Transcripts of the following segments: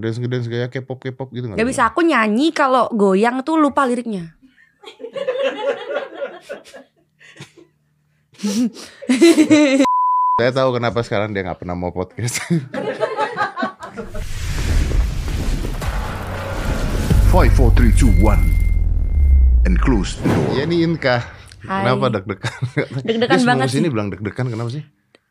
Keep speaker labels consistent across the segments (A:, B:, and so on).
A: Dance ngedance gaya K-pop K-pop gitu nggak?
B: Gak bisa aku nyanyi kalau goyang tuh lupa liriknya.
A: Saya tahu kenapa sekarang dia nggak pernah mau podcast.
C: Five, four, three, two, one, and close the door.
A: ya ini Inka.
B: Hai.
A: Kenapa deg-degan? Dia
B: Deg-degan
A: sebelum
B: banget
A: kesini
B: sih.
A: bilang deg-degan kenapa sih?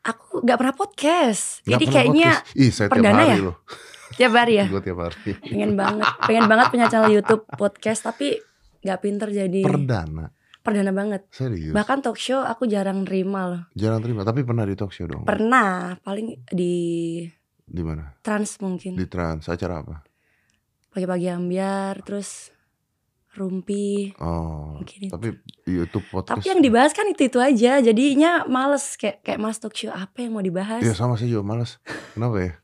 B: Aku gak pernah podcast.
A: Nggak
B: Jadi
A: pernah
B: kayaknya
A: podcast. Ih, saya tiap
B: perdana
A: hari
B: ya?
A: loh.
B: tiap hari ya.
A: Gue tiap hari.
B: Pengen banget, pengen banget punya channel YouTube podcast tapi gak pinter jadi
A: Perdana. Iya.
B: perdana banget.
A: Serius.
B: Bahkan talk show aku jarang nerima loh.
A: Jarang terima, tapi pernah di talk show dong.
B: Pernah paling di
A: di mana?
B: trans mungkin.
A: Di Trans acara apa?
B: Pagi-pagi ambiar terus rumpi.
A: Oh.
B: Mungkin itu.
A: Tapi YouTube podcast. ya.
B: Tapi yang dibahas kan itu-itu aja. Jadinya males kayak kayak males talk show apa yang mau dibahas.
A: Iya sama saya juga males. Kenapa ya?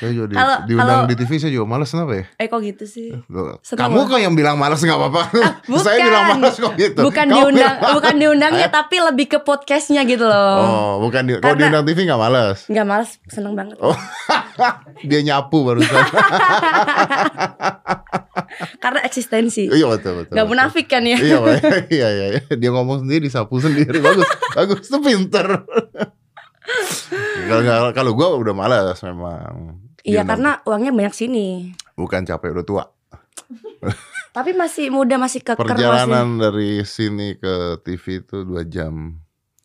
A: Saya juga di,
B: Kalau-
A: diundang
B: kalau-
A: di TV saya juga males kenapa ya?
B: Eh kok gitu sih?
A: Loh,
B: Setelah- Ah,
A: Kamu kok yang bilang males nggak apa-apa. saya
B: bukan.
A: bilang males kok gitu.
B: Bukan
A: Kamu
B: diundang,
A: bilang- Eh?
B: bukan diundangnya tapi lebih ke podcastnya gitu loh.
A: Oh, bukan di, kalau
B: Karena-
A: diundang TV nggak males.
B: Nggak males, seneng banget.
A: Oh. Dia nyapu barusan.
B: Karena eksistensi.
A: iya betul betul.
B: Gak
A: betul.
B: munafik kan ya?
A: iya, Pak. iya, iya, iya. Dia ngomong sendiri, disapu sendiri. Bagus, bagus. Itu pinter. Kalau nggak- kalau gue udah malas memang.
B: Iya
A: Diundang.
B: karena uangnya banyak sini.
A: bukan capek udah tua.
B: Tapi masih muda masih keker masih.
A: Perjalanan dari sini ke TV itu dua jam.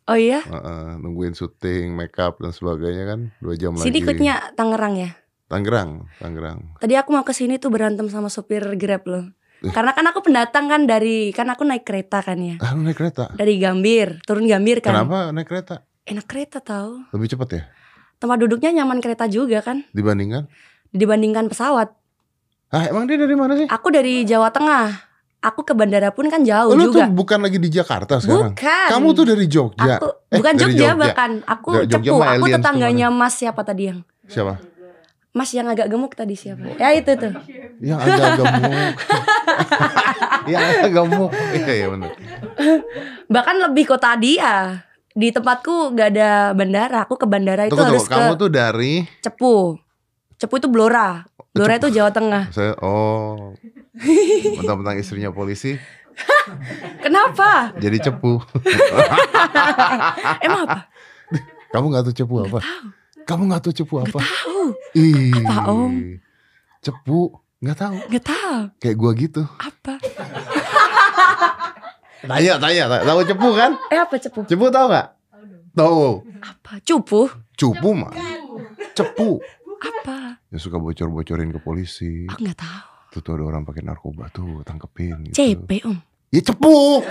B: Oh iya.
A: Heeh, nungguin syuting, makeup dan sebagainya kan dua jam
B: Sini
A: lagi.
B: ikutnya Tangerang ya.
A: Tangerang, Tangerang.
B: Tadi aku mau ke sini tuh berantem sama sopir Grab loh. Karena kan aku pendatang kan dari kan aku naik kereta kan ya.
A: Ah, lu naik kereta.
B: Dari Gambir, turun Gambir kan.
A: Kenapa naik kereta?
B: Enak kereta tahu.
A: Lebih cepat ya
B: Tempat duduknya nyaman kereta juga kan
A: dibandingkan?
B: dibandingkan pesawat.
A: Ah, emang dia dari mana sih?
B: Aku dari Jawa Tengah. Aku ke bandara pun kan jauh
A: Oh, lu tuh
B: juga.
A: bukan lagi di Jakarta sekarang.
B: Bukan.
A: Kamu tuh dari Jogja.
B: Aku
A: Eh,
B: bukan
A: dari
B: Jogja,
A: Jogja.
B: bahkan aku
A: Dari Jogja
B: cepu
A: mah
B: aku
A: aliens
B: tetangganya Mas siapa tadi yang
A: Siapa?
B: Mas yang agak gemuk tadi siapa ya itu tuh
A: Yang agak gemuk. yang agak gemuk. Iya, iya benar.
B: bahkan lebih kota dia di tempatku gak ada bandara aku ke bandara itu
A: Tunggu, tunggu.
B: harus
A: Kamu
B: ke
A: tuh dari
B: Cepu Cepu itu Blora Blora itu Jawa Tengah
A: saya oh. Mentang-mentang istrinya polisi
B: kenapa
A: jadi cepu. Ah,
B: emang apa
A: Kamu nggak tahu cepu apa? Kamu nggak tahu cepu apa?
B: tahu
A: Ih.
B: Apa, Om?
A: Cepu nggak tahu.
B: nggak tahu
A: Kayak gua gitu.
B: apa
A: Tanya, tanya, tanya. tahu cepu kan?
B: eh apa Cepu
A: Cepu tahu nggak? Tahu.
B: apa Cupu
A: Cupu mah. Cepu.
B: apa
A: Yang suka bocor-bocorin ke polisi.
B: aku nggak tahu
A: Tuh, tuh ada orang pakai narkoba tuh, tangkepin gitu.
B: CP om
A: Ya cepu.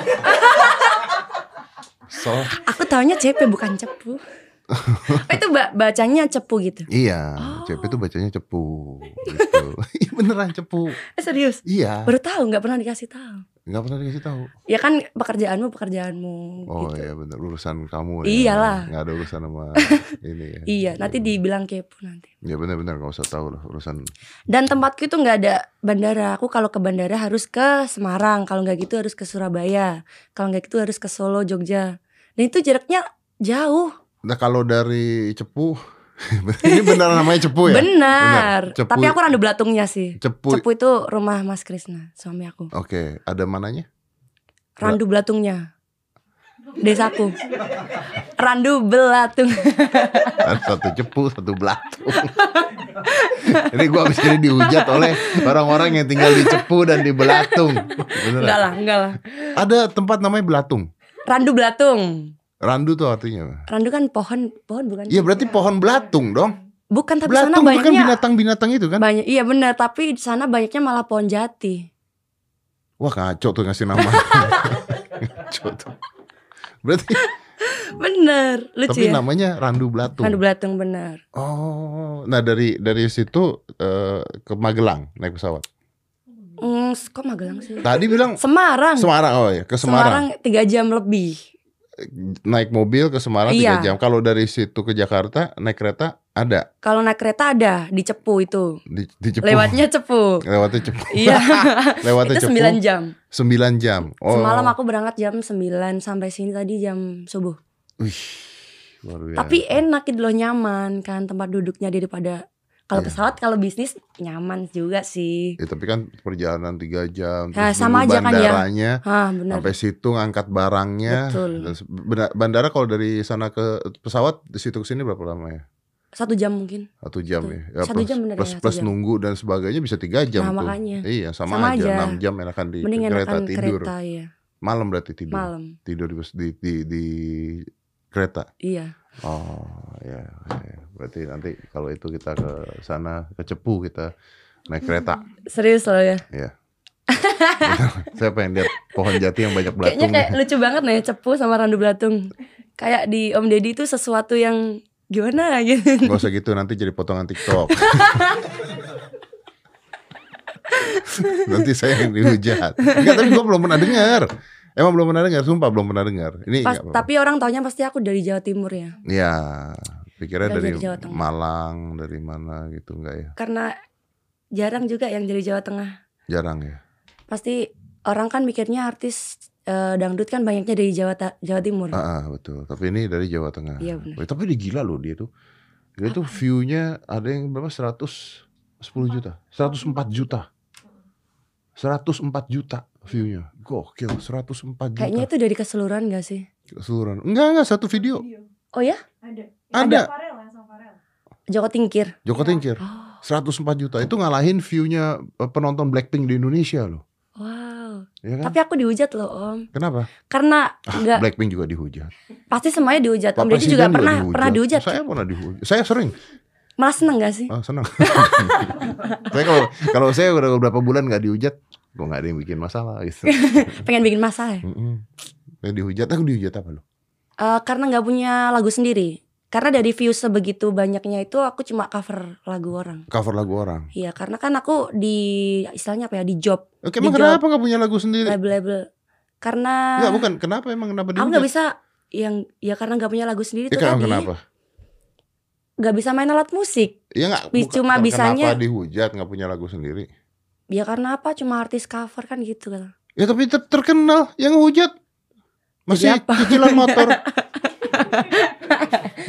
A: so,
B: aku taunya CP bukan Cepu oh, itu ba- bacanya Cepu gitu
A: iya,
B: Oh.
A: CP tuh bacanya cepu gitu. Iya, Beneran cepu.
B: eh serius
A: Iya,
B: baru tahu nggak pernah dikasih tahu
A: nggak pernah dikasih tahu.
B: ya kan pekerjaanmu pekerjaanmu
A: Oh
B: gitu.
A: iya bener urusan kamu ya.
B: Iyalah.
A: Nggak ada urusan sama ini ya.
B: Iya, nanti dibilang kepo nanti.
A: Ya benar-benar nggak usah tahu lah urusan.
B: Dan tempatku itu nggak ada bandara. Aku kalau ke bandara harus ke Semarang, kalau nggak gitu harus ke Surabaya, kalau nggak gitu harus ke Solo, Jogja. Dan itu jaraknya jauh.
A: Nah kalau dari Cepu, ini benar namanya Cepu ya?
B: Benar.
A: Benar. Cepu-
B: Tapi aku randu belatungnya sih.
A: Cepu.
B: Cepu itu rumah Mas Krisna, suami aku.
A: Oke, ada mananya?
B: Randu belatungnya. Desaku. Randu belatung.
A: Ada Kan satu Cepu, satu Belatung. ini gua habis ini dihujat oleh orang-orang yang tinggal di Cepu dan di Belatung.
B: Enggak
A: Beneran.
B: lah, enggak lah.
A: Ada tempat namanya Belatung.
B: Randu belatung.
A: Randu tuh artinya. apa?
B: Randu kan pohon, pohon bukan?
A: Iya berarti pohon belatung dong.
B: Bukan tapi sana
A: Belatung
B: banyaknya
A: bukan binatang-binatang itu kan?
B: Banyak, iya benar. Tapi di sana banyaknya malah pohon jati.
A: Wah ngaco tuh ngasih nama. ngaco tuh. Berarti
B: Bener, lucu
A: tapi
B: ya.
A: namanya Randu Belatung.
B: Pandu Belatung bener.
A: Oh, nah dari dari situ eh, ke Magelang naik pesawat.
B: Hmm, kok Magelang sih?
A: Tadi bilang
B: Semarang.
A: Semarang oh ya, ke Semarang.
B: tiga jam lebih.
A: Naik mobil ke Semarang tiga
B: Iya.
A: jam. Kalau dari situ ke Jakarta naik kereta ada
B: Kalau naik kereta ada di Cepu itu.
A: di, di Cepu.
B: Lewatnya Cepu.
A: Lewatnya Cepu.
B: Iya,
A: Lewatnya
B: itu
A: Cepu.
B: sembilan jam.
A: 9 jam. Oh.
B: Semalam aku berangkat jam 9 sampai sini tadi jam subuh.
A: Wih, luar biasa. Iya,
B: Tapi enak gitu loh nyaman kan tempat duduknya daripada Kalau
A: Iya.
B: pesawat kalau bisnis nyaman juga sih.
A: Ya, tapi kan perjalanan tiga jam,
B: Ya,
A: terus
B: sama
A: dulu
B: aja kan ya.
A: bandaranya,
B: Hah, benar.
A: sampai situ ngangkat barangnya.
B: Betul.
A: Terus benda- Bandara kalau dari sana ke pesawat di situ ke sini berapa lama ya?
B: Satu jam mungkin.
A: Satu jam
B: Betul.
A: ya. ya
B: Satu
A: plus,
B: jam bener ya,
A: plus,
B: satu
A: plus
B: jam.
A: nunggu dan sebagainya bisa tiga jam
B: nah,
A: tuh.
B: makanya.
A: Iya sama,
B: Sama
A: aja.
B: aja.
A: enam jam enakan di
B: Mending
A: kereta
B: enakan
A: tidur.
B: kereta ya.
A: Malam berarti tidur.
B: Malam.
A: Tidur di, bus- di, di, di kereta.
B: Iya.
A: Oh ya. ya. Berarti nanti kalau itu kita ke sana ke Cepu kita naik kereta. iya.
B: Serius loh ya.
A: Saya pengen lihat pohon jati yang banyak
B: Kayaknya
A: belatung.
B: kayak lucu banget nih Cepu sama Randu Belatung. Kayak di Om Deddy itu sesuatu yang gimana gitu.
A: Gak usah gitu nanti jadi potongan TikTok. nanti saya yang dihujat. Enggak, tapi gue belum pernah dengar. Emang belum pernah dengar, sumpah belum pernah dengar. Ini
B: Pas,
A: nggak apa-apa.
B: tapi orang taunya pasti aku dari Jawa Timur ya.
A: ya pikirnya
B: Belajar
A: dari
B: di Jawa Tengah.
A: Malang, dari mana gitu enggak ya?
B: Karena jarang juga yang dari Jawa Tengah.
A: Jarang ya.
B: Pasti orang kan mikirnya artis eh, dangdut kan banyaknya dari Jawa Ta- Jawa Timur.
A: Ah, ah, betul. Tapi ini dari Jawa Tengah.
B: Hmm. Iya, benar.
A: Wah, tapi dia gila loh dia tuh. Dia tuh view-nya ada yang berapa? 110 juta. 104 juta. 104 juta view-nya. Gokil, 104 juta.
B: Kayaknya itu dari keseluruhan gak sih?
A: keseluruhan. Enggak, enggak satu video.
B: Oh ya?
D: Ada.
A: Ada.
D: Farel ya, sama Farel.
B: Joko Tingkir.
A: Joko Tingkir.
B: Oh,
A: 104 juta itu ngalahin view-nya eh, penonton Blackpink di Indonesia loh.
B: wow.
A: Ya kan?
B: Tapi aku dihujat loh Om.
A: Kenapa?
B: Karena
A: Ah,
B: nggak
A: Blackpink juga dihujat.
B: pasti semuanya dihujat.
A: Pak
B: Om Deddy
A: Presiden
B: juga pernah pernah dihujat.
A: Saya pernah dihujat. Saya sering.
B: Malah seneng gak sih?
A: Ah, senang. saya kalau kalau saya udah beberapa bulan nggak dihujat, gua nggak ada yang bikin masalah gitu.
B: Pengen bikin masalah. ya?
A: Mm-mm. Saya dihujat, aku dihujat apa lu?
B: Eh, karena nggak punya lagu sendiri. Karena dari views sebegitu banyaknya itu aku cuma cover lagu orang.
A: Cover lagu orang.
B: Iya, karena kan aku di istilahnya apa ya di job
A: Oke, emang
B: Dijawab.
A: kenapa nggak punya lagu sendiri?
B: label-label. Karena
A: Enggak, bukan. Kenapa emang kenapa
B: aku nggak
A: dihujat?
B: bisa yang ya karena nggak punya lagu sendiri
A: Ya,
B: tuh
A: kan,
B: tadi.
A: kenapa?
B: Nggak bisa main alat musik.
A: Ya nggak.
B: Bi-
A: bukan-
B: cuma
A: kenapa
B: bisanya-
A: dihujat nggak punya lagu sendiri?
B: Ya karena apa? Cuma artis cover kan gitu kan.
A: Ya tapi ter- terkenal yang hujat masih
B: Jadi apa?
A: cicilan motor.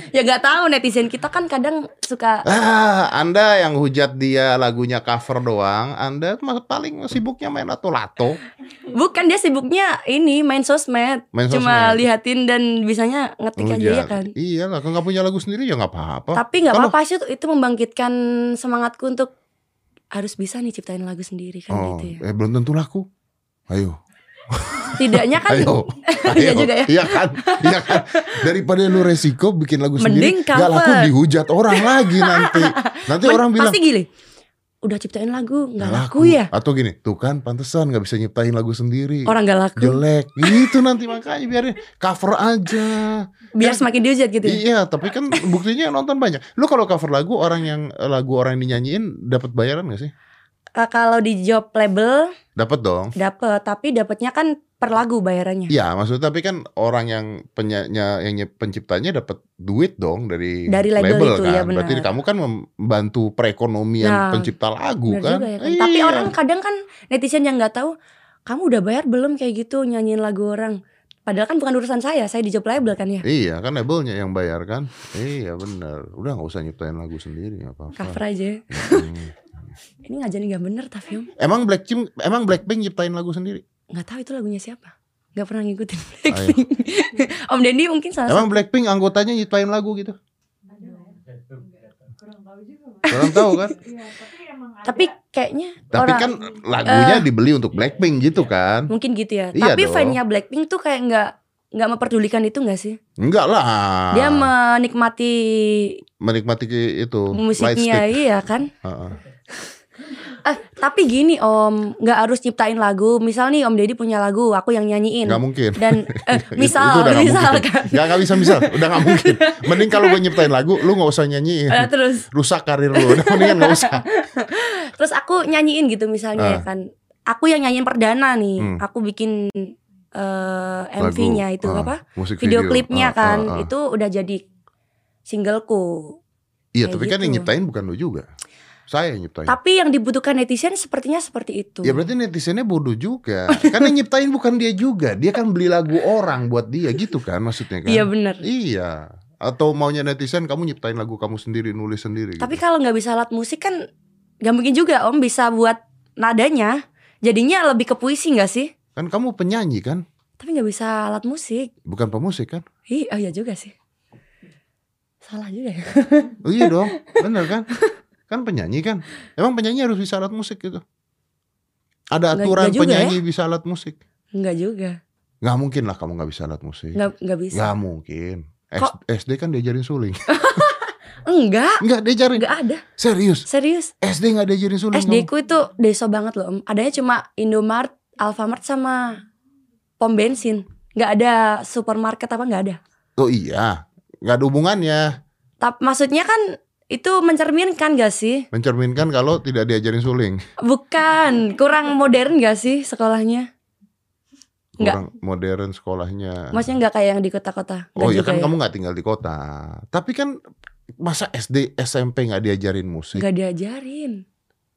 B: Ya nggak tahu netizen kita kan kadang suka
A: ah, Anda yang hujat dia lagunya cover doang, Anda mah paling sibuknya main lato-lato,
B: bukan dia sibuknya ini main sosmed.
A: main
B: Cuma
A: sosmed.
B: lihatin dan bisanya ngetik aja ya
A: Hujat.
B: kan.
A: Oh, Iya lah, kalau nggak punya lagu sendiri ya nggak apa-apa.
B: Tapi nggak
A: Kalau-
B: apa-apa sih itu membangkitkan semangatku untuk harus bisa nih ciptain lagu sendiri kan
A: oh,
B: gitu
A: eh,
B: ya.
A: belum tentu laku. Ayo,
B: Tidaknya kan
A: ayo,
B: Iya juga ya.
A: Iya kan, iya kan. Daripada lu resiko bikin lagu sendiri,
B: Mending
A: nggak laku
B: cover.
A: dihujat orang lagi nanti. Nanti
B: men-
A: orang bilang
B: pasti gini. Udah ciptain lagu nggak
A: "Nggak
B: laku. ya?
A: Atau gini, tuh kan pantesan nggak bisa nyiptain lagu sendiri.
B: Orang nggak laku.
A: jelek gitu nanti makanya biarin cover aja
B: Biar semakin dihujat gitu. ya.
A: iya tapi kan buktinya yang nonton banyak lu kalau cover lagu orang yang lagu orang yang dinyanyiin dapat bayaran gak sih
B: Eh, kalau di job label
A: dapat dong
B: dapet, tapi dapetnya kan per lagu bayarannya.
A: Iya maksudnya tapi kan orang yang penyanya yang nye- penciptanya dapat duit dong dari,
B: Dari label itu,
A: kan
B: iya benar.
A: berarti kamu kan membantu perekonomian
B: Nah,
A: pencipta lagu
B: Bener
A: kan,
B: juga ya kan.
A: Iya.
B: Tapi orang kadang kan netizen yang nggak tahu, kamu udah bayar belum kayak gitu nyanyiin lagu orang. Padahal kan bukan urusan saya, saya di job label kan ya.
A: Iya kan labelnya yang bayar kan Iya benar Udah nggak usah nyiptain lagu sendiri nggak apa-apa
B: Cover aja.
A: Mm.
B: Ini ngajarin nggak bener tapi om.
A: Emang Blackpink Emang Blackpink nyiptain lagu sendiri
B: nggak tahu itu lagunya siapa nggak pernah ngikutin Blackpink Om Dendi mungkin salah
A: Emang Blackpink anggotanya nyiptain lagu gitu?
D: Ada lah ya. Enggak. Kurang tahu juga. Mas.
A: Orang tahu kan?
D: Iya, tapi emang ada.
B: tapi kayaknya
A: Tapi
B: orang eh,
A: kan lagunya dibeli untuk Blackpink gitu kan?
B: mungkin gitu ya
A: Iya
B: tapi
A: dong.
B: fannya Blackpink tuh kayak nggak nggak memperdulikan itu nggak sih
A: Enggak lah.
B: dia menikmati
A: menikmati ke- itu
B: musiknya
A: lightstick.
B: iya kan
A: Heeh.
B: eh tapi gini Om nggak harus nyiptain lagu misal nih Om Deddy punya lagu aku yang nyanyiin
A: Nggak mungkin.
B: dan eh,
A: Itu
B: misal
A: udah nggak
B: misal
A: mungkin.
B: kan
A: Nggak nggak bisa misal, udah nggak mungkin. Mending kalau gue nyiptain lagu, lu nggak usah nyanyiin.
B: Eh, terus
A: Rusak karir lu. Udah mendingan nggak usah.
B: Terus aku nyanyiin gitu misalnya
A: Ah.
B: ya kan. Aku yang nyanyiin perdana nih.
A: Hmm.
B: Aku bikin eh MV-nya itu
A: Ah,
B: apa?
A: Musik
B: Video klipnya
A: Ah,
B: kan.
A: ah, ah.
B: Itu udah jadi singleku.
A: Iya,
B: kayak
A: tapi kan yang
B: gitu.
A: nyiptain bukan lu juga. Saya yang nyiptain.
B: Tapi yang dibutuhkan netizen sepertinya seperti itu.
A: Ya berarti netizennya bodoh juga. Karena yang nyiptain bukan dia juga. Dia kan beli lagu orang buat dia gitu kan maksudnya kan.
B: Iya bener.
A: Iya. Atau maunya netizen kamu nyiptain lagu kamu sendiri, nulis sendiri gitu.
B: Tapi kalau nggak bisa alat musik kan nggak mungkin juga Om bisa buat nadanya. Jadinya lebih ke puisi nggak sih?
A: Kan kamu penyanyi kan?
B: Tapi nggak bisa alat musik.
A: Bukan pemusik kan?
B: Ih, oh iya juga sih. Salah juga ya.
A: Oh, iya dong, bener kan? Kan penyanyi kan? Emang penyanyi harus bisa alat musik gitu? Ada
B: Nggak-
A: aturan
B: nggak juga ya?
A: penyanyi bisa alat musik?
B: Nggak juga.
A: Nggak mungkin lah kamu nggak bisa alat musik.
B: Nggak nggak bisa.
A: Nggak mungkin. S-
B: Kok?
A: SD kan diajarin suling.
B: Enggak,
A: Nggak diajarin.
B: enggak ada.
A: Serius.
B: Serius.
A: SD nggak diajarin suling.
B: SD ku itu deso banget loh om. Adanya cuma Indomart, Alfamart sama pom bensin. Nggak ada supermarket apa nggak ada.
A: kamu. Oh iya. Nggak ada hubungannya.
B: Tapi maksudnya kan itu mencerminkan gak sih?
A: Mencerminkan kalau tidak diajarin suling.
B: Bukan, kurang modern gak sih sekolahnya? Nggak.
A: Kurang modern sekolahnya.
B: Maksudnya nggak kayak yang di kota-kota? Nggak
A: oh iya
B: juga
A: kan
B: ya?
A: kamu nggak tinggal di kota. Tapi kan masa SD SMP nggak diajarin musik.
B: Nggak diajarin.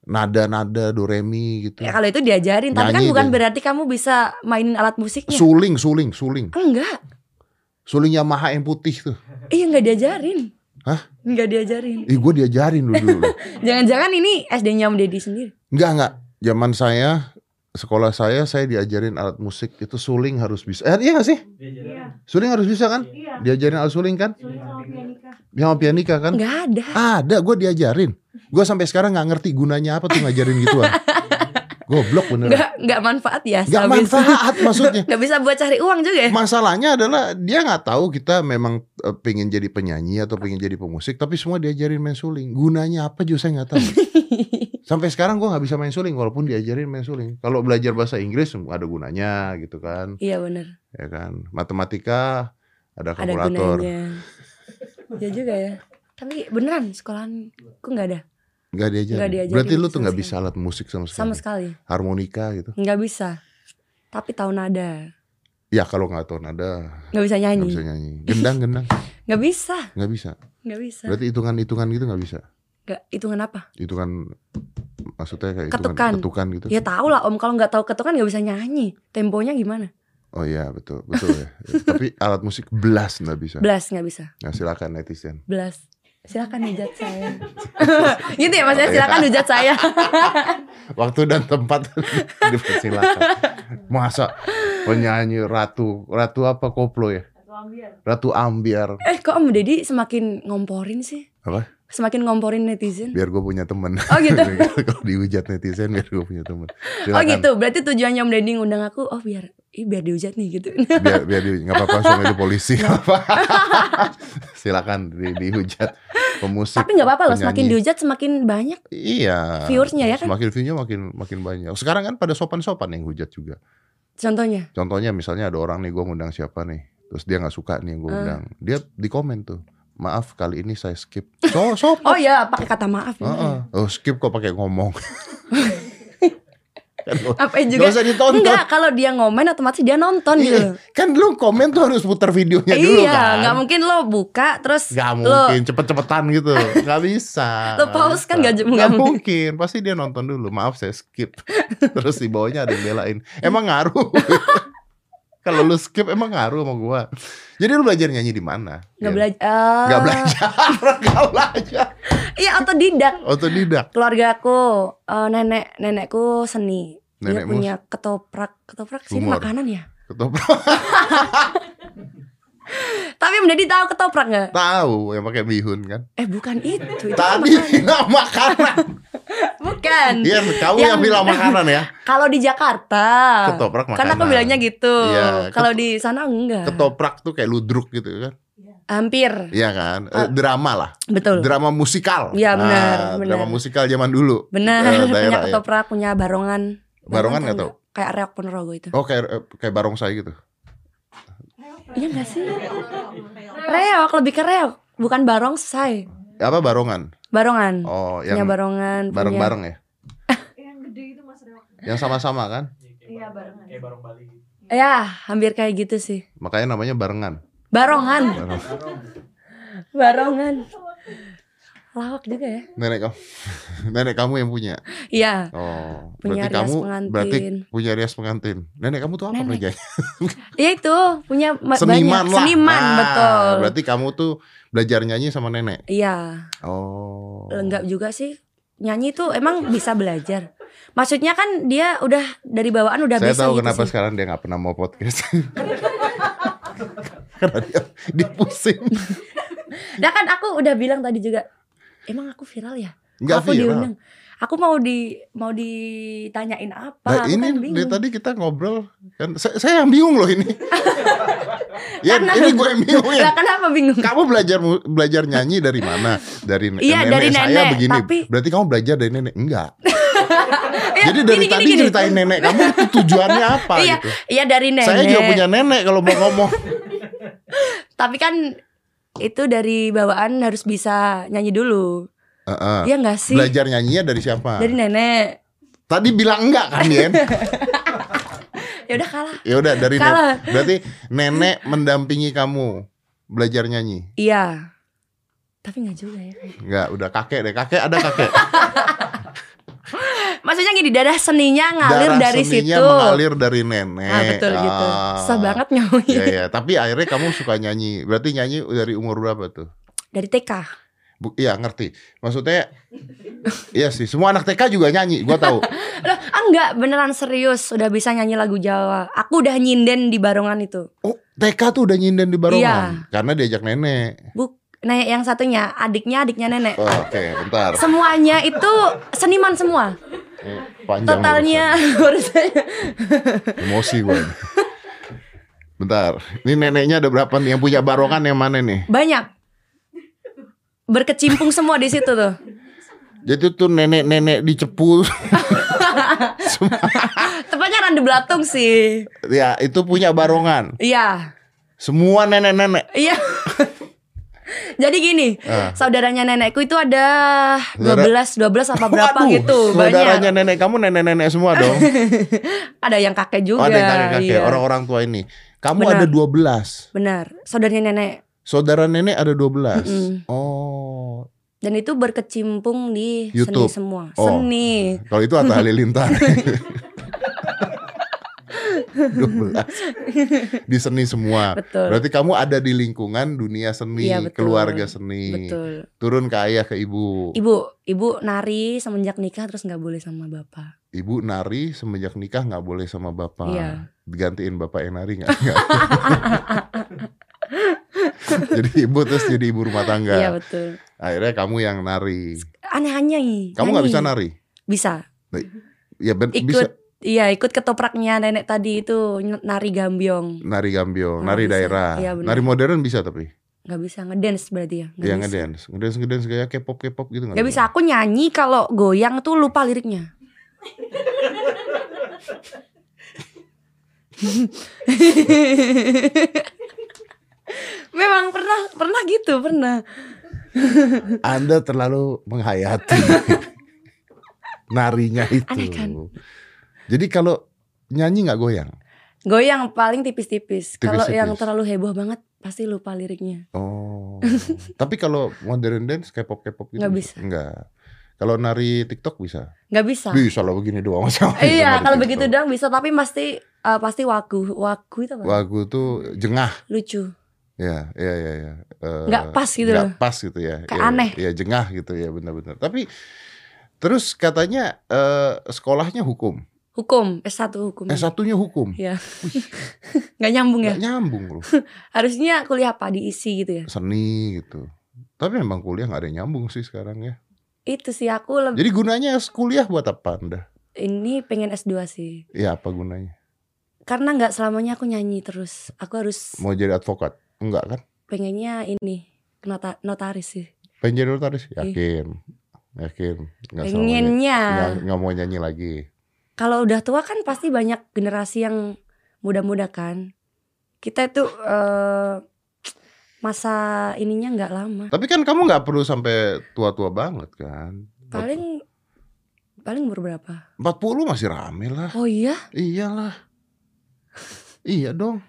A: Nada-nada do re mi gitu.
B: Ya, kalau itu diajarin, tapi kan
A: Nyanyi
B: bukan
A: deh.
B: berarti kamu bisa mainin alat musiknya.
A: Suling, suling, suling.
B: Enggak,
A: Suling Yamaha yang putih tuh.
B: iya nggak diajarin.
A: Hah?
B: Nggak diajarin.
A: Ih gue diajarin dulu dulu.
B: Jangan-jangan ini SD-nya Om Deddy sendiri.
A: Enggak enggak. Zaman saya sekolah saya saya diajarin alat musik itu suling harus bisa. Eh, iya gak sih?
D: Iya,
A: Suling harus bisa kan?
D: iya.
A: Diajarin alat suling kan?
D: Sulit sama pianika.
A: Yang pianika kan?
B: Nggak ada.
A: Ada, gue diajarin. Gue sampai sekarang nggak ngerti gunanya apa tuh ngajarin gituan. Goblok beneran.
B: Nggak, nggak manfaat ya.
A: Gak
B: habis.
A: manfaat maksudnya.
B: Nggak bisa buat cari uang juga ya.
A: Masalahnya adalah dia nggak tahu kita memang eh, pengen jadi penyanyi atau pengen jadi pemusik, tapi semua diajarin main suling. Gunanya apa juga saya nggak tahu. Sampai sekarang gue nggak bisa main suling, walaupun diajarin main suling. Kalau belajar bahasa Inggris ada gunanya gitu kan,
B: iya bener,
A: ya kan. Matematika ada
B: ada
A: kalkulator,
B: gunanya. Iya juga ya. Tapi beneran sekolahan ku nggak ada
A: nggak diajarin.
B: Nggak diajarin
A: Berarti lu tuh
B: sama
A: nggak
B: sekali.
A: bisa alat musik sama sekali.
B: sama sekali.
A: Harmonika gitu.
B: Nggak bisa. Tapi tahu nada.
A: Ya kalau nggak tahu nada
B: Nggak bisa
A: nggak bisa
B: nyanyi.
A: nyanyi. Gendang gendang
B: Nggak bisa.
A: nggak bisa.
B: Nggak bisa.
A: Berarti hitungan hitungan gitu nggak bisa.
B: Nggak hitungan apa?
A: Hitungan maksudnya kayak
B: Ketukan.
A: hitungan ketukan gitu.
B: Ya tau lah Om kalau nggak tahu ketukan nggak bisa nyanyi. Temponya gimana?
A: Oh iya betul betul ya. Ya, Tapi alat musik belas nggak bisa.
B: Belas nggak bisa.
A: Nah silakan netizen.
B: Belas. Silakan hujat saya. gitu ya maksudnya silakan hujat saya.
A: Waktu dan tempat dipersilakan. Masa penyanyi ratu ratu apa koplo ya?
D: Atau ambiar.
A: Ratu ambiar.
B: Eh kok Om Deddy semakin ngomporin sih?
A: Apa?
B: Semakin ngomporin netizen.
A: Biar gue punya temen.
B: Oh gitu.
A: Kalau dihujat netizen biar gue punya temen.
B: Oh
A: Silakan.
B: gitu, berarti tujuannya Om Deddy ngundang aku, oh biar ih biar dihujat nih gitu.
A: biar biar di nggak apa-apa suami itu polisi apa silakan di, dihujat pemusik
B: Tapi nggak apa-apa loh,
A: penyanyi.
B: semakin dihujat semakin banyak.
A: iya
B: viewersnya ya kan?
A: semakin viewnya makin makin banyak sekarang kan pada sopan-sopan yang hujat juga
B: Contohnya,
A: contohnya misalnya ada orang nih gue ngundang siapa nih terus dia nggak suka nih yang gue
B: Eh.
A: undang dia di komen tuh maaf kali ini saya skip so sopan
B: oh ya pakai kata maaf ya.
A: Heeh. oh skip kok pakai ngomong kan lo-
B: Apa juga?
A: nggak usah ditonton
B: Enggak, kalau dia ngomen otomatis dia nonton
A: Iya,
B: gitu. loh.
A: kan lu komen tuh harus putar videonya dulu
B: iya,
A: kan
B: nggak mungkin lo buka terus
A: Gak
B: lo
A: mungkin cepet-cepetan gitu Gak bisa
B: Lo pause kan nggak- nggak
A: mungkin. Pasti dia nonton dulu Maaf saya skip Terus di bawahnya ada yang belain Emang ngaruh Kalau lu skip emang ngaruh sama gua Jadi lu belajar nyanyi di mana?
B: nggak
A: Gen?
B: belajar.
A: Nggak belajar Gak belajar
B: Iya otodidak.
A: Otodidak
B: Keluarga aku, eh, nenek nenekku seni. dia
A: Nenekmu
B: punya ketoprak, ketoprak sih ini
A: Humor.
B: makanan ya.
A: Ketoprak
B: Tapi menjadi tahu ketoprak nggak?
A: Tahu yang pakai bihun kan
B: Eh bukan itu, itu kan
A: Tadi
B: makanan.
A: bilang makanan
B: bukan.
A: Iya kamu yang,
B: Yang-
A: bilang makanan ya
B: Kalau di Jakarta,
A: Ketoprak makanan
B: karena aku bilangnya gitu.
A: Iya,
B: Kalau
A: keto-
B: di sana enggak.
A: Ketoprak tuh kayak ludruk gitu kan
B: Hampir,
A: Iya kan
B: Ah.
A: Eh, Drama lah
B: betul.
A: drama musikal. Ah,
B: Iya, benar, benar.
A: Drama musikal zaman dulu.
B: Benar,
A: Eh,
B: punya
A: daerah ya.
B: ketoprak, punya barongan.
A: Barongan
B: tau
A: nggak tahu?
B: Kayak reok ponorogo itu.
A: Oh kayak eh, kayak barongsai gitu.
B: Iya enggak sih? Reok lebih ke reok, bukan barongsai.
A: Apa barongan?
B: Barongan.
A: Oh
B: punya
A: yang
B: barongan, Hmm. Iya, punya-
A: bareng-bareng ya.
D: Eh, Yang gede itu Mas Reok.
A: Yang sama-sama kan?
D: Iya, barengan.
E: Kayak bareng Bali gitu.
B: Ya, hampir kayak gitu sih.
A: Makanya namanya barengan.
B: Barongan,
A: Barong.
B: barongan. Lawak juga ya.
A: Nenek kamu, nenek kamu yang punya.
B: Iya.
A: Oh, berarti
B: Punya rias
A: kamu
B: pengantin.
A: berarti punya rias pengantin. Nenek kamu tuh apa
B: Nenek.
A: kerjanya?
B: Iya itu punya ma-
A: Seniman
B: banyak.
A: lah.
B: Seniman
A: Ah,
B: betul.
A: Berarti kamu tuh belajar nyanyi sama nenek.
B: Iya.
A: Oh.
B: Enggak juga sih. Nyanyi itu emang bisa belajar. Maksudnya kan dia udah dari bawaan udah
A: Saya
B: bisa
A: tahu
B: gitu
A: kenapa
B: sih.
A: sekarang dia nggak pernah mau podcast. Karena dia, dia pusing.
B: Nah kan aku udah bilang tadi juga. Emang aku viral ya?
A: Enggak
B: aku
A: viral.
B: diundang. Aku mau di mau ditanyain apa?
A: Nah
B: Aku
A: ini
B: kan
A: dari
B: bingung.
A: tadi kita ngobrol kan saya, saya yang bingung loh ini. ya
B: Karena-
A: ini gue yang bingung ya.
B: Lah, kenapa bingung?
A: Kamu belajar mu- belajar nyanyi dari mana? Dari ne-
B: Iya,
A: nenek
B: dari
A: saya
B: nenek,
A: begini.
B: tapi-
A: Berarti kamu belajar dari nenek? Enggak.
B: Iya,
A: Jadi dari
B: gini, gini,
A: tadi
B: gini.
A: ceritain nenek kamu itu tujuannya apa
B: Iya,
A: gitu.
B: Iya dari nenek.
A: Saya juga punya nenek kalau mau ngomong.
B: Tapi kan itu dari bawaan harus bisa nyanyi dulu.
A: Heeh.
B: Iya nggak sih?
A: Ah. Belajar nyanyinya dari siapa?
B: Dari nenek.
A: Tadi bilang enggak kan, Yen?
B: Ya udah kalah.
A: Ya udah dari nenek.
B: Kalah.
A: Berarti nenek mendampingi kamu belajar nyanyi.
B: Iya. Tapi nggak juga ya.
A: Enggak, udah kakek deh. Kakek ada kakek.
B: Maksudnya gini, darah seninya ngalir
A: Darah
B: dari
A: seninya
B: situ.
A: mengalir dari nenek.
B: Nah, betul gitu.
A: Ah.
B: Susah banget nyawi.
A: Iya, iya. Tapi akhirnya kamu suka nyanyi. Berarti nyanyi dari umur berapa tuh?
B: Dari TK.
A: Bu, iya ngerti. Maksudnya Iya sih, semua anak TK juga nyanyi, gua tahu.
B: Loh, ah, enggak, beneran serius udah bisa nyanyi lagu Jawa. Aku udah nyinden di barongan itu.
A: Oh, TK tuh udah nyinden di
B: Iya.
A: Barongan karena diajak nenek.
B: Buk, nah yang satunya adiknya adiknya nenek.
A: Oh, Oke, bentar.
B: Semuanya itu seniman semua.
A: Eh, Panjang
B: Totalnya
A: urusan.
B: urusannya.
A: emosi gua. ini. Bentar. Ini neneknya ada berapa nih yang punya Barongan yang mana nih?
B: banyak. Berkecimpung semua di situ tuh.
A: Jadi tuh nenek-nenek di Cepu.
B: Tepatnya Rande Belatung sih.
A: ya, itu punya Barongan.
B: Iya.
A: Semua nenek-nenek.
B: Iya. Jadi gini,
A: Ah.
B: saudaranya nenekku itu ada 12, 12 apa berapa
A: Waduh,
B: gitu,
A: Saudaranya
B: banyak.
A: nenek kamu nenek-nenek semua dong.
B: Ada yang kakek
A: Oh,
B: juga.
A: ada yang kakek-kakek,
B: iya.
A: orang-orang tua ini. Kamu
B: Benar.
A: ada 12.
B: Benar, saudaranya nenek.
A: Saudara nenek ada 12.
B: Mm-mm.
A: Oh.
B: Dan itu berkecimpung di
A: YouTube.
B: seni semua.
A: Oh.
B: Seni.
A: Kalau itu Atta Halilintar. 12. Di seni semua.
B: Betul.
A: Berarti kamu ada di lingkungan dunia seni,
B: Iya, betul.
A: keluarga seni.
B: Betul.
A: Turun ke ayah ke ibu. ibu.
B: Ibu, ibu nari semenjak nikah terus nggak boleh sama bapak.
A: nari semenjak nikah nggak boleh sama bapak.
B: Iya.
A: Digantiin bapak yang nari nggak? Nggak. jadi ibu terus jadi ibu rumah tangga.
B: Iya, betul.
A: Akhirnya kamu yang nari.
B: Aneh-aneh.
A: Kamu nggak bisa nari?
B: Bisa.
A: Ya ben-
B: Ikut.
A: bisa
B: Iya, ikut ketopraknya nenek tadi itu ny- nari gambiong.
A: nari gambiong,
B: Nggak
A: nari
B: bisa.
A: daerah.
B: Iya, benar.
A: Nari modern bisa tapi.
B: nggak bisa ngedance berarti ya. nggak
A: Iya
B: bisa.
A: ngedance, ngedance ngedance kayak K-pop K-pop gitu nggak
B: Nggak bisa aku nyanyi kalau goyang tuh lupa liriknya. Memang pernah pernah gitu, pernah.
A: Anda terlalu menghayati narinya itu.
B: Aneh kan?
A: Jadi kalau nyanyi nggak goyang.
B: Goyang paling tipis-tipis. Kalau
A: Tipis-tipis.
B: yang terlalu heboh banget pasti lupa liriknya.
A: Oh. Tapi kalau modern dance K-pop K-pop gitu
B: Nggak bisa.
A: Enggak. Kalau nari TikTok bisa.
B: nggak bisa.
A: Bisa lah begini doang sama.
B: Iya, kalau begitu doang bisa tapi pasti eh, pasti waku. Waku itu apa?
A: Lagu tuh jengah.
B: Lucu.
A: Ya, ya, ya, ya. Eh,
B: Nggak pas gitu
A: nggak
B: loh.
A: pas gitu ya.
B: Kayak
A: Ya,
B: aneh.
A: Ya, jengah gitu ya benar-benar. Tapi terus katanya eh, sekolahnya hukum.
B: Hukum, S1 hukum.
A: Eh satunya hukum.
B: Ya. Nggak nyambung ya.
A: Nggak nyambung loh.
B: Harusnya kuliah apa diisi gitu ya.
A: Seni gitu. Tapi memang kuliah nggak ada yang nyambung sih sekarang ya.
B: Itu sih aku lebih
A: Jadi gunanya kuliah buat apa anda?
B: ini pengen S2 sih.
A: Ya apa gunanya?
B: Karena nggak selamanya aku nyanyi terus. Aku harus
A: Mau jadi advokat? Enggak kan?
B: pengennya ini nota- notaris sih.
A: Pengen jadi notaris? Yakin? Yakin? Nggak sama nyanyi- nggak-
B: Pengennya.
A: nggak mau nyanyi lagi.
B: Kalau udah tua kan pasti banyak generasi yang muda-muda kan. Kita itu eh, masa ininya nggak lama.
A: Tapi kan kamu nggak perlu sampai tua-tua banget kan?
B: Paling paling umur berapa?
A: 40 masih rame lah.
B: Oh iya,
A: Iyalah. Iya dong.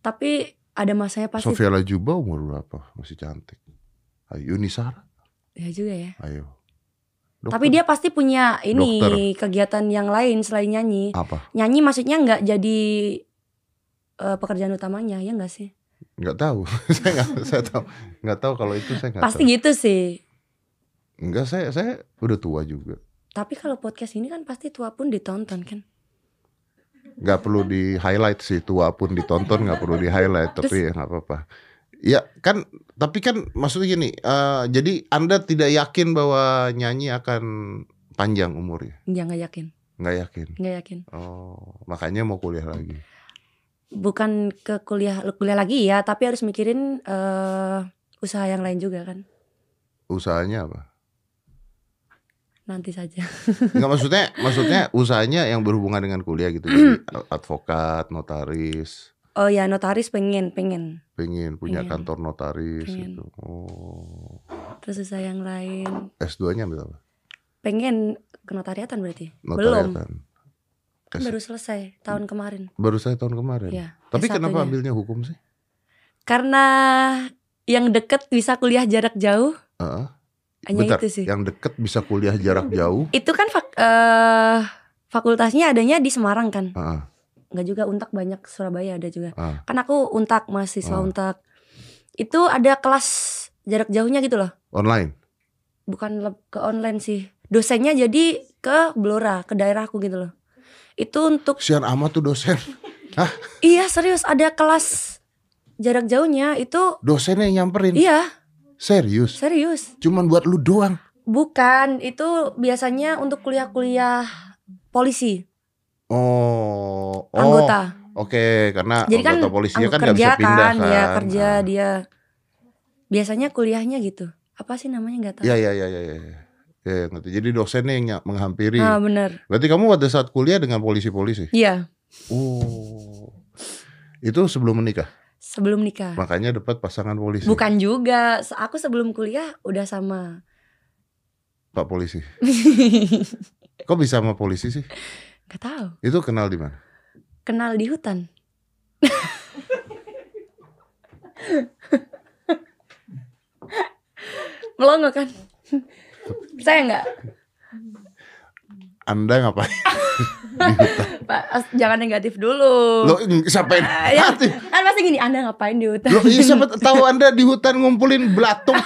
B: tapi ada masanya pasti.
A: Sofia Lajuba umur berapa? Masih cantik. Ayu Nisara.
B: Ya juga ya.
A: Ayo.
B: Tapi dia pasti punya ini
A: Dokter. Ah.
B: kegiatan yang lain selain nyanyi.
A: apa?
B: Nyanyi maksudnya nggak jadi eh, pekerjaan utamanya ya nggak sih?
A: Nggak tahu. saya nggak saya tahu. Nggak tahu kalau itu saya nggak
B: pasti
A: tahu.
B: gitu sih.
A: Nggak saya saya udah tua juga.
B: Tapi kalau podcast ini kan pasti tua pun ditonton kan.
A: Nggak perlu di highlight sih tua pun ditonton nggak perlu di highlight tapi ya nggak apa-apa. Ya kan tapi kan maksudnya gini eh, jadi Anda tidak yakin bahwa nyanyi akan panjang umurnya.
B: Ya nggak yakin,
A: Nggak yakin.
B: nggak yakin.
A: Oh, makanya mau kuliah lagi.
B: Bukan ke kuliah kuliah lagi ya, tapi harus mikirin eh usaha yang lain juga kan.
A: Usahanya apa?
B: Nanti saja.
A: Enggak maksudnya maksudnya usahanya yang berhubungan dengan kuliah gitu. Jadi advokat, notaris.
B: Oh ya notaris pengen, pengen.
A: pengen punya
B: Pengen.
A: kantor notaris
B: Pengen.
A: gitu. Oh,
B: Terus usaha yang lain.
A: S2-nya ambil apa?
B: Pengen ke notariatan berarti? Belum.
A: Notariatan.
B: Kan
A: S-
B: baru selesai tahun kemarin.
A: Baru saya tahun kemarin.
B: Iya,
A: Tapi
B: S1-nya.
A: kenapa ambilnya hukum sih?
B: Karena yang deket bisa kuliah jarak jauh
A: Heeh.
B: hanya
A: Bentar,
B: itu sih.
A: yang deket bisa kuliah jarak jauh.
B: Itu kan fak- eh, fakultasnya adanya di Semarang kan?
A: Heeh.
B: Enggak juga Untak banyak Surabaya ada juga.
A: Ah.
B: Kan aku Untak
A: Ah.
B: mahasiswa Untak. Itu ada kelas jarak jauhnya gitu loh.
A: Online.
B: Bukan leb- ke online sih. Dosennya jadi ke Blora, ke daerahku gitu loh. Itu untuk
A: Sian amat tuh dosen.
B: iya serius ada kelas jarak jauhnya itu
A: Dosennya yang nyamperin.
B: iya
A: Serius.
B: serius.
A: Cuman buat lu doang.
B: Bukan, itu biasanya untuk kuliah-kuliah polisi,
A: Oh, oh.
B: anggota.
A: Oke, karena
B: Jadi kan
A: anggota polisinya kan
B: anggota
A: nggak
B: kerja
A: bisa pindah kan.
B: dia kerja
A: Ah.
B: dia. Biasanya kuliahnya gitu. Apa sih namanya nggak tahu.
A: Iya, iya, iya, iya. iya. Ya, ngerti. Jadi dosennya yang ny- menghampiri.
B: Ah, benar.
A: Berarti kamu pada saat kuliah dengan polisi-polisi?
B: Iya,
A: Oh. Itu sebelum menikah.
B: sebelum nikah.
A: Makanya dapat pasangan polisi.
B: Ah. Bukan juga, Se- aku sebelum kuliah udah sama.
A: Pak polisi. Kok bisa sama polisi sih?
B: Gak tahu.
A: Itu kenal di mana?
B: Kenal di hutan. Melongo kan? Saya nggak
A: Anda ngapain?
B: Pak, as- jangan negatif dulu.
A: Lo siapa yang
B: Ah, ya.
A: Hati.
B: Kan pasti gini, Anda ngapain di hutan?
A: Lo iya, siapa tahu Anda di hutan ngumpulin belatung.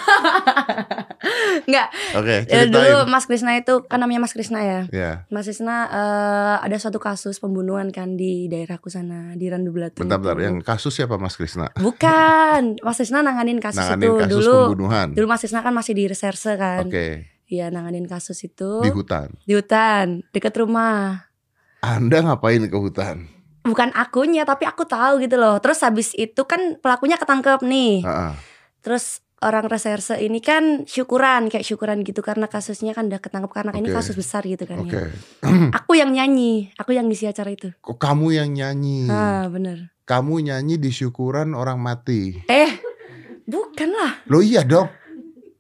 B: Enggak.
A: Oke,
B: Ya, dulu
A: ceritain.
B: Mas Krisna itu kan namanya Mas Krisna ya.
A: Ya,
B: Mas Krisna eh, ada suatu kasus pembunuhan kan di daerahku sana di Randu Belatung.
A: bentar-bentar.
B: itu.
A: Yang kasus siapa Mas Krisna?
B: Bukan, Mas Krisna nanganin kasus itu
A: Nanganin kasus
B: dulu.
A: pembunuhan.
B: Dulu Mas Krisna kan masih di reserse
A: Oke,
B: kan. Iya, nanganin kasus itu
A: di hutan.
B: di hutan, dekat rumah.
A: Anda ngapain ke hutan?
B: Bukan akunya, tapi aku tahu gitu loh. Terus habis itu kan pelakunya ketangkep nih.
A: Ah, ah.
B: Terus orang reserse ini kan syukuran kayak syukuran gitu karena kasusnya kan udah ketangkep karena ini
A: Oke.
B: kasus besar gitu kan
A: Oke.
B: ya. Aku yang nyanyi, aku yang ngisi acara itu.
A: Kok kamu yang nyanyi?
B: Ah, bener.
A: Kamu nyanyi di syukuran orang mati.
B: Eh, bukan lah.
A: Lo iya dong.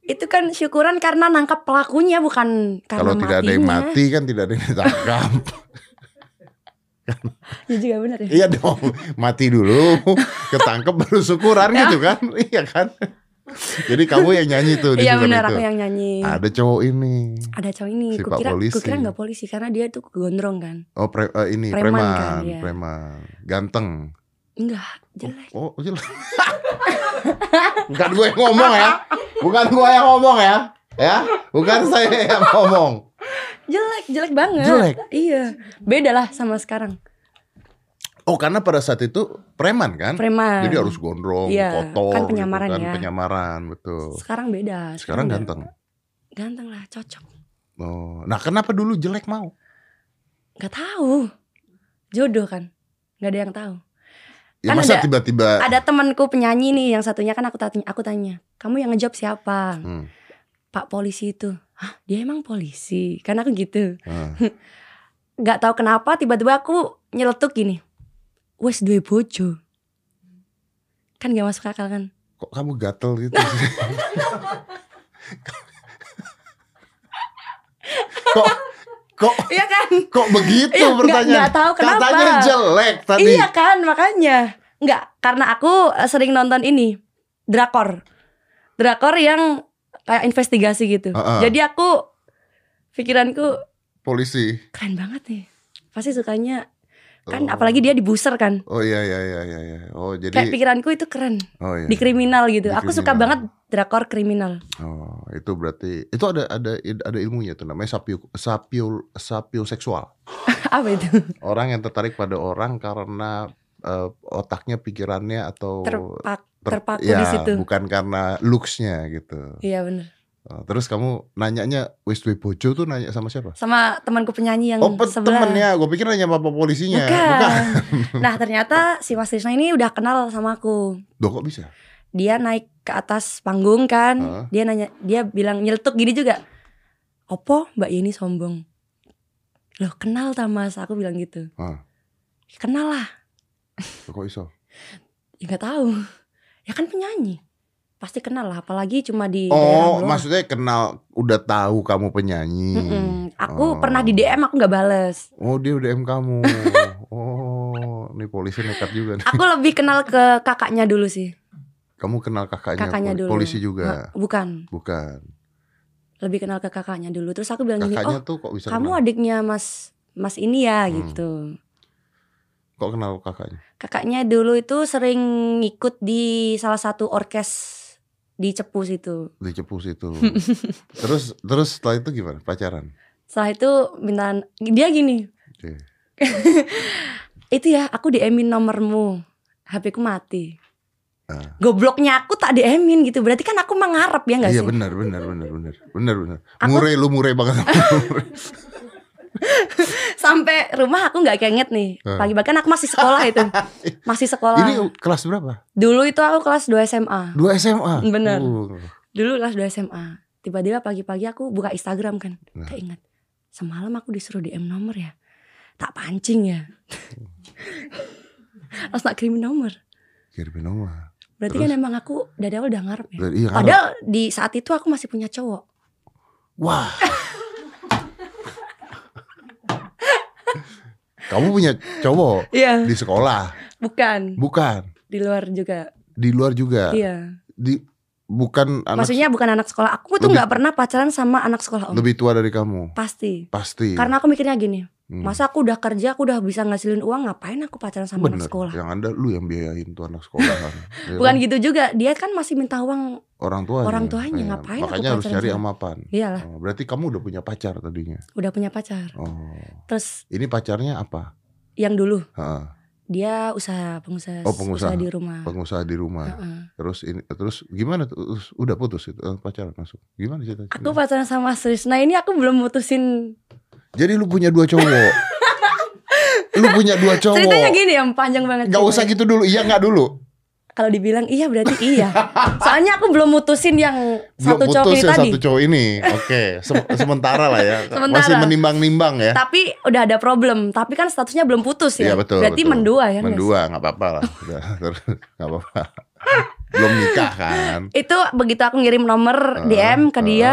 B: Itu kan syukuran karena nangkap pelakunya bukan karena
A: Kalau tidak ada yang
B: matinya.
A: mati kan tidak ada yang ditangkap.
B: Ya juga bener ya.
A: iya dong, mati dulu, ketangkep baru syukuran
B: Ya.
A: gitu kan, iya kan. Jadi kamu yang nyanyi tuh di
B: Iya
A: syukuran
B: bener
A: itu.
B: aku yang nyanyi.
A: Ada cowok ini,
B: Ada cowok ini,
A: Si Pak
B: kukira
A: polisi.
B: kukira nggak polisi karena dia tuh gondrong kan.
A: oh pre- eh, ini
B: Preman
A: preman,
B: kan, iya.
A: preman, ganteng.
B: Enggak, jelek.
A: Oh, oh, jelas. Bukan gue yang ngomong ya, bukan gue yang ngomong ya, ya, bukan saya yang ngomong.
B: Jelek, jelek banget.
A: Jelek?
B: Iya. Beda lah sama sekarang.
A: Oh, karena pada saat itu preman kan,
B: Preman.
A: jadi harus gondrong,
B: Iya,
A: kotor,
B: kan
A: gitu
B: penyamaran
A: kan,
B: ya.
A: penyamaran betul.
B: Sekarang beda.
A: Sekarang
B: nggak.
A: ganteng.
B: Ganteng lah, cocok.
A: Oh, nah kenapa dulu jelek mau?
B: nggak tahu jodoh kan nggak ada yang tahu
A: Ya
B: Kan
A: masa
B: ada-
A: tiba-tiba
B: ada temanku penyanyi nih yang satunya kan aku tanya aku tanya kamu yang ngejob siapa
A: Hmm,
B: pak polisi itu Hah, dia emang polisi karena aku gitu
A: ah.
B: nggak tahu kenapa tiba-tiba aku nyeletuk gini wes duwe bojo kan gak masuk akal kan
A: Kok kamu gatel gitu sih? kok kok
B: iya kan
A: kok begitu
B: Iya, nggak-
A: pertanyaan?
B: nggak tahu kenapa.
A: Katanya jelek tadi.
B: iya kan makanya nggak karena aku eh, sering nonton ini drakor drakor yang kayak investigasi gitu.
A: Ah, ah.
B: Jadi aku pikiranku
A: polisi.
B: keren banget nih. Pasti sukanya kan
A: Oh.
B: apalagi dia di buser kan.
A: Oh iya iya iya iya. iya. Oh
B: Kayak
A: jadi
B: pikiranku itu keren
A: oh iya.
B: di kriminal
A: Di
B: gitu. aku suka
A: kriminal.
B: banget drakor kriminal.
A: Oh, itu berarti itu ada ada ada ilmunya tuh namanya sapio sapio sapio seksual.
B: Apa itu?
A: Orang yang tertarik pada orang karena eh, otaknya, pikirannya atau
B: Terpak
A: ter-
B: terpaku
A: ya,
B: di situ.
A: bukan karena looks-nya gitu.
B: Iya bener
A: Oh, Terus kamu nanyanya West Bojo tuh nanya sama siapa?
B: Sama temanku penyanyi yang
A: Oh, pe-
B: sebelah.
A: temennya, gue pikir nanya sama polisinya.
B: Bukan.
A: Bukan.
B: nah ternyata si Mas Krisna ini udah kenal sama aku.
A: Duh, kok bisa?
B: Dia naik ke atas panggung kan.
A: Heeh.
B: Dia nanya, dia bilang nyeletuk gini juga. Opo Mbak Yeni sombong. Loh kenal ta Mas? Aku bilang gitu.
A: Heeh.
B: "Ya, Kenal lah.
A: Loh, Kok iso?
B: Ya nggak tahu. Ya kan penyanyi. Pasti kenal lah. Apalagi cuma di daerah
A: Oh,
B: Iya, doang.
A: maksudnya kenal udah tahu kamu penyanyi.
B: Mm-mm. Aku
A: Oh.
B: pernah di DM aku nggak bales.
A: Oh, dia udah DM kamu. oh, ini polisi nekat juga nih.
B: Aku lebih kenal ke kakaknya dulu sih.
A: Kamu kenal kakaknya,
B: Kakaknya
A: poli-
B: dulu.
A: polisi juga.
B: Ma- Bukan.
A: Bukan.
B: Lebih kenal ke kakaknya dulu. Terus aku bilang gini, oh
A: Kakaknya tuh kok bisa
B: kamu
A: kenal?
B: adiknya mas mas ini ya
A: Hmm.
B: gitu
A: Kok kenal kakaknya?
B: kakaknya dulu itu sering ngikut di salah satu orkes di Cepus itu
A: Di Cepus itu. terus terus setelah itu gimana? Pacaran.
B: setelah itu minta dia gini
A: Oke.
B: itu ya aku DM-in nomormu HP ku mati
A: Ah.
B: gobloknya aku tak DM-in gitu berarti kan aku mengharap ya nggak
A: Iya
B: sih
A: benar benar benar benar benar benar.
B: Aku-
A: Mure lu mure banget.
B: sampai rumah aku nggak keinget nih
A: Ah.
B: pagi bahkan aku masih sekolah itu masih sekolah
A: Ini kelas berapa?
B: dulu itu aku kelas 2 SMA
A: 2 SMA.
B: Benar.
A: Uh,
B: dulu kelas 2 SMA tiba-tiba pagi-pagi aku buka Instagram kan
A: Nah.
B: tak ingat semalam aku disuruh DM nomor ya tak pancing ya harus tak kirimin nomor
A: kirimin nomor.
B: berarti
A: Terus?
B: kan emang aku dari awal udah ngarep ya
A: Dan iya, ngarep.
B: padahal di saat itu aku masih punya cowok
A: Wah. Kamu punya cowok
B: iya
A: di sekolah,
B: bukan
A: bukan
B: di luar juga
A: di luar juga.
B: iya
A: Di bukan Nah, anak
B: maksudnya bukan anak sekolah aku tuh
A: Lebih-
B: nggak pernah pacaran sama anak sekolah om
A: lebih tua dari kamu.
B: pasti
A: Pasti.
B: karena aku mikirnya gini
A: Hmm.
B: masa aku udah kerja aku udah bisa ngasilin uang ngapain aku pacaran sama
A: Bener.
B: anak sekolah
A: Yang ada lu yang biayain tuh anak sekolah kan. Ya
B: bukan
A: kan?
B: gitu juga dia kan masih minta uang
A: orang tuanya.
B: Orang tuanya,
A: Iya.
B: ngapain aku
A: Makanya harus
B: pacaran
A: cari
B: sama-
A: yang mapan.
B: iyalah
A: Oh, berarti kamu udah punya pacar tadinya.
B: udah punya pacar.
A: Oh.
B: Terus
A: Ini pacarnya apa?
B: yang dulu
A: Heeh,
B: dia usaha pengusaha,
A: Oh, pengusaha.
B: usaha di rumah.
A: pengusaha di rumah.
B: Heeh.
A: Terus ini terus gimana tuh? Terus Udah putus itu eh, pacaran masuk. Gimana cerita?
B: Aku pacaran sama Sris. Nah ini aku belum mutusin.
A: Jadi lu punya dua cowok. lu punya dua cowok.
B: Ceritanya gini ya, panjang banget.
A: Gak usah
B: ceritanya.
A: gitu dulu. Iya nggak dulu.
B: Kalau dibilang iya berarti iya. Soalnya aku belum mutusin yang satu
A: Belum
B: cowok
A: putus
B: ini
A: ya
B: tadi.
A: satu cowok ini. Oke, se- sementara lah ya.
B: Sementara.
A: Masih menimbang-nimbang ya.
B: Tapi udah ada problem. Tapi kan statusnya belum putus ya.
A: Iya betul.
B: berarti
A: betul.
B: mendua ya. nggak
A: Mendua nggak apa-apa lah. Udah, terus nggak apa-apa. Belum nikah kan.
B: sih? Itu begitu aku ngirim nomor
A: Heeh,
B: DM ke
A: heeh.
B: dia.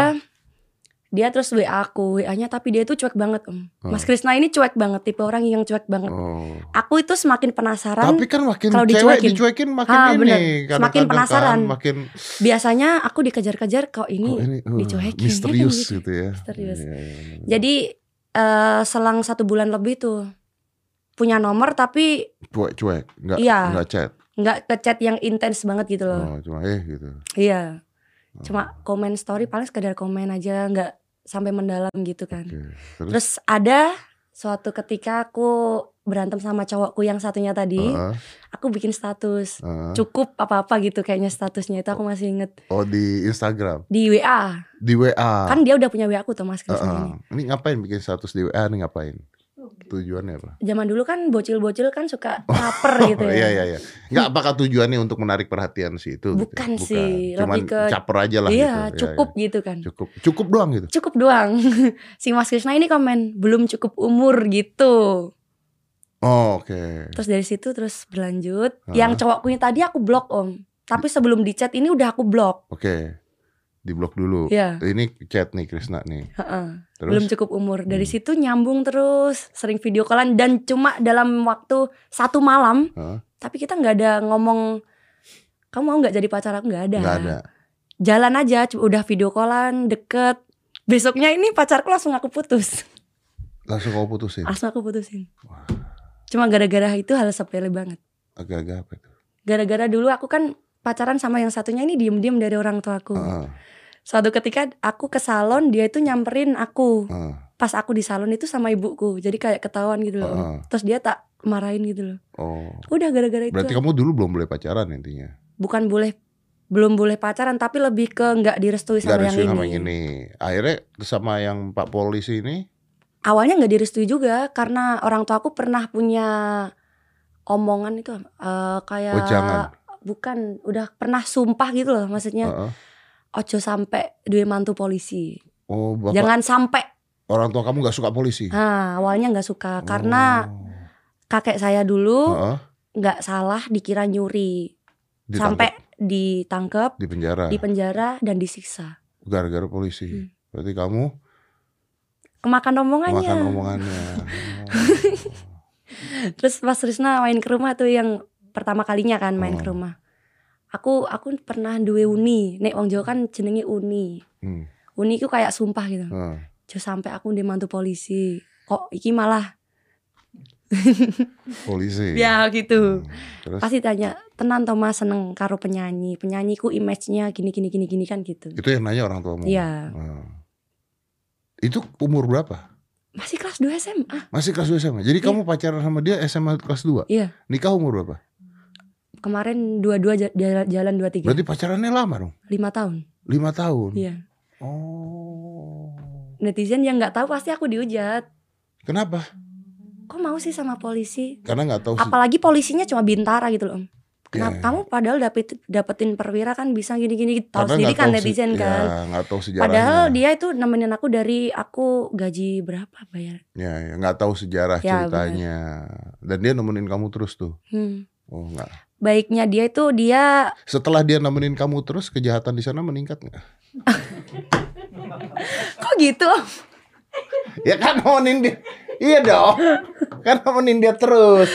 B: Dia terus WA aku, WA-nya tapi dia itu cuek banget om. Mas Krisna ini cuek banget, tipe orang yang cuek banget.
A: Oh.
B: Aku itu semakin penasaran.
A: Tapi kan makin
B: kalau
A: cewek
B: dicuekin.
A: dicuekin makin
B: Ah,
A: ini.
B: bener.
A: kadang-kadang
B: Semakin
A: kan,
B: penasaran.
A: makin
B: biasanya aku dikejar-kejar kok
A: kok
B: ini.
A: ini uh,
B: dicuekin, ya
A: misterius
B: kan gitu.
A: gitu ya.
B: Misterius.
A: Iya, iya, iya.
B: Jadi eh, selang satu bulan lebih tuh punya nomor tapi
A: Cuek-cuek, nggak
B: Iya.
A: nggak chat.
B: nggak ke chat yang intens banget gitu
A: Oh,
B: loh.
A: cuma eh gitu.
B: Iya, cuma komen story paling sekedar komen aja nggak sampai mendalam gitu kan.
A: Oke. Terus,
B: Terus ada suatu ketika aku berantem sama cowokku yang satunya tadi,
A: Heeh,
B: aku bikin status
A: heeh.
B: cukup apa-apa gitu kayaknya statusnya itu aku masih inget
A: Oh di Instagram,
B: di WA.
A: di WA.
B: Kan dia udah punya WA aku tuh Mas Krisna
A: Ah. Heeh.
B: ini.
A: Ini ngapain bikin status di WA? Ini ngapain? Tujuannya apa?
B: Zaman dulu kan bocil-bocil kan suka caper
A: Oh,
B: gitu ya.
A: iya iya iya. Enggak apakah tujuannya untuk menarik perhatian sih itu? gitu?
B: Bukan sih,
A: Cuman
B: lebih ke-
A: caper aja lah gitu.
B: iya,
A: Iya,
B: cukup
A: iya.
B: gitu kan.
A: Cukup. Cukup doang gitu.
B: Cukup doang. si Mas Krisna ini komen, belum cukup umur gitu.
A: Iya. Oh, oke.
B: Terus dari situ terus berlanjut.
A: Hah?
B: Yang cowokku ini tadi aku blok om. Tapi
A: Iya.
B: sebelum di chat ini udah aku blok.
A: Oke. Di blok dulu.
B: Ya,
A: Ini chat nih Krisna nih.
B: Iya, heeh.
A: Iya. Terus
B: belum cukup umur. Dari
A: Hmm.
B: situ nyambung terus, sering video callan dan cuma dalam waktu satu malam.
A: Hah?
B: Tapi kita nggak ada ngomong, kamu mau nggak jadi pacar aku nggak ada.
A: nggak ada.
B: jalan aja cu- udah video callan deket besoknya ini pacarku langsung aku putus
A: Langsung kau putusin.
B: langsung aku
A: Iya.
B: putusin
A: Wah.
B: cuma gara-gara itu hal sepele banget
A: Agak-agak apa itu?
B: gara-gara dulu aku kan pacaran sama yang satunya ini diem-diem dari orang tuaku
A: Heeh,
B: suatu ketika aku ke salon dia itu nyamperin aku
A: heeh,
B: pas aku di salon itu sama ibuku jadi kayak ketahuan gitu loh
A: heeh.
B: terus dia tak marahin gitu loh
A: Oh.
B: udah gara-gara itu
A: Berarti kamu dulu belum boleh pacaran intinya.
B: bukan boleh belum boleh pacaran tapi lebih ke nggak direstui
A: Gak
B: sama,
A: ada
B: yang,
A: sih
B: ini.
A: sama yang ini. Akhirnya sama yang Pak Polisi ini.
B: awalnya nggak direstui juga karena orang tua aku pernah punya omongan itu eh, kayak
A: Oh jangan.
B: bukan udah pernah sumpah gitu loh maksudnya
A: Heeh.
B: ojo sampai duwe mantu polisi
A: Oh bapak
B: jangan sampai
A: orang tua kamu gak suka polisi.
B: nah awalnya nggak suka karena kakek saya
A: Oh.
B: dulu
A: Heeh,
B: nggak salah dikira nyuri
A: ditangkap
B: sampai ditangkap
A: di penjara
B: di penjara dan disiksa
A: gara-gara polisi.
B: Hmm.
A: Berarti kamu
B: kemakan omongannya
A: makan omongannya. Oh.
B: Terus Mas Rizna main ke rumah tuh yang pertama kalinya kan main ke
A: Oh.
B: rumah. Aku aku pernah duwe uni. Nek wong Jawa kan jenenge uni.
A: Hmm,
B: Uni itu kayak sumpah gitu.
A: heeh.
B: Jo sampai aku di mantu polisi. Kok iki malah
A: polisi.
B: ya gitu.
A: Hmm, Terus
B: Pasti tanya, "Tenan to Mas seneng karo penyanyi. Penyanyiku image-nya gini gini gini gini kan gitu."
A: itu yang nanya orang tuamu.
B: Iya.
A: Heeh. Itu umur berapa?
B: Masih kelas 2 SMA.
A: Masih kelas 2 SMA. Jadi
B: Iya.
A: kamu pacaran sama dia SMA kelas 2?
B: Iya.
A: Nikah umur berapa?
B: Kemarin dua-dua ja- ja- jalan 23.
A: Berarti pacarannya lama dong?
B: 5 tahun.
A: 5 tahun.
B: Iya.
A: Oh.
B: Netizen yang nggak tahu pasti aku diujat.
A: Kenapa?
B: Kok mau sih sama polisi?
A: Karena nggak tahu sih.
B: apalagi polisinya cuma bintara gitu loh Om. Kenapa
A: Iya.
B: kamu padahal dapet dapetin perwira kan bisa gini-gini tahu
A: Karena
B: sendiri
A: nggak
B: kan
A: tahu
B: netizen
A: se-
B: kan.
A: Ya, nggak tahu sejarahnya.
B: Padahal dia itu nemenin aku dari aku gaji berapa bayar.
A: Ya, ya, nggak tahu sejarah
B: Ya,
A: ceritanya. Dan dia nemenin kamu terus tuh.
B: Hmm.
A: Oh, nggak.
B: Baiknya dia itu dia
A: Setelah dia nemenin kamu terus kejahatan di sana meningkat nggak?
B: kok gitu Om?
A: Ya kan nemenin dia. Iya dong. Kan nemenin dia terus.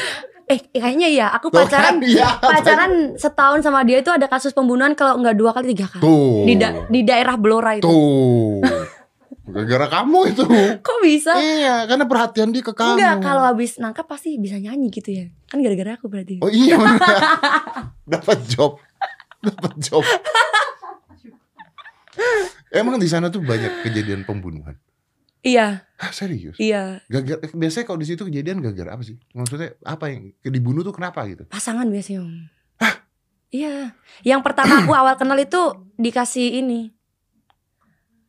B: Eh kayaknya ya aku
A: Tuh kan,
B: pacaran
A: iya.
B: pacaran setahun sama dia itu ada kasus pembunuhan kalau nggak dua kali tiga kali
A: Tuh.
B: di da- di daerah Blora itu.
A: Tuh. Gara-gara kamu itu.
B: Kok bisa?
A: Iya, karena perhatian dia ke kamu.
B: Enggak kalau habis nangkap pasti bisa nyanyi gitu ya. Kan gara-gara aku berarti.
A: Oh iya benar. Dapat job. Dapat job. Emang di sana tuh banyak kejadian pembunuhan.
B: Iya,
A: Hah, serius?
B: iya.
A: Gagal eh, biasanya kalau di situ kejadian gagal apa sih? Maksudnya apa yang dibunuh tuh kenapa gitu?
B: pasangan biasanya om iya yang pertama aku awal kenal itu dikasih ini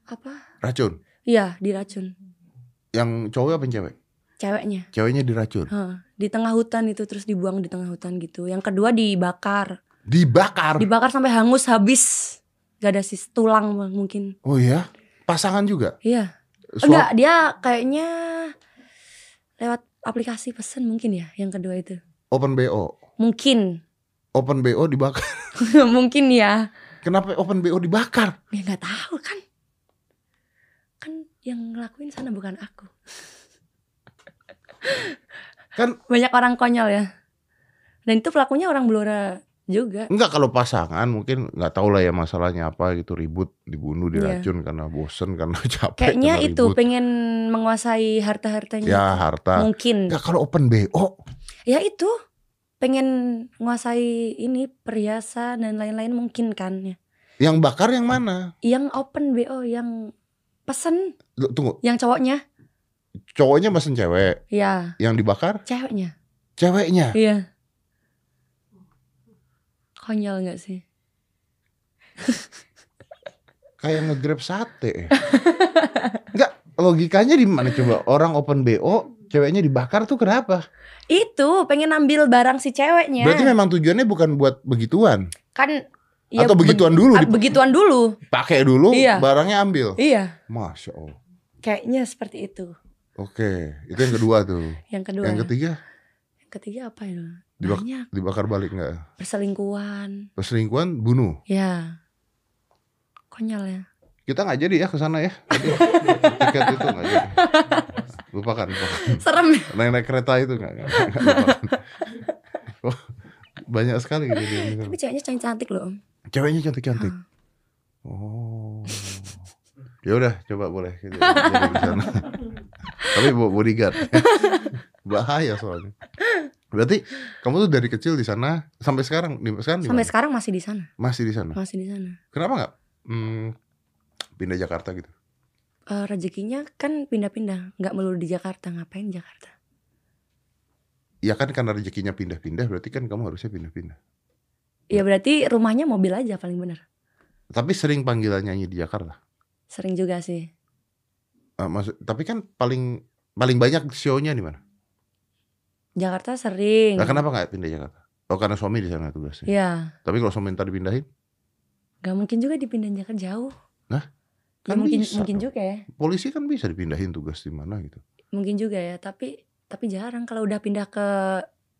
B: apa
A: Racun.
B: iya diracun
A: Yang cowok apa yang cewek?
B: ceweknya
A: Ceweknya diracun.
B: Hah, di tengah hutan itu terus dibuang di tengah hutan gitu yang kedua dibakar
A: Dibakar.
B: dibakar sampai hangus habis gak ada sis tulang mungkin
A: Oh iya. Pasangan juga.
B: iya
A: Suap-
B: enggak dia kayaknya lewat aplikasi pesen mungkin ya yang kedua itu
A: Open BO.
B: mungkin
A: Open BO dibakar.
B: mungkin ya
A: Kenapa open BO dibakar?
B: ya nggak tahu kan kan yang ngelakuin sana bukan aku
A: Kan-
B: banyak orang konyol ya dan itu pelakunya orang Blora juga
A: Enggak kalau pasangan mungkin nggak tahu lah ya masalahnya apa gitu ribut dibunuh diracun karena bosen karena capek
B: Iya. kayaknya
A: karena
B: itu
A: ribut.
B: pengen menguasai harta hartanya
A: ya harta
B: mungkin
A: Enggak kalau open BO
B: ya itu pengen menguasai ini perhiasan dan lain-lain mungkin kan ya
A: yang bakar yang mana
B: yang open bo yang pesen
A: Loh, tunggu
B: yang cowoknya
A: cowoknya mesen cewek
B: ya
A: yang dibakar
B: ceweknya
A: ceweknya
B: iya konyol nggak sih
A: kayak ngegrab sate Enggak logikanya di mana coba orang open BO ceweknya dibakar tuh kenapa
B: Itu pengen ambil barang si ceweknya.
A: berarti kan memang tujuannya bukan buat begituan
B: kan
A: atau begituan
B: beg-
A: dulu
B: ah, begituan dulu.
A: dipakai dulu
B: Iya.
A: barangnya ambil
B: Iya,
A: masya allah
B: kayaknya seperti itu.
A: oke itu yang kedua tuh
B: Yang kedua. ya.
A: yang ketiga
B: Yang ketiga apa ya?
A: Dibak-
B: Banyak
A: dibakar balik nggak
B: perselingkuhan.
A: perselingkuhan bunuh
B: Ya. Konyol ya.
A: kita nggak jadi ya ke sana ya Aduh, tiket itu nggak jadi lupakan, lupakan.
B: Serem.
A: naik naik kereta itu nggak nggak, nggak, lupakan. Wah, banyak sekali gitu
B: Tapi ceweknya cantik-cantik loh. Om.
A: ceweknya cantik cantik Oh. Ya udah coba boleh gitu. Jadi di sana. Tapi bawa bodyguard. Bahaya soalnya. Berarti kamu tuh dari kecil di sana sampai sekarang di sekarang di
B: Sampai
A: mana?
B: sekarang masih di sana,
A: masih di sana.
B: masih di sana.
A: Kenapa nggak hmm, pindah Jakarta gitu?
B: Eh, rezekinya kan pindah-pindah, nggak melulu di Jakarta. Ngapain Jakarta?
A: Ya kan karena rezekinya pindah-pindah berarti kan kamu harusnya pindah-pindah.
B: Ya berarti rumahnya mobil aja paling bener.
A: Tapi sering panggilan nyanyi di Jakarta.
B: Sering juga sih.
A: Eh, maksud- tapi kan paling paling banyak show-nya di mana?
B: Jakarta sering.
A: Nah, kenapa nggak pindah Jakarta? Oh karena suami di sana tugasnya.
B: Ya,
A: Tapi kalau suami ntar dipindahin,
B: nggak mungkin juga dipindahin Jakarta jauh. Ya,
A: kan
B: mungkin
A: bisa
B: mungkin
A: dong.
B: juga ya,
A: Polisi kan bisa dipindahin tugas di mana gitu.
B: mungkin juga ya. Tapi tapi jarang kalau udah pindah ke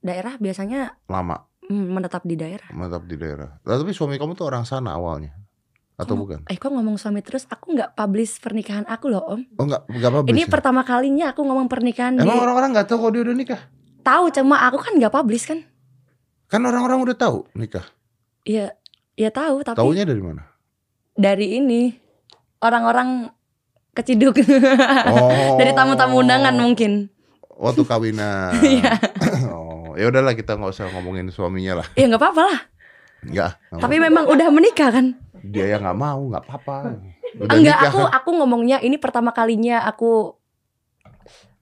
B: daerah biasanya
A: Lama
B: mm, menetap di daerah.
A: mantap di daerah. Lah, tapi suami kamu tuh orang sana awalnya atau
B: Kamu-
A: bukan?
B: Eh kok ngomong suami terus? Aku nggak publish pernikahan aku loh om.
A: Oh enggak, enggak apa-apa.
B: Ini
A: sih.
B: pertama kalinya aku ngomong pernikahan.
A: Emang
B: Di...
A: orang-orang nggak tahu kalau dia udah nikah?
B: Tahu cuma aku kan nggak publish kan?
A: Kan orang-orang udah tahu nikah.
B: Ya ya tahu tapi
A: Taunya dari mana?
B: dari ini orang-orang keciduk
A: Oh.
B: dari tamu-tamu undangan mungkin.
A: Waktu kawinan.
B: Iya.
A: oh, ya udahlah kita nggak usah ngomongin suaminya lah.
B: Ya nggak apa-apa lah.
A: Enggak. nggak
B: Tapi memang udah menikah kan?
A: mau. dia ya nggak mau, nggak apa-apa. Udah
B: Enggak,
A: nikah
B: aku
A: kan.
B: aku ngomongnya ini pertama kalinya aku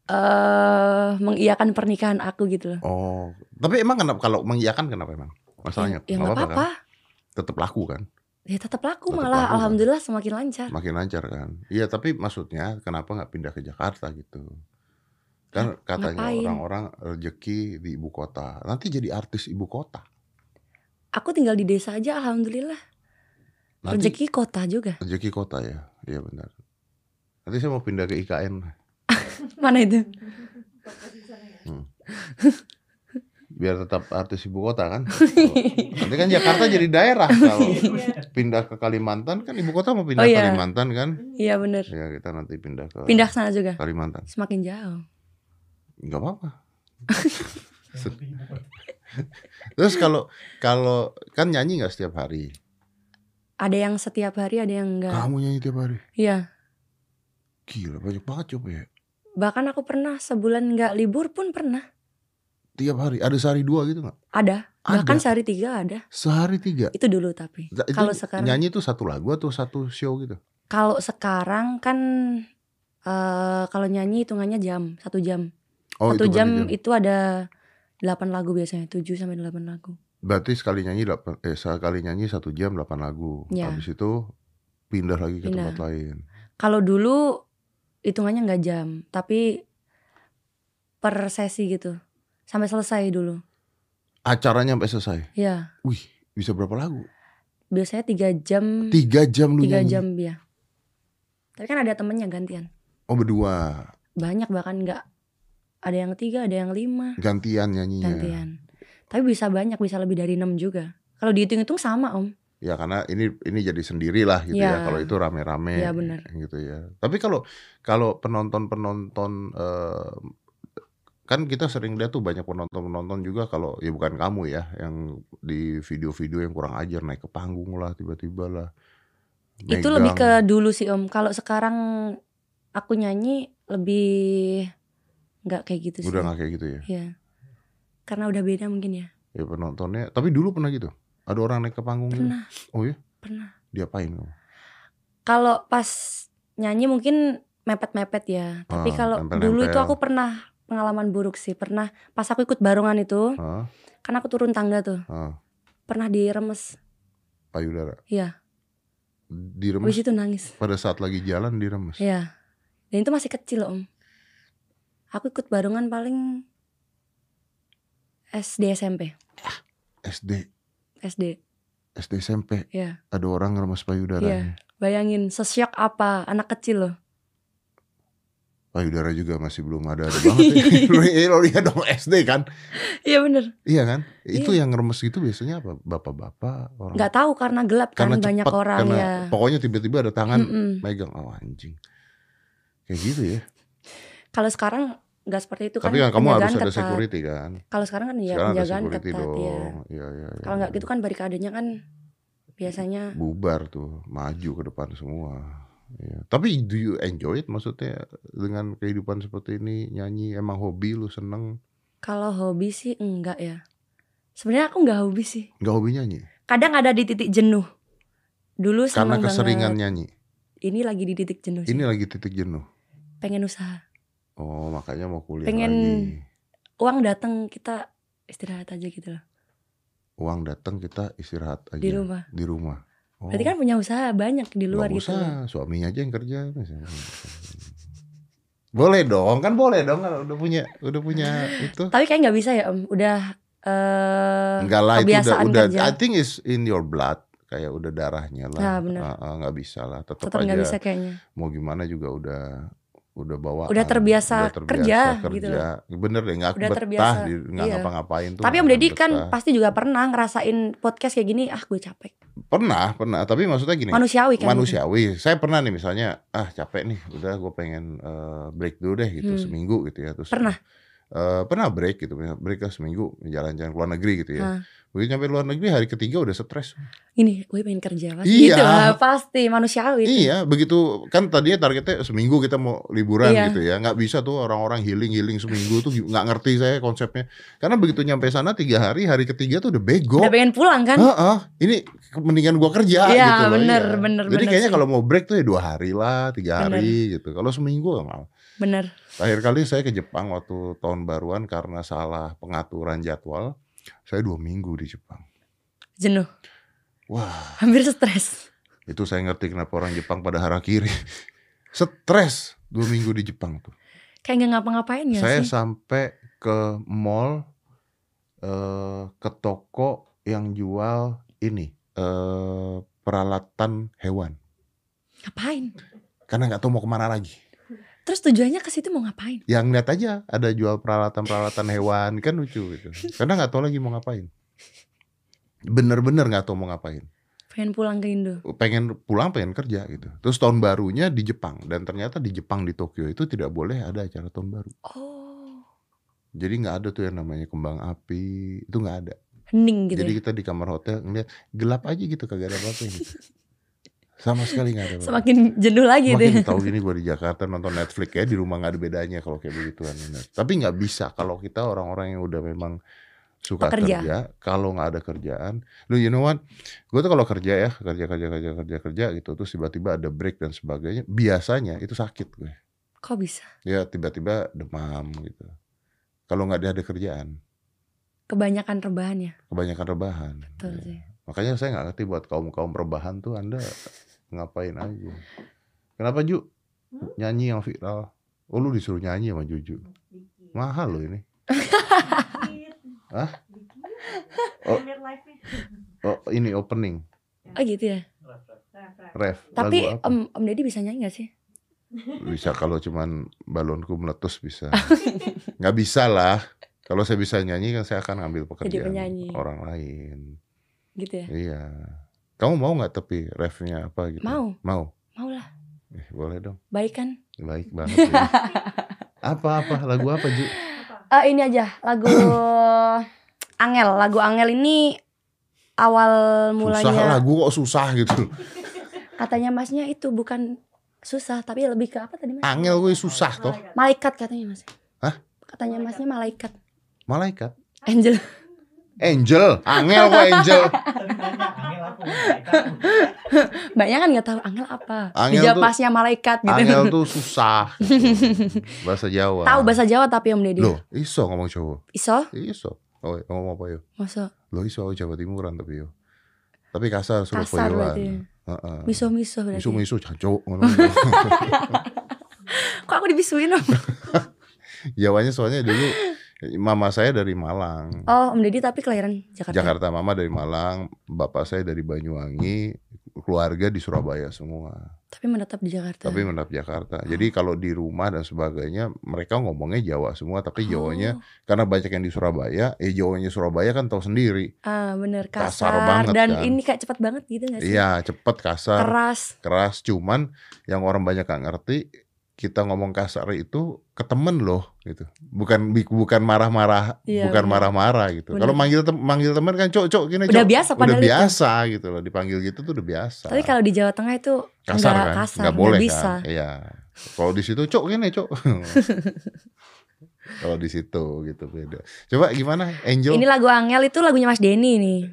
B: eh mengiyakan pernikahan aku gitu loh.
A: Oh, tapi emang kenapa kalau mengiyakan kenapa emang? Masalahnya
B: ya
A: nggak
B: nggak
A: apa-apa kan?
B: apa-apa.
A: Tetap laku kan?
B: Ya tetap laku
A: Tetap
B: malah
A: laku, kan?
B: alhamdulillah semakin lancar.
A: Makin lancar kan? Iya, tapi maksudnya kenapa nggak pindah ke Jakarta gitu? Kan katanya
B: ngapain?
A: orang-orang rezeki di ibu kota. Nanti jadi artis ibu kota.
B: Aku tinggal di desa aja alhamdulillah.
A: Nanti
B: Rezeki kota juga.
A: rezeki kota ya. Iya benar. Nanti saya mau pindah ke IKN. Oh.
B: Mana itu?
D: Toko di sana ya.
A: biar tetap artis ibu kota kan.
D: Iya,
A: Nanti kan Jakarta jadi daerah kalau pindah ke Kalimantan kan ibu kota mau pindah
B: Oh,
A: ke
B: iya.
A: Kalimantan kan.
B: Iya bener
A: Ya kita nanti pindah ke
B: Pindah sana juga.
A: Kalimantan.
B: Semakin jauh.
A: Enggak apa-apa.
D: Yang penting ibu kota.
A: Terus kalau kalau kan nyanyi nggak setiap hari?
B: Ada yang setiap hari, ada yang enggak.
A: Kamu nyanyi tiap hari.
B: Iya.
A: Gila banyak banget coba ya.
B: Bahkan aku pernah sebulan enggak libur pun pernah.
A: Tiap hari ada sehari dua gitu nggak?
B: Ada. Bahkan
A: Ada.
B: sehari tiga ada.
A: Sehari tiga. Nah,
B: Itu dulu tapi.
A: Itu
B: kan Kalau sekarang
A: nyanyi tuh satu lagu atau satu show gitu?
B: Kalau sekarang kan eh kalau nyanyi hitungannya jam, satu jam. satu
A: itu kan
B: jam,
A: dia.
B: itu ada 8 lagu biasanya, 7 sampai 8 lagu.
A: Berarti sekali nyanyi delapan- eh sekali nyanyi satu jam 8 lagu.
B: Ya.
A: Habis itu pindah lagi ke
B: Pindah.
A: tempat lain.
B: Kalau dulu hitungannya nggak jam, tapi per sesi gitu. Sampai selesai dulu.
A: Acaranya sampai selesai.
B: Ya,
A: Wih, bisa berapa lagu?
B: biasanya 3 jam, 3
A: Tiga jam lu nyanyi.
B: Hmm. jam ya. Tapi kan ada temennya gantian.
A: Oh berdua
B: Banyak bahkan nggak ada yang tiga, ada yang lima
A: gantian nyanyinya.
B: gantian. Tapi bisa banyak, bisa lebih dari 6 juga. Kalau dihitung-hitung sama, Om.
A: Ya karena ini ini jadi sendirilah gitu ya.
B: Ya.
A: Kalau itu rame-rame.
B: Ya, benar.
A: Gitu ya. Tapi kalau kalau penonton penonton kan kita sering lihat tuh banyak penonton penonton juga kalau ya bukan kamu ya yang di video-video yang kurang ajar naik ke panggung lah tiba-tiba lah.
B: Itu lebih
A: Megang.
B: ke dulu sih om. Kalau sekarang aku nyanyi lebih nggak kayak gitu sih.
A: udah nggak kayak gitu ya.
B: Iya. Karena udah beda mungkin ya.
A: Ya penontonnya. Tapi dulu pernah gitu. Ada orang naik ke panggung. gitu?
B: Pernah.
A: Oh ya?
B: Pernah.
A: Diapain kamu?
B: Kalau pas nyanyi mungkin mepet-mepet ya.
A: Ah,
B: Tapi kalau
A: nempel-nempel.
B: dulu itu aku pernah pengalaman buruk sih. Pernah pas aku ikut barongan itu,
A: Hah?
B: karena aku turun tangga tuh.
A: Ah.
B: Pernah diremes.
A: payudara.
B: Iya.
A: Diremes
B: Habis itu nangis.
A: pada saat lagi jalan diremes.
B: Iya. Dan itu masih kecil om. Aku ikut barongan paling SD SMP.
A: SD,
B: SD.
A: SD SMP.
B: Iya.
A: Ada orang ngeremes payudaranya.
B: Bayangin sesiok apa anak kecil loh.
A: Payudara juga masih belum ada, ada banget. ya. Lo lihat dong SD kan?
B: Iya bener.
A: Iya kan? Itu yang ngeremes gitu biasanya apa? Bapak-bapak orang.
B: Nggak tahu karena gelap kan banyak
A: cepet,
B: orang
A: karena
B: ya.
A: Pokoknya tiba-tiba ada tangan
B: Mm-mm.
A: megang oh anjing. Kayak gitu ya.
B: Kalau sekarang nggak seperti itu kan.
A: Tapi kan kamu harus
B: penjagaan
A: ada
B: ketat.
A: security kan?
B: Kalau sekarang kan ya
A: Sekarang ada
B: penjagaan
A: security
B: ketat ya.
A: dong. Iya, iya.
B: Kalau nggak gitu kan barikadenya kan biasanya
A: bubar tuh maju ke depan semua Iya. tapi do you enjoy it maksudnya dengan kehidupan seperti ini nyanyi emang hobi lu seneng
B: kalau hobi sih enggak ya sebenarnya aku nggak hobi sih
A: nggak hobi nyanyi
B: kadang ada di titik jenuh dulu
A: karena
B: seneng
A: keseringan
B: banget Iya.
A: nyanyi
B: ini lagi di titik jenuh sih.
A: ini lagi titik jenuh
B: pengen usaha
A: oh makanya mau kuliah
B: Pengen-
A: lagi
B: uang datang kita istirahat aja gitu loh
A: uang datang kita istirahat aja
B: di rumah
A: di rumah Iya. oh,
B: berarti kan punya usaha banyak di luar
A: nggak usah,
B: gitu loh.
A: suaminya aja yang kerja misalnya. boleh dong kan boleh dong kalau udah punya udah punya itu
B: tapi kayak nggak bisa ya om udah eh
A: Enggak lah itu udah,
B: kebiasaan
A: udah
B: kerja.
A: I think is in your blood kayak udah darahnya lah
B: Nah, bener.
A: Ah, ah, nggak bisa lah tetap,
B: tetap
A: aja
B: nggak bisa kayaknya
A: mau gimana juga udah udah bawa
B: Udah terbiasa kerja, gitu
A: bener deh nggak
B: Udah
A: betah
B: terbiasa,
A: di nggak
B: iya.
A: ngapa-ngapain tuh
B: tapi om
A: nggak
B: deddy kan
A: betah.
B: pasti juga pernah ngerasain podcast kayak gini ah gue capek
A: pernah pernah tapi maksudnya gini
B: manusiawi kan gitu.
A: manusiawi. Saya pernah nih misalnya, ah capek nih, udah gue pengen eh, break dulu deh gitu
B: Hmm.
A: seminggu gitu ya. Terus
B: Pernah?
A: eh, pernah break gitu, break lah seminggu jalan-jalan ke luar negeri gitu ya.
B: Hah.
A: Begitu nyampe luar negeri hari ketiga udah stres.
B: ini gue pengen kerja pasti
A: Iya.
B: gitu lah, pasti manusiawi itu.
A: Iya, begitu kan tadinya targetnya seminggu kita mau liburan
B: Iya.
A: gitu ya. nggak bisa tuh orang-orang healing-healing seminggu tuh nggak ngerti saya konsepnya. Karena begitu nyampe sana tiga hari, hari ketiga tuh udah bego.
B: udah pengen pulang kan
A: Heeh, ini mendingan gua kerja
B: Iya,
A: gitu loh.
B: bener, bener,
A: Jadi
B: bener
A: kayaknya
B: sih.
A: kalau mau break tuh ya dua hari lah, tiga hari gitu. Kalau seminggu nggak mau.
B: bener
A: Terakhir kali saya ke Jepang waktu tahun baruan karena salah pengaturan jadwal, saya dua minggu di Jepang.
B: jenuh
A: Wah,
B: hampir stres
A: itu saya ngerti kenapa orang Jepang pada harakiri. Stres dua minggu di Jepang tuh.
B: kayak nggak ngapa-ngapain ya
A: saya
B: sih
A: sampai ke mall, eh, ke toko yang jual ini eh, peralatan hewan.
B: ngapain
A: karena nggak tahu mau kemana lagi.
B: terus tujuannya ke situ mau ngapain
A: Yang lihat aja ada jual peralatan-peralatan hewan kan lucu gitu. Karena nggak tahu lagi mau ngapain. Bener-bener nggak tahu mau ngapain.
B: pengen pulang ke Indo
A: Pengen pulang, pengen kerja gitu. Terus tahun barunya di Jepang dan ternyata di Jepang di Tokyo itu tidak boleh ada acara tahun baru.
B: oh
A: Jadi nggak ada tuh yang namanya kembang api itu nggak ada.
B: hening gitu
A: Jadi
B: ya.
A: kita di kamar hotel ngeliat gelap aja gitu kagak ada apa-apa gitu. Sama sekali nggak ada. apa-apa.
B: semakin jenuh lagi deh
A: Makin tahu gini gue di Jakarta nonton Netflix ya di rumah nggak ada bedanya kalau kayak begituan. bener. Tapi nggak bisa kalau kita orang-orang yang udah memang suka
B: Pekerja.
A: kerja, kalau nggak ada kerjaan, lu you know what? Gue tuh kalau kerja ya kerja kerja kerja kerja kerja gitu, terus tiba-tiba ada break dan sebagainya, biasanya itu sakit gue.
B: kok bisa
A: Ya tiba-tiba demam gitu. Kalau nggak ada ada kerjaan,
B: kebanyakan rebahan ya
A: kebanyakan rebahan.
B: betul
A: Ya.
B: sih
A: Makanya saya nggak ngerti buat kaum kaum rebahan tuh anda ngapain aja. Kenapa Ju nyanyi yang viral? Oh lu disuruh nyanyi sama Juju.
D: Dikit.
A: Mahal lo ini.
D: Dikit.
A: Hah?
D: Dikit.
A: Oh.
D: Lihat live-nya.
A: Oh ini opening
B: oh gitu ya
D: Raf, raf.
A: ref.
B: tapi
A: Lagu apa?
B: om om deddy bisa nyanyi gak sih
A: bisa kalau cuman balonku meletus bisa. Nggak bisa lah. Kalau saya bisa nyanyi kan saya akan ambil pekerjaan
B: penyanyi.
A: orang lain.
B: gitu ya
A: Iya. Kamu mau nggak tapi refnya apa gitu?
B: Mau.
A: Mau.
B: mau lah
A: Eh, boleh dong.
B: baik kan
A: Baik banget. ya. Apa-apa lagu apa Ju?
B: Eh, ini aja lagu Angel lagu Angel ini awal
A: Susah
B: mulanya
A: lagu kok susah gitu.
B: katanya masnya itu bukan susah tapi lebih ke apa tadi mas
A: Angel gue susah toh.
D: Malaikat.
B: malaikat katanya mas
A: Hah?
B: katanya masnya malaikat
A: Malaikat.
B: angel
A: Angel. Angel gue angel.
B: Gitu.
D: Angel aku.
B: mbaknya kan nggak tahu angel apa
A: Angel
B: dijawab
A: tuh-
B: masnya malaikat gitu
A: Angel tuh susah. gitu. Bahasa Jawa.
B: tahu bahasa Jawa tapi om deddy
A: Loh, iso ngomong Jawa.
B: iso
A: Iso. Oh, ngomong apa yo?
B: masa
A: Loh, iso aku Jawa Timuran tapi yo. Tapi kasar
B: kasar berarti ya.
A: Surabayaan. Heeh.
B: miso miso berarti
A: Miso-miso jancok ngono.
B: kok aku dibisuin om
A: Jawanya soalnya dulu mama saya dari Malang.
B: oh om deddy tapi kelahiran Jakarta,
A: Jakarta Mama dari Malang, bapak saya dari Banyuwangi, keluarga di Surabaya semua.
B: tapi menetap di Jakarta
A: tapi menetap Jakarta. Jadi kalau di rumah dan sebagainya mereka ngomongnya Jawa semua, tapi Jawanya
B: Oh.
A: karena banyak yang di Surabaya, eh Jawanya Surabaya kan tahu sendiri.
B: ah bener kasar,
A: Kasar banget
B: dan
A: kan.
B: ini kayak cepat banget gitu gak sih
A: Iya, cepet Iya, kasar,
B: keras
A: keras, cuman yang orang banyak gak ngerti kita ngomong kasar itu ke temen loh gitu. Bukan bi- bukan marah-marah,
B: Iya,
A: bukan
B: bener.
A: marah-marah gitu.
B: Bener.
A: Kalau manggil tem- manggil teman kan cok cok gini cok.
B: Udah biasa
A: udah
B: padahal itu.
A: biasa gitu loh dipanggil gitu tuh udah biasa.
B: Tapi kalau di Jawa Tengah itu
A: kasar
B: nggak
A: kan,
B: kasar,
A: nggak
B: nggak
A: boleh
B: bisa.
A: kan. Iya. Kalau di situ cok gini cok. kalau di situ gitu beda. Coba gimana Angel?
B: ini lagu Angel itu lagunya Mas Denny nih.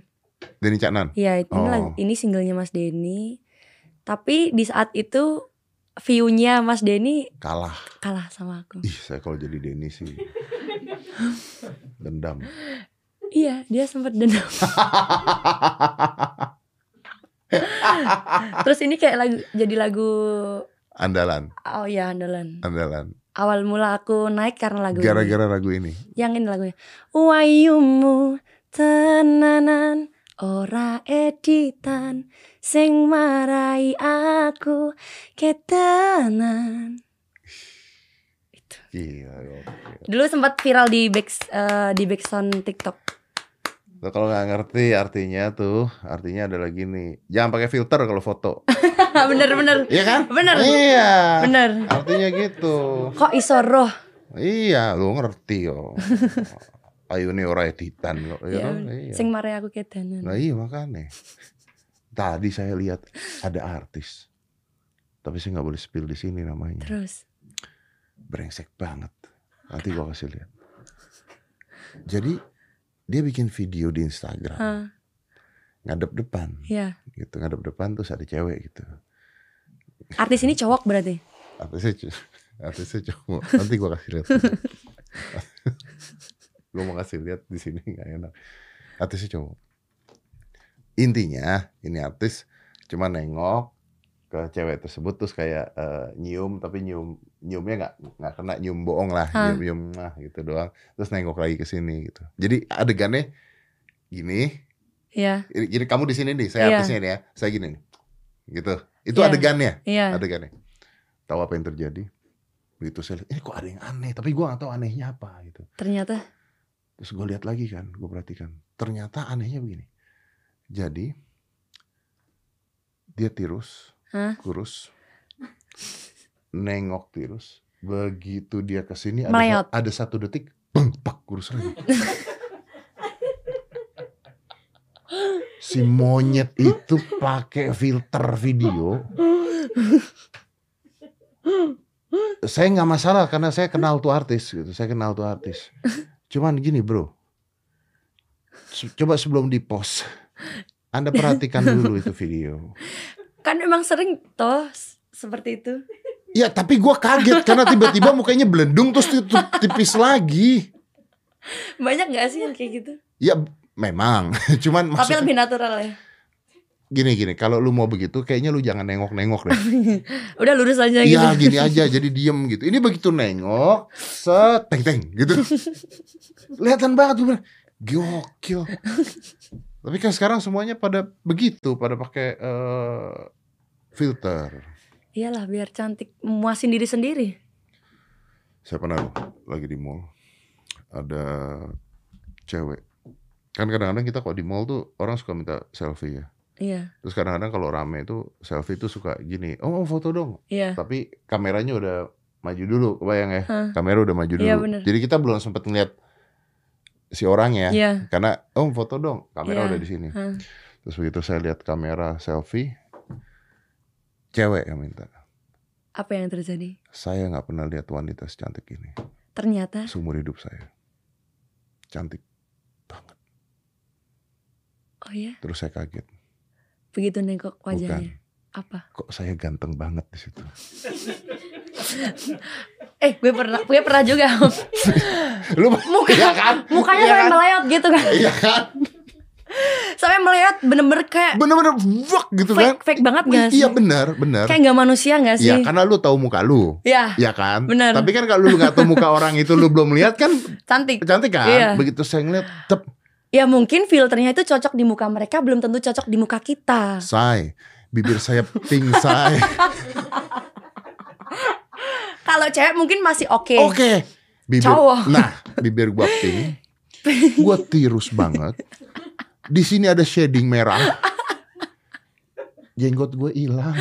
A: Denny Caknan.
B: Iya, ini,
A: Oh.
B: lag- ini singlenya Mas Denny. Tapi di saat itu view-nya Mas Denny
A: Kalah.
B: kalah sama aku.
A: Ih, saya kalau jadi Denny sih. Dendam.
B: Iya, dia sempat dendam. Terus ini kayak lagu jadi lagu
A: Andalan,
B: oh ya andalan.
A: andalan.
B: Awal mula aku naik karena lagu ini.
A: Gara-gara lagu ini.
B: yang ini lagunya. Wayumu tenanan ora editan sing marai aku ketanan. Itu.
A: Gila. gokil.
B: Dulu sempat viral di back eh, di backsound TikTok.
A: Lo kalau nggak ngerti artinya tuh, artinya adalah gini. Jangan pakai filter kalau foto.
B: bener bener
A: Iya kan?
B: Bener.
A: Iya.
B: bener.
A: Artinya gitu.
B: Kok iso roh?
A: Iya, lo ngerti yo. Ayo nih ora editan lo. Iya,
B: Ya, bener.
A: iya.
B: Sing marai aku ketanan.
A: Nah iya makanya. Tadi saya lihat ada artis. Tapi saya nggak boleh spill di sini namanya.
B: Terus
A: brengsek banget. Nanti gua kasih lihat. Jadi dia bikin video di Instagram,
B: Hah.
A: ngadep depan
B: ya,
A: gitu, ngadep depan terus ada cewek gitu.
B: artis ini cowok berarti.
A: Artisnya, ce- artisnya cowok. Nanti gua kasih lihat. gua mau kasih lihat di sini nggak enak. Artisnya cowok. Intinya ini artis cuma nengok ke cewek tersebut terus kayak eh, nyium tapi nyium nyiumnya nggak nggak kena nyium bohong lah
B: Hah.
A: nyium nyium nah gitu doang terus nengok lagi ke sini gitu jadi adegannya gini
B: Iya,
A: jadi kamu di sini nih saya
B: Iya.
A: artisnya nih ya saya gini nih gitu itu
B: Iya.
A: adegannya
B: iya.
A: adegannya. ya. Tahu apa yang terjadi? Begitu saya lihat, eh kok ada yang aneh, tapi gua gak tahu anehnya apa gitu.
B: Ternyata
A: Terus gue lihat lagi kan, gue perhatikan. Ternyata anehnya begini. Jadi dia tirus,
B: Hah?
A: kurus, nengok tirus. Begitu dia kesini
B: Meleot.
A: ada, ada satu detik, bang, pak, kurus lagi. si monyet itu pakai filter video. saya nggak masalah karena saya kenal tuh artis gitu, saya kenal tuh artis. Cuman gini bro, Se- coba sebelum di post, anda perhatikan dulu itu video.
B: kan emang sering toh s- seperti itu.
A: Ya tapi gua kaget karena tiba-tiba mukanya belendung terus ti- ti- tipis lagi.
B: Banyak gak sih yang kayak gitu?
A: Ya memang, cuman
B: Tapi
A: maksudnya
B: lebih natural ya.
A: gini-gini. Kalau lu mau begitu, kayaknya lu jangan nengok-nengok deh.
B: Udah lurus aja gitu.
A: Iya gini aja jadi diem gitu. Ini begitu nengok seteng teng gitu. Kelihatan banget gue bilang, gokil. Tapi kan sekarang semuanya pada begitu, pada pakai eh, filter.
B: Iyalah biar cantik memuasin diri sendiri.
A: Saya pernah loh, lagi di mall ada cewek. Kan kadang-kadang kita kok di mall tuh orang suka minta selfie ya.
B: Iya,
A: Terus kadang-kadang kalau rame tuh selfie tuh suka gini, oh foto dong.
B: iya.
A: tapi kameranya udah maju dulu kebayang ya
B: Hah.
A: kamera udah maju dulu
B: Iya, bener.
A: jadi kita belum sempat ngeliat si orangnya
B: Iya.
A: karena om foto dong kamera
B: Iya.
A: udah di sini
B: Hah.
A: terus begitu saya lihat kamera selfie cewek yang minta
B: Apa yang terjadi?
A: saya nggak pernah lihat wanita secantik ini
B: Ternyata
A: seumur hidup saya cantik banget
B: oh ya,
A: terus saya kaget
B: begitu nengok
A: bukan
B: wajahnya. Apa?
A: kok saya ganteng banget di situ
B: Eh, gue pernah gue pernah juga.
A: lu
B: Muka-
A: iya kan
B: Mukanya
A: Iya
B: sampai
A: kan?
B: meleot gitu kan.
A: Iya kan
B: Sampai meleot bener-bener kayak
A: bener-bener fuck gitu kan
B: fake, fake banget gak sih?
A: iya benar benar
B: Kayak gak manusia gak sih?
A: Iya karena lu tahu muka lu
B: Iya,
A: Ya kan
B: Benar.
A: Tapi kan kalau lu gak tahu muka orang itu Lu belum lihat kan
B: cantik.
A: Cantik kan
B: Iya.
A: Begitu saya ngeliat Tep
B: Ya mungkin filternya itu cocok di muka mereka belum tentu cocok di muka kita.
A: Say Bibir saya pink say
B: Kalau cewek mungkin masih oke.
A: Oke Bibir
B: Cowok.
A: Nah Bibir gua pink Gua tirus banget Di sini ada shading merah Jenggot gue hilang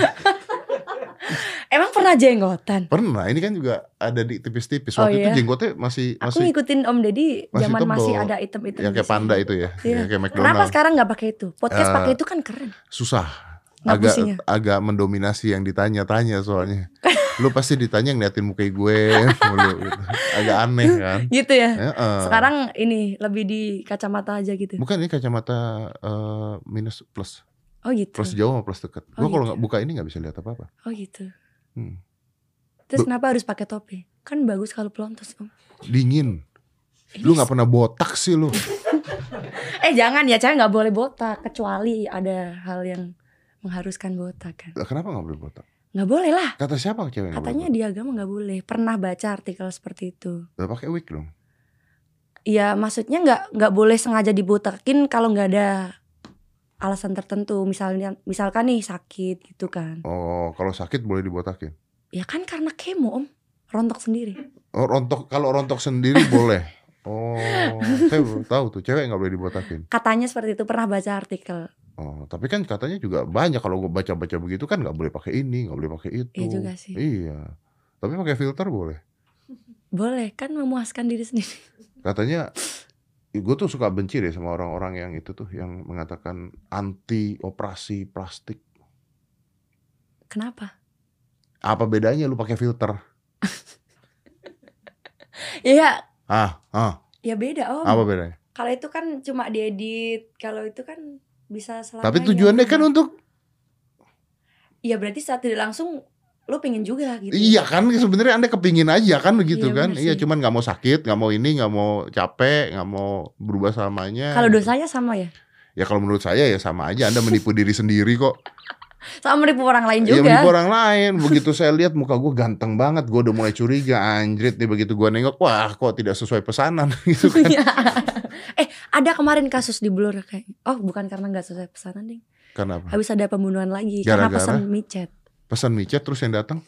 B: Emang pernah jenggotan?
A: Pernah, ini kan juga ada di tipis-tipis.
B: Oh,
A: Waktu itu
B: iya.
A: jenggotnya masih
B: Aku
A: masih
B: ngikutin Om Deddy
A: masih
B: zaman
A: tebel.
B: masih ada item-item.
A: ya
B: di
A: kayak
B: sini.
A: panda itu ya,
B: Iya.
A: ya kayak
B: Kenapa
A: McDonald.
B: sekarang nggak pakai itu? Podcast
A: Eh,
B: pakai itu kan keren.
A: Susah. Agak
B: Ngapusinya.
A: agak mendominasi yang ditanya-tanya soalnya. Lu pasti ditanya ngeliatin muka gue mulu gitu. Agak aneh kan.
B: Gitu ya.
A: Heeh.
B: Sekarang ini lebih di kacamata aja gitu.
A: Bukan ini kacamata eh, minus plus.
B: Oh gitu.
A: Plus jauh sama plus dekat.
B: Oh,
A: Gua kalau
B: gitu.
A: nggak buka ini nggak bisa lihat apa-apa.
B: Oh gitu.
A: Hmm. Be-
B: Terus kenapa harus pakai topi? Kan bagus kalau pelontos om.
A: Dingin.
B: Ini
A: Lu nggak pernah botak sih lu.
B: Eh jangan ya, cewek nggak boleh botak kecuali ada hal yang mengharuskan botak kan.
A: Lah, Kenapa nggak boleh botak?
B: Nggak boleh lah.
A: Kata siapa cewek nggak boleh
B: Katanya di agama nggak boleh. Pernah baca artikel seperti itu.
A: botak? Lah, pakai wig dong.
B: Ya maksudnya nggak nggak boleh sengaja dibotakin kalau nggak ada alasan tertentu. Misalnya misalkan nih sakit gitu kan.
A: Oh, kalau sakit boleh dibotakin.
B: Ya kan karena kemo om. Rontok sendiri.
A: Oh, rontok kalau rontok sendiri boleh. Oh, saya baru tahu tuh cewek nggak boleh dibotakin.
B: Katanya seperti itu pernah baca artikel.
A: Oh, tapi kan katanya juga banyak kalau gue baca-baca begitu kan nggak boleh pakai ini, nggak boleh pakai itu.
B: Iya juga sih.
A: Oh, Iya. Tapi pakai filter boleh.
B: Boleh kan memuaskan diri sendiri.
A: Katanya gue tuh suka benci deh sama orang-orang yang itu tuh yang mengatakan anti operasi plastik.
B: Kenapa?
A: Apa bedanya lu pakai filter?
B: Iya.
A: Ah, ah,
B: Ya beda om.
A: apa bedanya?
B: Kalau itu kan cuma diedit, kalau itu kan bisa selamanya.
A: Tapi tujuannya kan untuk
B: Iya berarti saat tidak langsung lu pengen juga gitu.
A: Iya kan sebenarnya anda kepingin aja kan begitu
B: Iya,
A: kan
B: bener
A: iya
B: sih.
A: cuman nggak mau sakit nggak mau ini nggak mau capek nggak mau berubah samanya
B: Kalau dosanya sama ya.
A: ya kalau menurut saya ya sama aja anda menipu diri sendiri kok
B: Sama menipu orang lain
A: ya
B: juga.
A: menipu orang lain begitu saya lihat muka gue ganteng banget gue udah mulai curiga anjrit nih begitu gue nengok wah kok tidak sesuai pesanan gitu kan
B: Iya. eh, ada kemarin kasus di Blur kayak. Oh, bukan karena nggak sesuai pesanan, Ding.
A: kenapa
B: Habis ada pembunuhan lagi karena
A: Gara-gara?
B: pesan micet.
A: pesan micet terus yang datang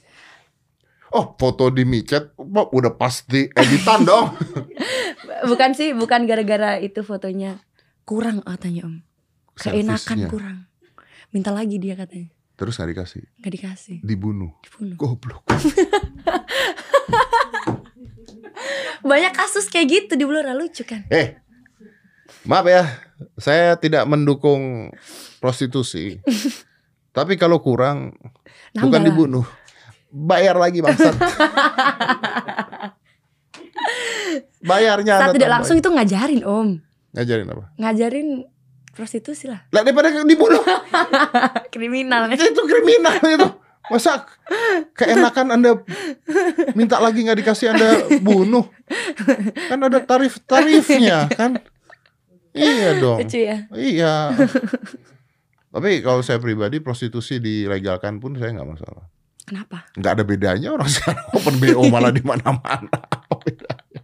A: oh foto di micet Wah, udah pasti editan dong
B: Bukan sih, bukan gara-gara itu fotonya. Kurang katanya, Om. Keenakan
A: Servisnya.
B: kurang. Minta lagi dia katanya.
A: terus nggak dikasih
B: nggak dikasih.
A: dibunuh
B: Dibunuh.
A: goblok
B: Banyak kasus kayak gitu di Blora lucu kan?
A: Eh, maaf ya, saya tidak mendukung prostitusi. Tapi kalau kurang, bukan
B: Nambah lah.
A: dibunuh, bayar lagi bangsat. Bayarnya
B: Saat
A: Anda
B: tidak
A: tambahin.
B: langsung itu ngajarin om
A: ngajarin apa?
B: Ngajarin prostitusi lah
A: Lah daripada dibunuh
B: Kriminal
A: itu kriminal itu. Masa keenakan Anda minta lagi nggak dikasih Anda bunuh? Kan ada tarif-tarifnya kan? Iya dong.
B: Lucu ya
A: Iya. Tapi kalau saya pribadi prostitusi dilegalkan pun saya nggak masalah.
B: Kenapa?
A: Nggak ada bedanya orang sekarang open BO malah di mana-mana. Apa bedanya?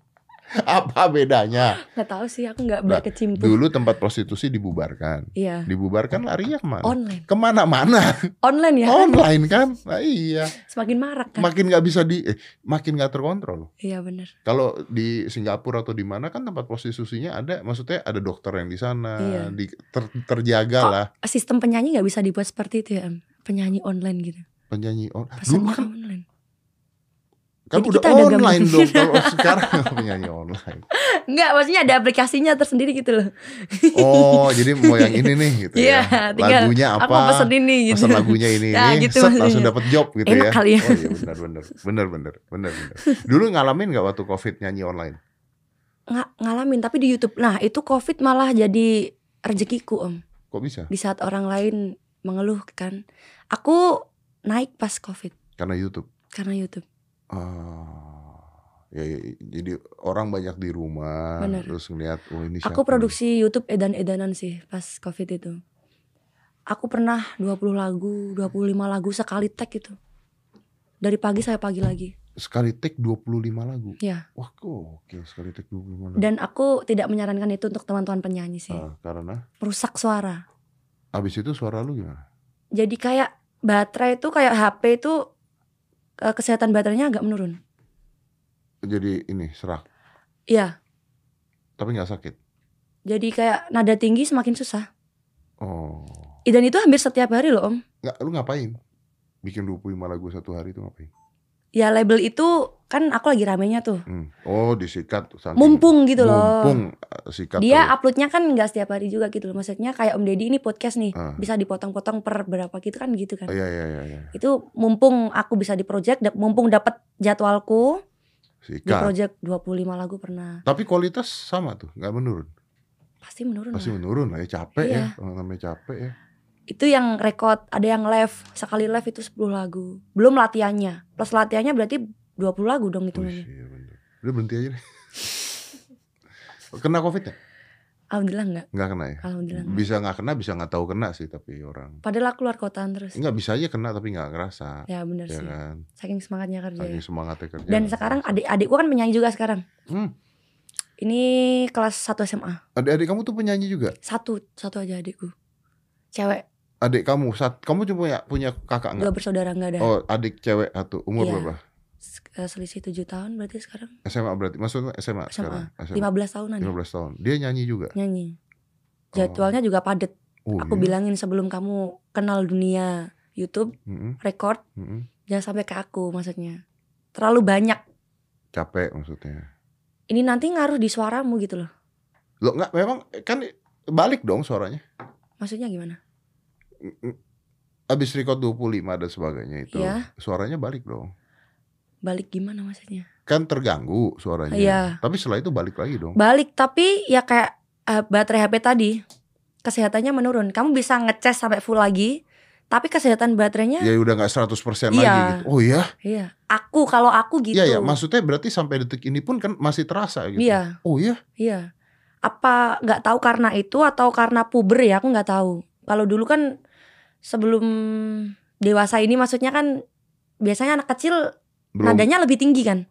A: Apa bedanya?
B: Gak tahu sih aku gak
A: Nah,
B: berkecimpung
A: Dulu tempat prostitusi dibubarkan.
B: Iya
A: Dibubarkan larinya kemana?
B: Online
A: Kemana-mana
B: Online ya Oh. kan?
A: online kan? Nah, iya,
B: Semakin marak kan?
A: makin nggak bisa di, eh, makin nggak terkontrol.
B: Iya bener
A: Kalau di Singapura atau di mana kan tempat prostitusinya ada, maksudnya ada dokter yang di sana,
B: Iya.
A: di, ter- terjaga
B: Kok
A: lah
B: Sistem penyanyi gak bisa dibuat seperti itu ya Em? Penyanyi online gitu
A: penyanyi on. Dulu
B: Pesannya
A: kan
B: online
A: Kan
B: Jadi
A: udah
B: kita ada
A: online
B: gambar.
A: dong kalau sekarang penyanyi online.
B: Enggak maksudnya ada aplikasinya tersendiri gitu loh
A: Oh, jadi mau yang ini nih gitu
B: Iya,
A: ya.
B: tinggal
A: Lagunya apa?
B: Aku mau pesen ini gitu
A: Pesan lagunya ini ini,
B: Nah, gitu
A: set, langsung
B: maksudnya.
A: dapat job gitu
B: Enak
A: ya.
B: kali ya.
A: Oh iya benar benar. Benar benar. Benar benar. Dulu ngalamin nggak waktu Covid nyanyi online?
B: Nga- Ngalamin tapi di Youtube Nah itu covid malah jadi rezekiku om
A: Kok bisa?
B: di saat orang lain mengeluh kan aku naik pas covid
A: Karena YouTube.
B: karena YouTube
A: Ah, ya, ya, jadi orang banyak di rumah
B: Benar.
A: terus ngeliat oh ini siapa
B: aku
A: nih?
B: produksi YouTube edan-edanan sih pas covid itu aku pernah 20 lagu 25 lagu sekali tag gitu dari pagi saya pagi lagi
A: sekali take 25 lagu.
B: Iya.
A: Wah, gokil sekali take 25 lagu.
B: dan aku tidak menyarankan itu untuk teman-teman penyanyi sih
A: Ah, karena
B: merusak suara
A: abis itu suara lu gimana?
B: jadi kayak baterai itu kayak HP itu eh, kesehatan baterainya agak menurun
A: Jadi ini serak
B: iya
A: tapi nggak sakit.
B: jadi kayak nada tinggi semakin susah
A: Oh.
B: dan itu hampir setiap hari loh om
A: Nggak, lu ngapain? Bikin 25 lagu satu hari itu ngapain?
B: ya label itu kan aku lagi ramenya tuh
A: Hmm. Oh disikat tuh, saking-
B: mumpung gitu loh
A: Mumpung eh, sikat
B: dia
A: tuh.
B: uploadnya kan nggak setiap hari juga gitu loh maksudnya kayak Om Deddy ini podcast nih
A: Ah.
B: bisa dipotong-potong per berapa gitu kan gitu
A: Oh,
B: kan
A: Iya iya iya iya.
B: itu mumpung aku bisa di project dap- mumpung dapat jadwalku di
A: Sikat.
B: project 25 lagu pernah
A: Tapi kualitas sama tuh, nggak menurun.
B: pasti menurun
A: Pasti
B: lah.
A: menurun lah ya capek
B: Hmm. Iya.
A: ya, orang namanya capek ya.
B: itu yang record ada yang live sekali live itu 10 lagu belum latihannya plus latihannya berarti 20 lagu dong
A: Wih,
B: hitungannya
A: iya bener. Udah berhenti aja deh. kena covid ya?
B: alhamdulillah enggak
A: Nggak kena ya?
B: alhamdulillah nggak.
A: Bisa nggak kena, bisa nggak tahu kena sih tapi orang.
B: padahal aku keluar kotaan terus
A: Nggak bisa aja kena tapi nggak ngerasa.
B: ya bener
A: Ya
B: sih
A: kan,
B: saking semangatnya kerja
A: saking
B: ya.
A: semangatnya kerja.
B: dan sekarang adik-adikku kan penyanyi juga sekarang
A: Hmm.
B: ini kelas 1 SMA
A: adik-adik kamu tuh penyanyi juga.
B: satu satu aja adikku cewek
A: Adik kamu, saat kamu cuma punya, punya kakak nggak?
B: dua bersaudara nggak ada
A: Oh, adik cewek satu, umur
B: Ya. Iya.
A: berapa?
B: S- eh, selisih 7 tahun berarti sekarang
A: SMA berarti, maksudnya SMA,
B: SMA.
A: sekarang? SMA.
B: 15 tahunan ya
A: 15 tahun. Dia nyanyi juga.
B: nyanyi
A: Oh.
B: jadwalnya juga padet
A: Oh,
B: aku
A: iya?
B: bilangin sebelum kamu kenal dunia YouTube
A: Mm-mm,
B: record
A: mm-mm.
B: jangan sampai ke aku maksudnya terlalu banyak
A: Capek maksudnya.
B: ini nanti ngaruh di suaramu gitu loh
A: Lo nggak memang kan balik dong suaranya.
B: maksudnya gimana
A: Abis record 25 dan sebagainya itu,
B: Iya.
A: suaranya balik dong.
B: balik gimana maksudnya
A: Kan terganggu suaranya.
B: Iya.
A: Tapi setelah itu balik lagi dong.
B: balik tapi ya kayak eh, baterai HP tadi kesehatannya menurun kamu bisa ngeces sampai full lagi tapi kesehatan baterainya
A: Ya udah nggak 100%
B: Iya.
A: lagi gitu. Oh iya.
B: iya aku kalau aku gitu
A: Iya ya, maksudnya berarti sampai detik ini pun kan masih terasa gitu.
B: iya
A: Oh iya.
B: iya apa nggak tahu karena itu atau karena puber ya aku nggak tahu kalau dulu kan sebelum dewasa ini maksudnya kan biasanya anak kecil
A: Belum.
B: nadanya lebih tinggi kan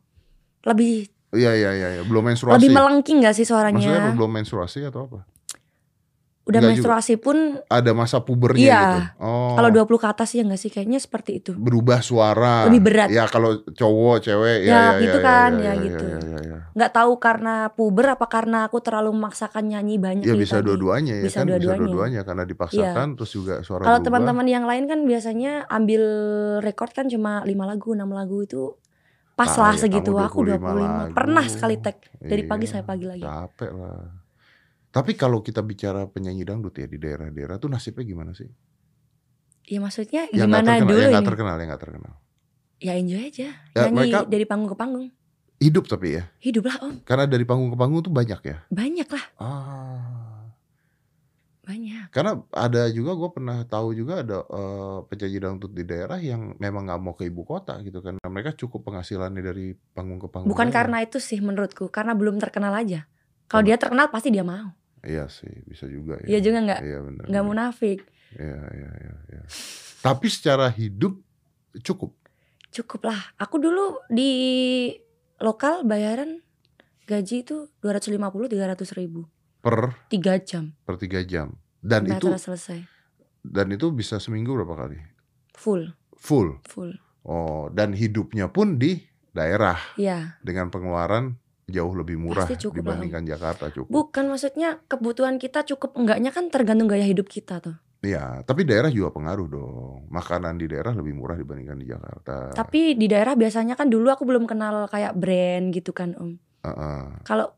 B: lebih
A: Iya iya iya, iya. belum menstruasi.
B: lebih melengking gak sih suaranya
A: Maksudnya belum menstruasi atau apa?
B: udah
A: enggak
B: menstruasi pun
A: Ada masa pubernya
B: Iya.
A: gitu. Oh.
B: kalau 20 ke atas ya gak sih kayaknya seperti itu
A: berubah suara.
B: Lebih berat.
A: Ya kalau cowok, cewek
B: Ya,
A: ya, ya,
B: gitu
A: ya,
B: kan,
A: ya,
B: ya,
A: ya,
B: gitu.
A: Ya, ya, ya.
B: nggak tahu karena puber apa karena aku terlalu memaksakan nyanyi banyak
A: Ya
B: nih
A: bisa
B: tadi.
A: dua-duanya ya
B: gitu Bisa
A: kan
B: dua-duanya. Iya.
A: bisa dua-duanya karena dipaksakan terus juga suara
B: kalau
A: berubah.
B: teman-teman yang lain kan biasanya ambil rekor kan cuma lima lagu enam lagu itu pas
A: Ah,
B: lah
A: ya,
B: segitu
A: kamu
B: aku
A: 25 lagu.
B: 25 pernah sekali tag dari
A: Iya,
B: pagi sampai pagi lagi
A: Capek lah. Tapi kalau kita bicara penyanyi dangdut ya di daerah-daerah tuh nasibnya gimana sih?
B: ya maksudnya
A: Yang nggak
B: gimana
A: terkenal,
B: dulu
A: yang nggak
B: ini?
A: terkenal, yang nggak terkenal.
B: ya enjoy aja
A: Ya,
B: nyanyi
A: mereka-
B: dari panggung ke panggung
A: Hidup tapi ya,
B: hiduplah om
A: karena dari panggung ke panggung tuh banyak ya.
B: banyak lah
A: Ah.
B: banyak
A: Karena ada juga gue pernah tahu juga ada eh, penyanyi dangdut di daerah yang memang nggak mau ke ibu kota gitu karena mereka cukup penghasilannya dari panggung ke panggung.
B: bukan
A: aja.
B: karena itu sih menurutku karena belum terkenal aja
A: Karena-
B: kalau dia terkenal pasti dia mau
A: Iya sih bisa juga.
B: Iya juga nggak-
A: Iya benar.
B: nggak munafik
A: Iya iya iya. iya. Tapi secara hidup cukup.
B: cukup lah aku dulu di lokal bayaran gaji itu 250 300 ribu
A: per
B: tiga jam
A: per tiga jam dan
B: sampai
A: itu
B: acara selesai
A: dan itu bisa seminggu berapa kali
B: full
A: full
B: full
A: oh dan hidupnya pun di daerah
B: ya
A: dengan pengeluaran jauh lebih murah
B: Pasti cukup lah,
A: dibandingkan Jakarta cukup
B: bukan maksudnya kebutuhan kita cukup enggaknya kan tergantung gaya hidup kita tuh
A: iya tapi daerah juga pengaruh dong makanan di daerah lebih murah dibandingkan di Jakarta
B: tapi di daerah biasanya kan dulu aku belum kenal kayak brand gitu kan om
A: Heeh.
B: kalau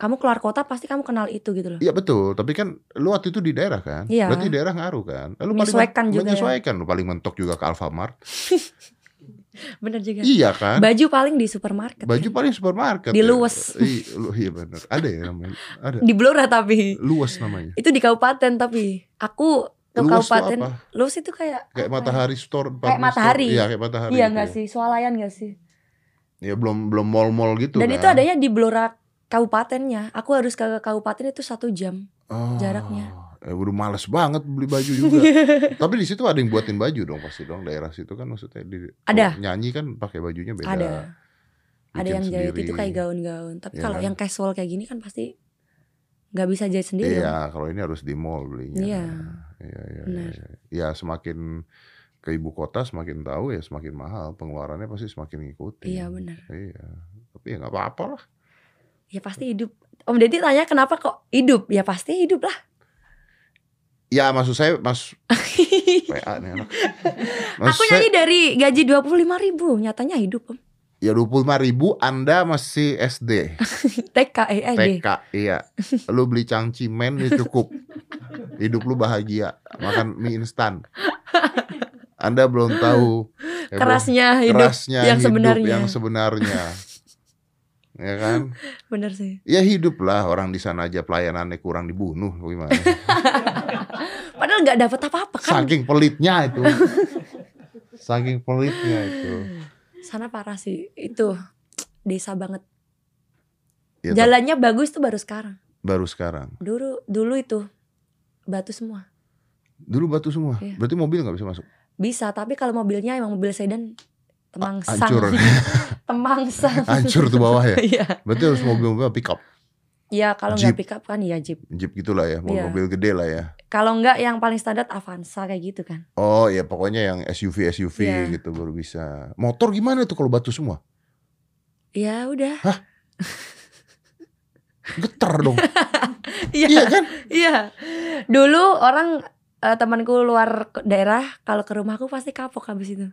B: kamu keluar kota pasti kamu kenal itu gitu loh
A: Iya betul, tapi kan lu waktu itu di daerah kan,
B: Iya.
A: berarti daerah ngaruh kan. Lu
B: Menyesuaikan
A: paling
B: juga ya.
A: menyesuaikan, lu paling mentok juga ke Alfamart.
B: bener juga
A: Iya kan,
B: baju paling di supermarket
A: baju paling supermarket.
B: Di
A: ya.
B: Luwes.
A: Iya, lu- iya benar, ada ya namanya, ada.
B: di Blora tapi
A: Luas namanya.
B: itu di kabupaten tapi aku ke
A: Luas tuh
B: kabupaten
A: apa?
B: Luas itu kayak
A: kayak
B: apa ya?
A: matahari store
B: Kayak
A: department store.
B: matahari.
A: iya kayak matahari
B: Iya
A: gitu
B: nggak
A: ya.
B: sih, swalayan nggak sih?
A: ya belum belum mall-mall gitu
B: Dan
A: kan.
B: itu adanya di Blora kabupatennya. Aku harus ke kabupaten itu satu jam.
A: Oh,
B: jaraknya.
A: eh, udah males banget beli baju juga tapi di situ ada yang buatin baju dong pasti dong daerah situ kan maksudnya di
B: Ada.
A: nyanyi kan pakai bajunya beda
B: Ada, ada
A: bikin
B: yang jahit
A: sendiri.
B: itu kayak gaun-gaun. Tapi
A: Iya
B: kalau
A: kan?
B: yang casual kayak gini kan pasti nggak bisa jahit sendiri.
A: iya
B: gitu dong.
A: kalau ini harus di mall belinya
B: Iya.
A: iya iya iya,
B: Benar.
A: iya. ya semakin ke ibu kota semakin tahu ya semakin mahal pengeluarannya pasti semakin ngikutin
B: Iya, benar.
A: iya tapi ya nggak apa-apa lah
B: Ya pasti hidup. Om Deddy tanya kenapa kok hidup? Ya pasti hidup lah.
A: ya maksud saya mas PA nih anak.
B: Aku nyanyi dari gaji 25.000 ribu Nyatanya hidup om
A: Ya 25 ribu Anda masih SD
B: TK eh, eh, deh.
A: TK Iya Lu beli cangcimen ya cukup Hidup lu bahagia Makan mie instan Anda belum tahu heboh-
B: Kerasnya hidup
A: kerasnya
B: yang
A: hidup
B: sebenarnya.
A: yang sebenarnya. ya kan?
B: Bener sih
A: Ya hiduplah orang di sana aja pelayanannya kurang dibunuh gimana.
B: Padahal gak dapet apa-apa kan
A: Saking pelitnya itu. Saking pelitnya itu.
B: Sana parah sih Itu Desa banget
A: Ya, tapi
B: Jalannya bagus tuh baru sekarang
A: baru sekarang.
B: Dulu dulu itu Batu semua
A: Dulu batu semua.
B: Iya.
A: Berarti mobil nggak bisa masuk.
B: Bisa tapi kalau mobilnya emang mobil sedan Temangsang
A: Hancur.
B: Temangsang
A: Hancur tuh bawah ya.
B: Iya
A: Berarti harus mobil-mobil pick up.
B: Iya kalau nggak
A: Jeep.
B: pick up kan ya jeep
A: Jeep gitulah ya, mobil-mobil gede lah ya.
B: Kalau nggak yang paling standar Avanza kayak gitu kan
A: Oh ya pokoknya yang SUV SUV
B: Iya.
A: gitu baru bisa. Motor gimana tuh kalau batu semua?
B: Ya udah
A: Getar dong.
B: Iya
A: iya kan?
B: Iya. Dulu orang eh, temanku luar ke- daerah kalau ke rumahku pasti kapok habis itu.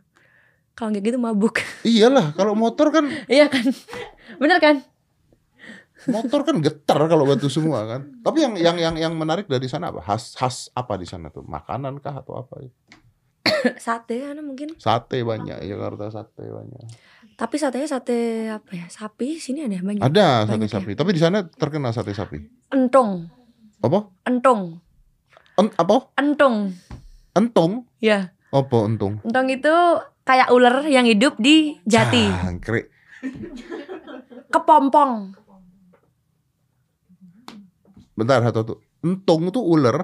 B: Kalau nggak gitu mabuk.
A: Iyalah kalau motor kan
B: iya kan? Bener kan?
A: motor kan getar kalau batu semua kan. Tapi yang yang yang yang menarik dari sana apa? Khas khas apa di sana tuh? Makanan kah atau apa?
B: Sate anu mungkin.
A: Sate banyak, Jakarta sate banyak.
B: Tapi satenya sate apa ya? Sapi sini ada banyak.
A: Ada sate
B: Banyak ya.
A: sapi. Tapi di sana terkenal sate sapi.
B: Entong,
A: Apa?
B: entong,
A: En, apa?
B: entong.
A: Entong?
B: Ya,
A: Apa entong?
B: entong itu kayak ular yang hidup di jati,
A: Ah. Jangkrik.
B: kepompong.
A: Bentar satu tuh. Entong tuh ular.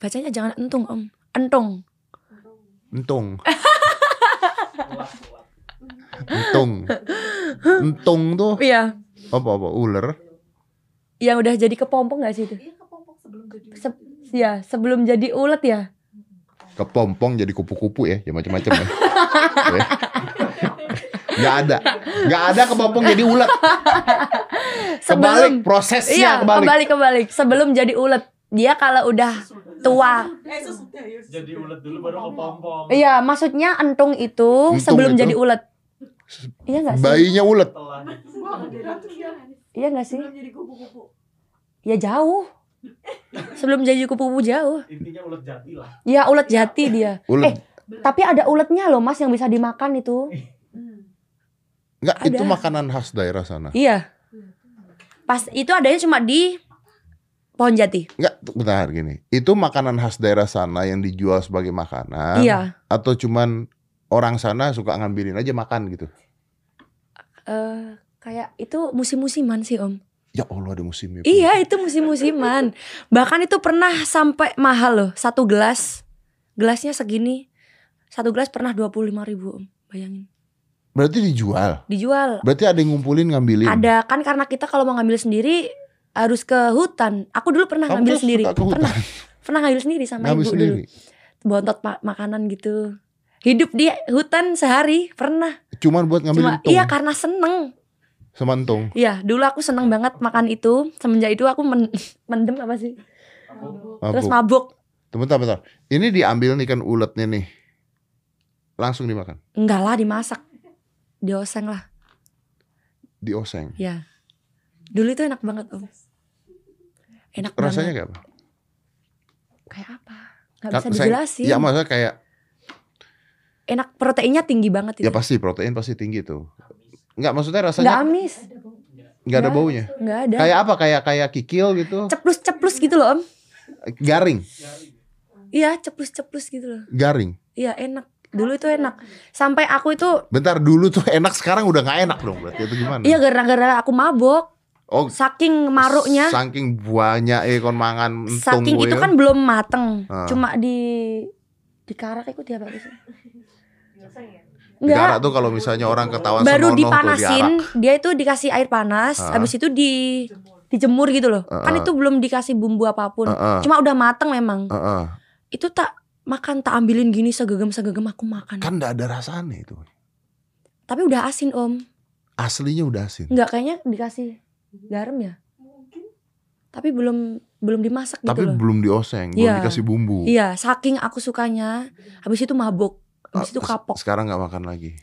B: Bacanya jangan entung, Om. Entong.
A: Entong. Entong. Entong tuh
B: Iya,
A: apa apa ular.
B: yang udah jadi kepompong gak sih itu?
D: Iya kepompong sebelum jadi
B: Se- ya, sebelum jadi ulet ya.
A: kepompong jadi kupu-kupu ya, ya macam-macam ya. Ya. Nggak ada, nggak ada kepompong jadi ulat. Kebalik
B: Sebelum
A: prosesnya
B: Iya,
A: kebalik.
B: kebalik. kebalik Sebelum jadi ulet, dia kalau udah tua.
D: Eh sesudah ya sesudah.
E: Jadi ulet dulu baru kepompong.
B: Iya, maksudnya entung itu
A: Oh. Entung
B: sebelum
A: itu?
B: jadi ulet. Iya enggak sih?
A: Bayinya ulet.
E: Telah
D: Wah, dia tuh dia
B: Iya enggak sih?
D: sebelum jadi kupu-kupu.
B: Ya jauh. Sebelum jadi kupu-kupu jauh.
E: intinya ulet jati lah.
B: Ya ulet jati dia.
A: Ulet.
B: Eh, Tapi ada uletnya loh, Mas, yang bisa dimakan itu.
D: Hmm.
A: Nggak, itu
B: ada.
A: makanan khas daerah sana.
B: Iya. Pas itu adanya cuma di pohon jati.
A: Nggak, tuh, bentar gini. Itu makanan khas daerah sana yang dijual sebagai makanan
B: Iya.
A: atau cuman orang sana suka ngambilin aja makan gitu.
B: Eh, kayak itu musim-musiman sih, Om.
A: Ya Allah ada musimnya. pun.
B: Iya itu musim-musiman Bahkan itu pernah sampai mahal loh Satu gelas Gelasnya segini Satu gelas pernah 25 ribu om Bayangin
A: Berarti dijual.
B: Dijual
A: Berarti ada yang ngumpulin ngambilin.
B: Ada kan karena kita kalau mau ngambil sendiri Harus ke hutan Aku dulu pernah
A: Kamu
B: ngambil
A: tuh suka
B: sendiri
A: ke hutan,
B: Pernah pernah ngambil sendiri sama
A: ngambil
B: ibu
A: sendiri.
B: dulu Bontot ma- makanan gitu Hidup di hutan sehari Pernah
A: Cuman buat ngambil
B: Cuma, Iya karena seneng
A: sama entong.
B: Iya dulu aku seneng banget makan itu Semenjak itu aku men- mendem apa sih
E: Aku
B: Terus
A: Mabuk.
B: mabuk
A: Tunggu, bentar, bentar. Ini diambil nih kan uletnya nih. Langsung dimakan.
B: Enggak lah dimasak Dioseng lah
A: Dioseng.
B: Ya Dulu itu enak banget om Enak
A: Rasanya
B: banget
A: kayak apa?
B: Kayak apa Gak
A: Kan
B: bisa
A: saya-
B: dijelasin
A: Ya maksudnya kayak
B: Enak proteinnya tinggi banget itu
A: ya pasti protein pasti tinggi tuh. Enggak maksudnya
B: Nggak
A: rasanya
B: amis
A: enggak ada
B: nggak.
A: baunya.
B: Nggak ada
A: Kayak apa? Kayak kayak kikil gitu.
B: Ceplus-ceplus gitu loh om
A: Garing,
B: Iya ceplus-ceplus gitu loh
A: garing.
B: Iya enak Dulu itu enak Sampai aku itu
A: Bentar dulu tuh enak, sekarang udah nggak enak dong berarti itu gimana?
B: Iya gara-gara aku mabok
A: Oh,
B: Saking maruknya
A: Saking banyak eh kon mangan entung
B: Saking
A: gue
B: itu
A: ya.
B: kan belum mateng
A: Ah.
B: Cuma di Dikarak itu dia apa sih
D: Biasa ya.
A: Diarak tuh kalau misalnya orang ketahuan senonoh
B: baru
A: tuh diarak.
B: dipanasin dia itu dikasih air panas
A: Ah.
B: habis itu di dijemur gitu loh
A: Ah,
B: kan
A: ah.
B: itu belum dikasih bumbu apapun
A: Heeh,
B: cuma udah mateng memang
A: heeh.
B: itu tak makan tak ambilin gini segegem segegem aku makan
A: Kan enggak ada rasanya itu.
B: tapi udah asin om
A: Aslinya udah asin.
B: nggak kayaknya dikasih garam ya
D: Mungkin
B: tapi belum belum dimasak
A: Tapi
B: gitu loh.
A: belum dioseng, belum
B: Iya.
A: dikasih bumbu.
B: Iya, saking aku sukanya. Habis itu mabok, habis itu
A: Ah,
B: kapok.
A: Sekarang nggak makan lagi.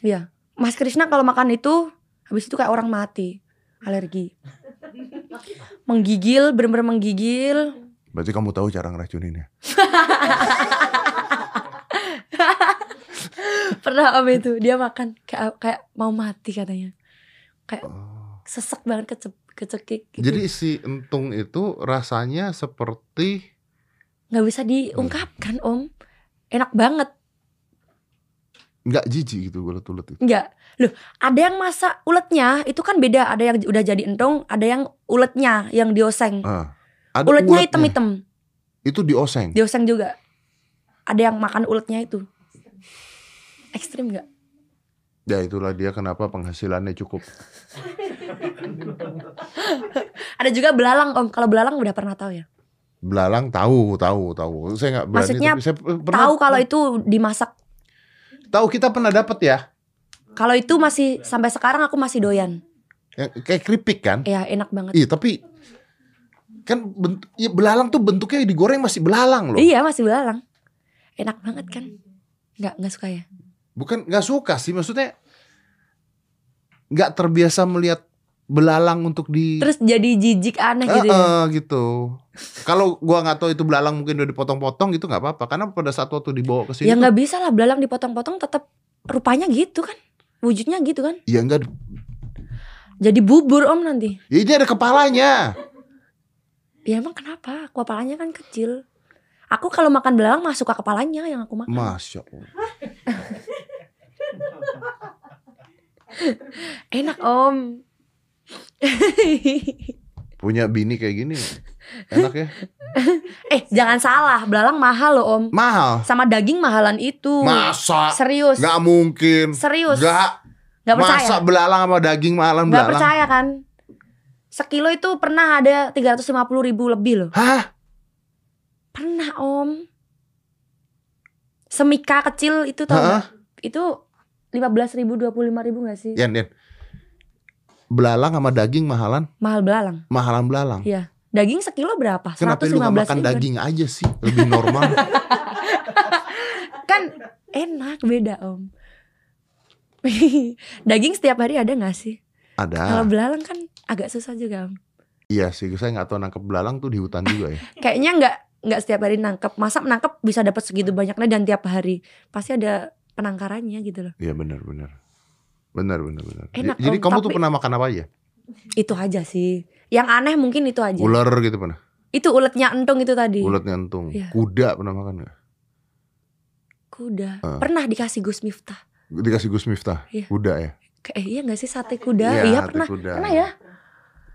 B: Mas Krishna kalau makan itu habis itu kayak orang mati, alergi. Menggigil, bener-bener menggigil.
A: Berarti kamu tahu cara ngeracuninnya.
B: Pernah om itu dia makan kayak kayak mau mati katanya.
A: Oh.
B: Sesek banget kece, kecekik Eh, gitu.
A: Jadi si entung itu rasanya seperti
B: nggak bisa diungkapkan
A: Hmm.
B: om. Enak banget.
A: nggak jijik gitu ulet-ulet itu.
B: Enggak. Loh, ada yang masak uletnya itu kan beda. Ada yang udah jadi entong, ada yang uletnya yang dioseng.
A: Ah. Ada
B: uletnya hitam-hitam,
A: Itu dioseng.
B: dioseng juga. Ada yang makan uletnya itu. Ekstrim nggak?
A: Ya itulah dia kenapa penghasilannya cukup.
B: Ada juga belalang om. Kalau belalang udah pernah tahu ya.
A: Belalang tahu, tahu, tahu. Saya nggak berani.
B: Maksudnya
A: tapi saya pernah
B: Tahu kalau itu dimasak.
A: tahu kita pernah dapat ya.
B: Kalau itu masih sampai sekarang aku masih doyan.
A: Yang Kayak keripik kan?
B: Ya enak banget.
A: Iya, tapi kan bent- ya, belalang tuh bentuknya digoreng masih belalang loh.
B: Iya masih belalang. Enak banget kan? Nggak nggak suka ya?
A: Bukan nggak suka sih, maksudnya nggak terbiasa melihat belalang untuk di
B: Terus jadi jijik aneh
A: Eh,
B: gitu ya.
A: eh, gitu. Kalau gua nggak tahu itu belalang mungkin udah dipotong-potong gitu nggak apa-apa karena pada saat waktu dibawa ke sini
B: Ya
A: tuh-
B: nggak bisa lah belalang dipotong-potong tetap rupanya gitu kan. Wujudnya gitu kan.
A: ya enggak
B: Jadi bubur om nanti.
A: ya ini ada kepalanya.
B: Ya emang kenapa? Kepalanya kan kecil. Aku kalau makan belalang masuk ke kepalanya yang aku makan.
A: Masya Allah.
B: Enak om.
A: Punya bini kayak gini enak ya.
B: eh jangan salah, belalang mahal loh om.
A: Mahal.
B: Sama daging mahalan itu.
A: Masa
B: Serius.
A: nggak mungkin.
B: Serius.
A: Nggak
B: Nggak percaya.
A: masa belalang sama daging mahalan
B: Nggak
A: belalang.
B: percaya kan? Sekilo itu pernah ada 350 ribu lebih loh.
A: Hah?
B: Pernah om. Semika kecil itu tau
A: Heeh.
B: nggak? Itu 15 ribu, 25 ribu gak sih?
A: Yan, Yan. Belalang sama daging mahalan,
B: Mahal belalang.
A: mahalan belalang.
B: Daging sekilo berapa?
A: Kenapa Kan lu gak
B: 115
A: makan
B: ribu.
A: daging aja sih? Lebih normal.
B: Kan enak beda om. daging setiap hari ada gak sih?
A: Ada.
B: Kalau belalang kan agak susah juga om.
A: Iya sih, saya nggak tahu nangkep belalang tuh di hutan juga ya.
B: Kayaknya nggak nggak setiap hari nangkep. Masa nangkep bisa dapat segitu banyaknya dan tiap hari. Pasti ada penangkarannya gitu loh.
A: Iya benar benar. Benar benar benar.
B: Enak
A: Jadi
B: dong,
A: kamu tuh
B: tapi- Iya.
A: pernah makan apa aja?
B: Itu aja sih. Yang aneh mungkin itu aja.
A: Ular gitu pernah.
B: Itu uletnya entung itu tadi.
A: Ulat nyentung.
B: Iya.
A: Kuda pernah makan nggak?
B: Kuda.
A: Ah.
B: Pernah dikasih Gus Miftah.
A: Dikasih Gus Miftah.
B: Iya.
A: Kuda ya.
B: Kayak eh, iya gak sih sate kuda?
A: Iya,
B: iya
A: sate
B: pernah.
A: kuda.
B: Pernah ya?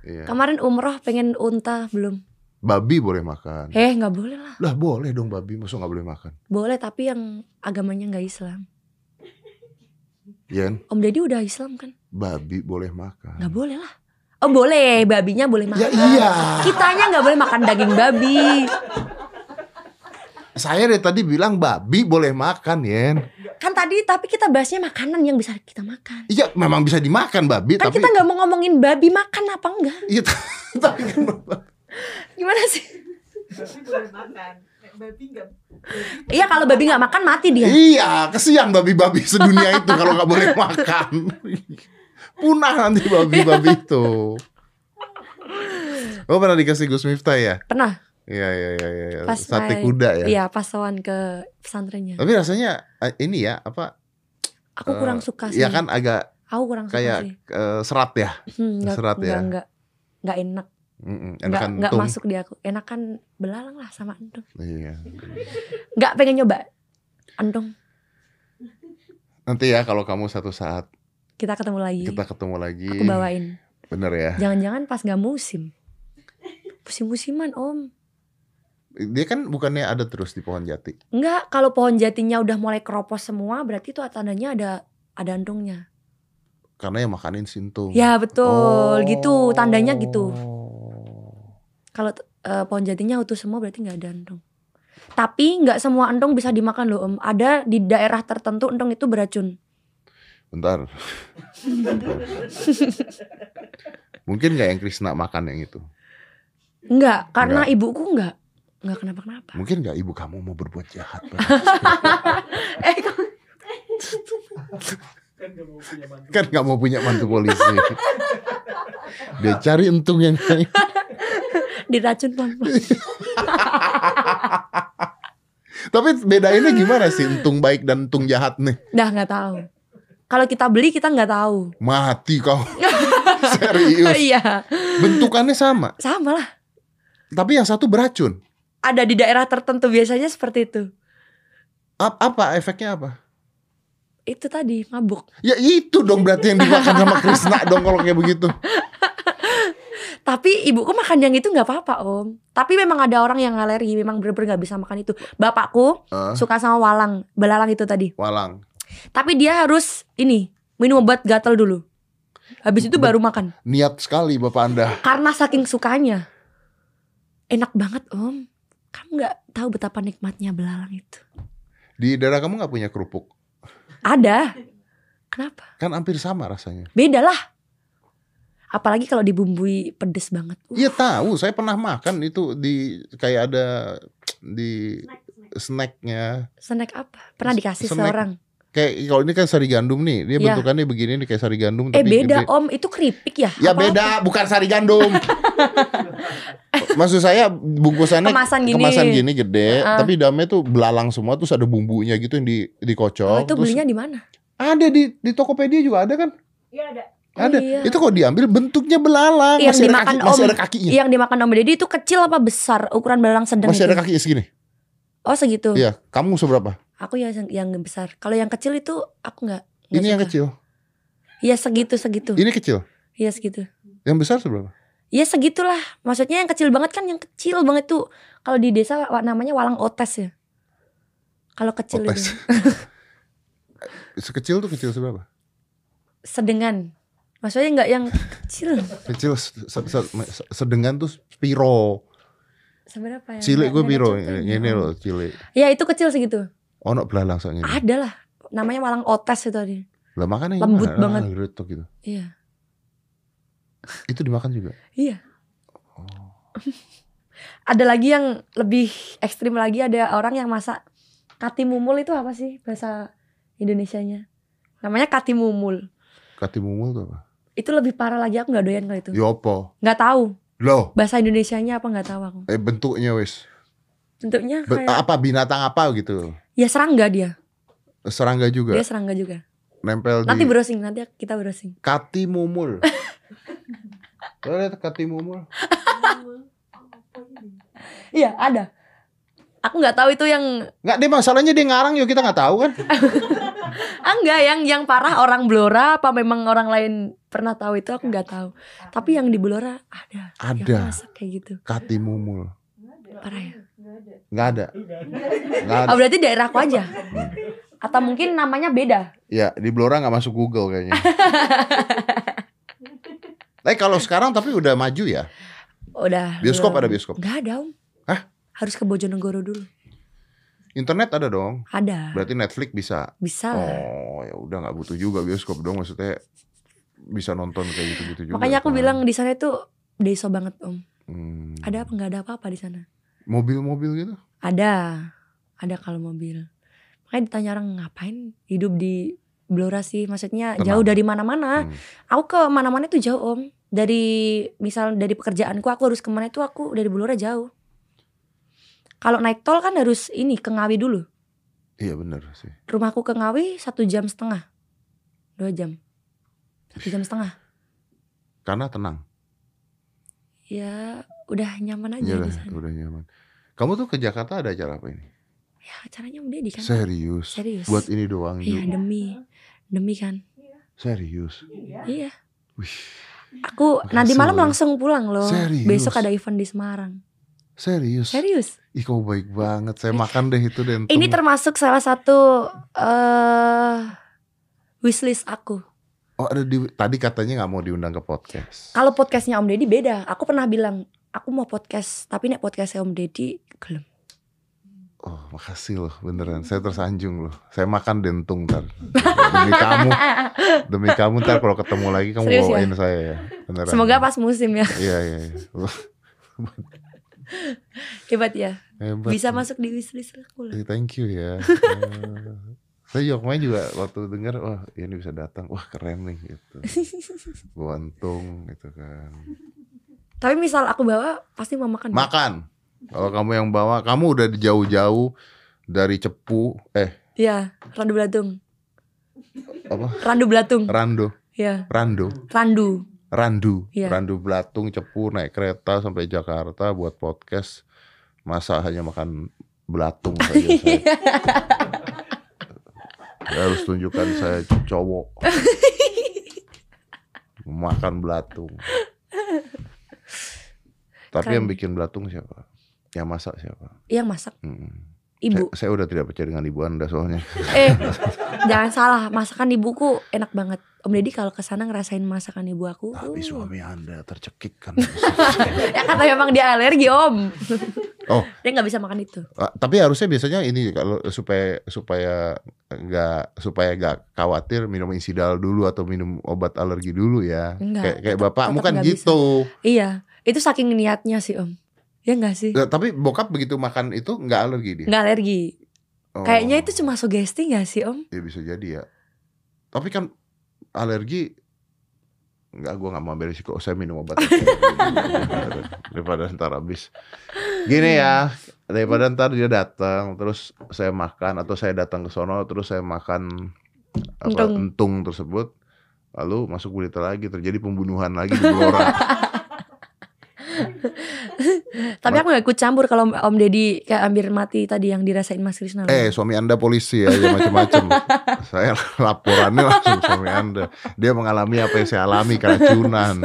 A: Iya.
B: Kemarin umroh pengen unta belum.
A: Babi boleh makan.
B: Eh nggak boleh lah.
A: Lah boleh dong babi, masa nggak boleh makan?
B: Boleh tapi yang agamanya nggak Islam.
A: Yan,
B: Om Deddy udah Islam kan?
A: babi boleh makan.
B: Nggak boleh lah. Oh boleh, babinya boleh makan.
A: Ya iya.
B: Kitanya nggak boleh makan daging babi.
A: Saya dari tadi bilang babi boleh makan, Yen.
B: Kan tadi tapi kita bahasnya makanan yang bisa kita makan.
A: Iya, memang bisa dimakan babi,
B: Kan
A: tapi
B: kita nggak mau ngomongin babi makan apa enggak?
A: Iya, tapi kan
B: Gimana sih?
D: Babi boleh makan. Babi enggak.
B: Iya kalau babi nggak makan mati dia.
A: Iya, kesian babi-babi sedunia itu kalau nggak boleh makan. Punah nanti babi-babi itu. Oh pernah dikasih Gus Miftah ya?
B: Pernah.
A: Iya iya iya. iya, iya.
B: Pas
A: Sate
B: naik-
A: kuda ya.
B: Iya pas sowan ke pesantrennya.
A: Tapi rasanya eh, ini ya apa? Eh,
B: Aku kurang suka sih.
A: Ya kan agak
B: Aku kurang suka
A: kayak
B: sih.
A: eh, serat ya.
B: Hmm, nggak-
A: serat ya.
B: nggak- nggak- nggak enak.
A: Mm-mm,
B: Nggak
A: Enakan
B: nggak
A: tung.
B: masuk di aku. Enakan belalang lah sama andong.
A: Iya.
B: Nggak pengen nyoba. Andong
A: Nanti ya kalau kamu satu saat
B: kita ketemu lagi.
A: kita ketemu lagi.
B: Iya. Aku bawain.
A: Bener ya.
B: Jangan-jangan pas nggak musim. Musim-musiman om.
A: Dia kan bukannya ada terus di pohon jati.
B: Enggak, kalau pohon jatinya udah mulai keropos semua, berarti itu tandanya ada ada andongnya.
A: Karena yang makanin sintung.
B: Ya betul, gitu tandanya gitu. Kalau eh, pohon jatinya utuh semua berarti nggak ada entong. Tapi nggak semua entong bisa dimakan loh om. Ada di daerah tertentu entong itu beracun.
A: Bentar. Bentar. Mungkin nggak yang Krisna makan yang itu.
B: Enggak, karena ibuku enggak. Enggak kenapa-kenapa.
A: Mungkin nggak ibu kamu mau berbuat jahat? Pak?
B: eh, kamu-
E: kan gak mau punya mantu
A: kan nggak mau punya mantu polisi. Dia cari untung yang lain.
B: diracun pelan-pelan.
A: Tapi bedainnya gimana sih untung baik dan untung jahat nih?
B: Dah nggak tahu. Kalau kita beli kita nggak tahu.
A: Mati kau. Serius.
B: Iya,
A: Bentukannya sama,
B: sama lah.
A: tapi yang satu beracun.
B: Ada di daerah tertentu biasanya seperti itu.
A: Ap- apa efeknya apa?
B: Itu tadi mabuk.
A: Ya itu dong berarti yang dimakan sama Krisna dong kalau kayak begitu.
B: Tapi ibuku makan yang itu nggak apa-apa om. Tapi memang ada orang yang alergi, memang bener-bener nggak bisa makan itu. Bapakku
A: Eh,
B: suka sama walang, belalang itu tadi.
A: walang.
B: Tapi dia harus ini minum obat gatel dulu. Habis itu baru makan.
A: Niat sekali bapak anda.
B: Karena saking sukanya. Enak banget om. Kamu nggak tahu betapa nikmatnya belalang itu.
A: Di daerah kamu nggak punya kerupuk?
B: Ada. Kenapa?
A: Kan hampir sama rasanya.
B: Beda lah. Apalagi kalau dibumbui pedes banget. Uh,
A: Iya tahu, saya pernah makan itu di kayak ada di snacknya.
B: Snack apa? Pernah dikasih
A: Snack.
B: seorang.
A: Kayak kalau ini kan sari gandum nih, dia
B: Iya.
A: bentukannya begini nih kayak sari gandum.
B: Eh beda
A: gede.
B: om, itu keripik ya?
A: Ya
B: Apa-
A: beda, bukan sari gandum. Maksud saya bungkusannya
B: Kemasan gini.
A: kemasan gini gede,
B: Heeh.
A: tapi dalamnya tuh belalang semua terus ada bumbunya gitu yang di
B: Oh,
A: dikocok.
B: itu
A: terus
B: belinya di mana?
A: ada di di Tokopedia juga ada kan?
D: Iya ada.
B: Oh,
A: ada.
B: iya.
A: Itu kalau diambil bentuknya belalang,
B: Yang
A: masih ada
B: dimakan
A: kaki, masih
B: om. Iya,
A: ada kakinya.
B: Yang dimakan Om Deddy itu kecil apa besar? Ukuran belalang sedang
A: iya. Masih
B: itu?
A: ada kakinya segini.
B: Oh segitu.
A: Iya, kamu seberapa?
B: Aku yang yang besar. Kalau yang kecil itu aku nggak. nggak
A: Ini yang
B: suka.
A: kecil.
B: Iya segitu segitu.
A: Ini kecil.
B: Iya segitu.
A: Yang besar seberapa?
B: Iya segitulah. Maksudnya yang kecil banget kan yang kecil banget tuh. Kalau di desa wa- namanya walang otes ya. Kalau kecil
A: Otes.
B: itu.
A: Oh, Sekecil tuh kecil seberapa?
B: Sedengan. Maksudnya nggak yang kecil.
A: Kecil se- se- se- sedengan tuh piro.
B: Seberapa ya?
A: Cilik gue
B: Nggak- nggak
A: piro
B: ada contohnya.
A: ini loh cilik.
B: Ya itu kecil segitu.
A: Ono belalang soalnya. ini.
B: Ada lah. Namanya walang otes itu tadi.
A: Lah makannya
B: Lembut
A: gimana?
B: banget.
A: Ah, geretok gitu.
B: Iya.
A: Itu dimakan juga.
B: Iya.
A: Oh.
B: Ada lagi yang lebih ekstrim lagi ada orang yang masak kati mumul itu apa sih bahasa Indonesianya? Namanya kati mumul.
A: Kati mumul tuh apa?
B: Itu lebih parah lagi aku nggak doyan kalau itu.
A: Yopo.
B: Nggak tahu
A: Loh,
B: bahasa Indonesianya apa nggak tahu aku.
A: eh bentuknya wes.
B: Bentuknya
A: Be-
B: kayak
A: apa binatang apa gitu.
B: ya serangga dia.
A: Serangga juga
B: Dia serangga juga.
A: nempel
B: Nanti
A: di
B: browsing, nanti kita browsing.
A: kati mumul. Lo lihat kati mumul.
B: Iya, ada. Aku nggak tahu itu yang
A: Enggak deh masalahnya dia ngarang yuk kita nggak tahu kan.
B: ah enggak yang yang parah orang Blora apa memang orang lain pernah tahu itu aku nggak tahu. Tapi yang di Blora ada. Yang
A: Ada
B: masak kayak gitu.
A: kati mumul.
B: Parah ya.
D: Enggak ada.
A: Enggak ada. Enggak ada.
B: Oh, berarti daerahku aja. Atau mungkin namanya beda.
A: Ya di Blora nggak masuk Google kayaknya. Eh kalau sekarang tapi udah maju ya.
B: Udah.
A: Bioskop
B: belum.
A: ada bioskop.
B: Nggak ada, Om.
A: Hah?
B: Harus ke Bojonegoro dulu.
A: Internet ada dong.
B: Ada.
A: Berarti Netflix bisa.
B: Bisa lah.
A: Oh ya udah nggak butuh juga bioskop dong maksudnya bisa nonton kayak gitu-gitu juga.
B: Makanya aku
A: kan.
B: bilang di sana itu deso banget, Om.
A: Hmm.
B: Ada apa nggak ada apa-apa di sana?
A: mobil-mobil gitu.
B: Ada, ada kalau mobil. Makanya ditanya orang ngapain hidup di Blora sih, maksudnya
A: Tenang.
B: jauh dari mana-mana.
A: Hmm.
B: Aku ke mana-mana itu jauh om. Dari misal dari pekerjaanku aku harus kemana itu aku dari Blora jauh. Kalau naik tol kan harus ini ke Ngawi dulu.
A: Iya bener sih.
B: Rumahku ke Ngawi satu jam setengah, dua jam, satu jam setengah.
A: Karena tenang.
B: Ya udah nyaman aja
A: Iya
B: di
A: lah,
B: sana.
A: udah nyaman. Kamu tuh ke Jakarta ada acara apa ini?
B: Ya caranya udah di kan.
A: Serius.
B: Serius.
A: Buat ini doang. Ju.
B: Iya demi demi kan.
A: Serius.
D: Iya.
B: Iya.
A: Wih.
B: Aku
A: Makasih
B: nanti malam
A: loh.
B: langsung pulang loh.
A: Oh, Serius?
B: Besok ada event di Semarang.
A: Serius.
B: Serius.
A: Ih kamu baik banget. Saya makan deh itu dan
B: Ini termasuk salah satu eh wishlist aku.
A: Oh, ada di tadi katanya nggak mau diundang ke podcast.
B: Kalau podcastnya Om Deddy beda. Aku pernah bilang aku mau podcast, tapi nek podcastnya Om Deddy gelem.
A: Oh, makasih loh, beneran. Saya tersanjung loh. Saya makan dentung ntar. Demi kamu, demi kamu ntar kalau ketemu lagi kamu
B: Serius ya?
A: bawain saya ya. Beneran.
B: Semoga pas musim ya.
A: Iya iya. iya.
B: Hebat ya.
A: Hebat.
B: Bisa masuk di wishlist aku lah.
A: Eh, Thank you ya. Eh, Saya Yokmai juga waktu dengar wah ini bisa datang, wah keren nih gitu. Gua untung gitu kan.
B: Tapi misal aku bawa pasti mama kan makan.
A: Makan. Kalau kamu yang bawa, kamu udah di jauh-jauh dari Cepu, eh
B: Iya, randu belatung.
A: apa?
B: Randu belatung.
A: Rando,
B: Iya,
A: Rando,
B: randu.
A: Randu,
B: Iya.
A: Randu Belatung Cepu naik kereta sampai Jakarta buat podcast. Masa hanya makan belatung saja.
B: Iya.
A: saya. Saya harus tunjukkan saya cowok. Makan belatung. Tapi
B: Keren.
A: yang bikin belatung siapa? Yang masak siapa?
B: Yang masak
A: Mm-mm.
B: ibu.
A: Saya, saya udah tidak percaya dengan ibu anda soalnya.
B: Eh, jangan salah, masakan ibuku enak banget. Om Deddy kalau kesana ngerasain masakan ibu aku.
A: Tapi
B: uh.
A: suami anda tercekik kan.
B: ya kata memang dia alergi om.
A: Oh.
B: dia nggak bisa makan itu.
A: Ah, Tapi harusnya biasanya ini kalau supaya supaya nggak supaya nggak khawatir minum insidal dulu atau minum obat alergi dulu ya.
B: Enggak,
A: kayak kayak
B: tetep-
A: bapakmu
B: tetep
A: kan
B: nggak
A: gitu.
B: Iya, itu saking niatnya sih om. Ya nggak sih?
A: Nah, tapi bokap begitu makan itu nggak alergi dia.
B: Nggak alergi.
A: Oh.
B: Kayaknya itu cuma sugesti nggak sih om?
A: Ya bisa jadi ya. Tapi kan alergi nggak gua nggak mau ambil risiko saya minum obat daripada ntar habis gini ya daripada ntar dia datang terus saya makan atau saya datang ke sono terus saya makan apa,
B: Entung.
A: entung tersebut lalu masuk berita lagi terjadi pembunuhan lagi di Blora
B: Tapi aku nggak ikut campur kalau om Deddy kayak hampir mati tadi yang dirasain Mas Krisna.
A: eh suami anda polisi ya ya macam-macam saya laporannya langsung suami anda dia mengalami apa yang saya alami keracunan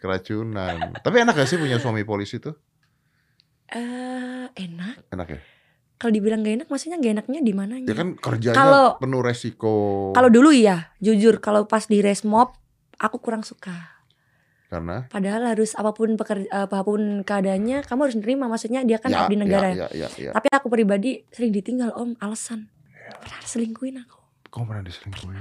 A: keracunan tapi enak gak sih punya suami polisi tuh
B: Eh, enak.
A: enak ya
B: Kalau dibilang gak enak, maksudnya gak enaknya di mananya?
A: Ya kan kerjanya
B: Kalau-
A: penuh resiko.
B: Kalau dulu iya, jujur kalau pas di resmob aku kurang suka.
A: karena
B: Padahal harus apapun pekerja, apapun keadaannya kamu harus nerima. Maksudnya dia kan abdi negara.
A: Ya, ya, ya, ya.
B: Tapi aku pribadi sering ditinggal om alasan. Pernah selingkuhin aku.
A: Kok pernah diselingkuhin?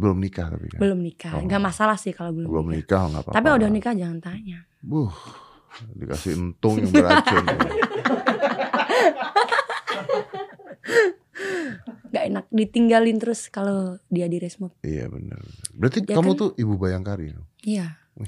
A: Belum nikah tapi kan.
B: Belum nikah.
A: Oh.
B: Gak masalah sih kalau belum,
A: Belum
B: nikah.
A: nikah Oh. nggak apa-apa.
B: Tapi udah nikah jangan tanya.
A: Buh, dikasih entung yang beracun.
B: Gak enak ditinggalin terus kalau dia di resmob.
A: iya benar. benar. Berarti
B: Ya
A: kamu
B: kan?
A: tuh ibu bayangkari. dong?
B: Iya.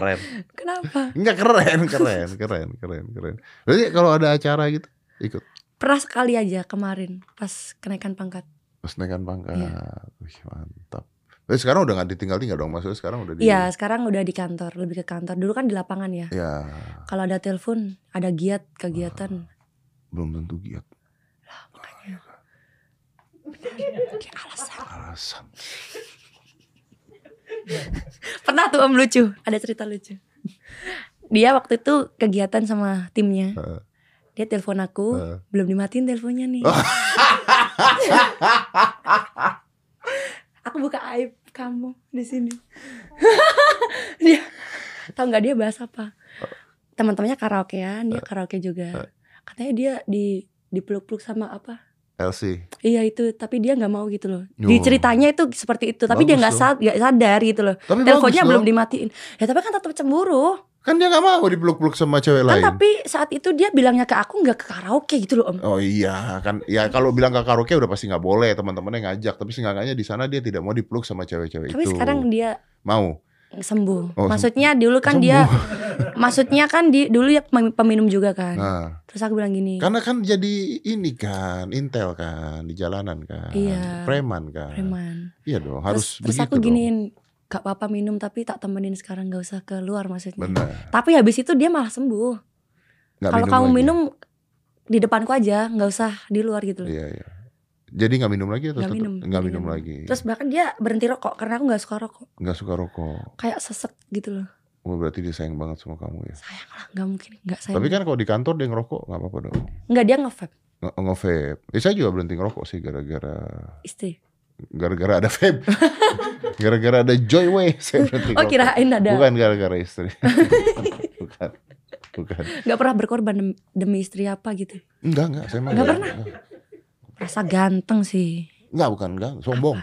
A: Keren.
B: Kenapa?
A: Enggak keren, keren, keren, keren, keren. Berarti kalau ada acara gitu ikut
B: Pernah sekali aja kemarin pas kenaikan pangkat.
A: Terus naikkan pangkat.
B: Iya.
A: kan Wih, mantap. Tapi sekarang udah nggak ditinggal-tinggal dong maksudnya sekarang udah di
B: Iya, sekarang udah di kantor, lebih ke kantor. Dulu kan di lapangan ya.
A: Ya,
B: Kalau ada telepon, ada giat kegiatan.
A: belum tentu giat
B: Kayak alasan.
A: alasan.
B: Pernah tuh om lucu, ada cerita lucu. Dia waktu itu kegiatan sama timnya.
A: Heeh.
B: Dia telepon aku,
A: Heeh. Oh.
B: belum dimatiin teleponnya nih. aku buka aib kamu di sini. dia tau nggak dia bahas apa? Teman-temannya karaokean, dia karaoke juga. Katanya dia di dipeluk-peluk sama apa?
A: Elsie.
B: Iya itu, tapi dia nggak mau gitu loh.
A: Yo.
B: Di ceritanya itu seperti itu, tapi dia
A: Bagus
B: nggak
A: dong.
B: sad- nggak sadar gitu loh.
A: Tapi
B: Teleponnya
A: bagus
B: belum
A: dong.
B: dimatiin. Ya tapi kan tetap cemburu.
A: Kan dia gak mau dipeluk-peluk sama cewek
B: Kan
A: lain.
B: tapi saat itu dia bilangnya ke aku nggak ke karaoke gitu loh om.
A: Oh iya kan ya kalau bilang gak karaoke udah pasti nggak boleh teman-temannya ngajak tapi seenggaknya di sana dia tidak mau dipeluk sama cewek-cewek
B: Tapi
A: itu.
B: sekarang dia
A: mau.
B: sembuh.
A: Oh, sem-
B: maksudnya dulu kan dia, maksudnya kan di dulu ya pem- peminum juga kan.
A: Nah,
B: Terus aku bilang gini,
A: karena kan jadi ini kan intel kan di jalanan kan.
B: Iya.
A: Preman kan.
B: preman.
A: Iya dong
B: Terus,
A: harus
B: terus
A: begitu
B: aku ya.
A: dong.
B: giniin, gak apa-apa minum tapi tak temenin sekarang gak usah keluar maksudnya.
A: Benar.
B: Tapi habis itu dia malah sembuh.
A: Nggak
B: Kalau kamu
A: lagi.
B: minum di depanku aja, nggak usah di luar gitu loh.
A: Iya iya. Jadi nggak minum lagi atau
B: Nggak
A: tetap-
B: minum.
A: nggak minum lagi.
B: Terus bahkan dia berhenti rokok karena aku nggak suka rokok.
A: nggak suka rokok.
B: Kayak sesek gitu loh.
A: Wah berarti dia sayang banget sama kamu ya.
B: Sayang lah, nggak mungkin nggak sayang.
A: Tapi kan kalau di kantor dia ngerokok nggak apa-apa dong.
B: Nggak dia nge-vape
A: Nge- Nge-vape. Eh, saya juga berhenti ngerokok sih gara-gara
B: istri.
A: gara-gara ada vape gara-gara ada joyway saya berhenti
B: Oh
A: ngerokok.
B: kirain ada
A: bukan gara-gara istri bukan bukan
B: nggak pernah berkorban dem- demi istri apa gitu.
A: enggak enggak saya emang
B: Enggak
A: enggak-
B: pernah.
A: enggak.
B: Rasa ganteng sih.
A: enggak bukan enggak sombong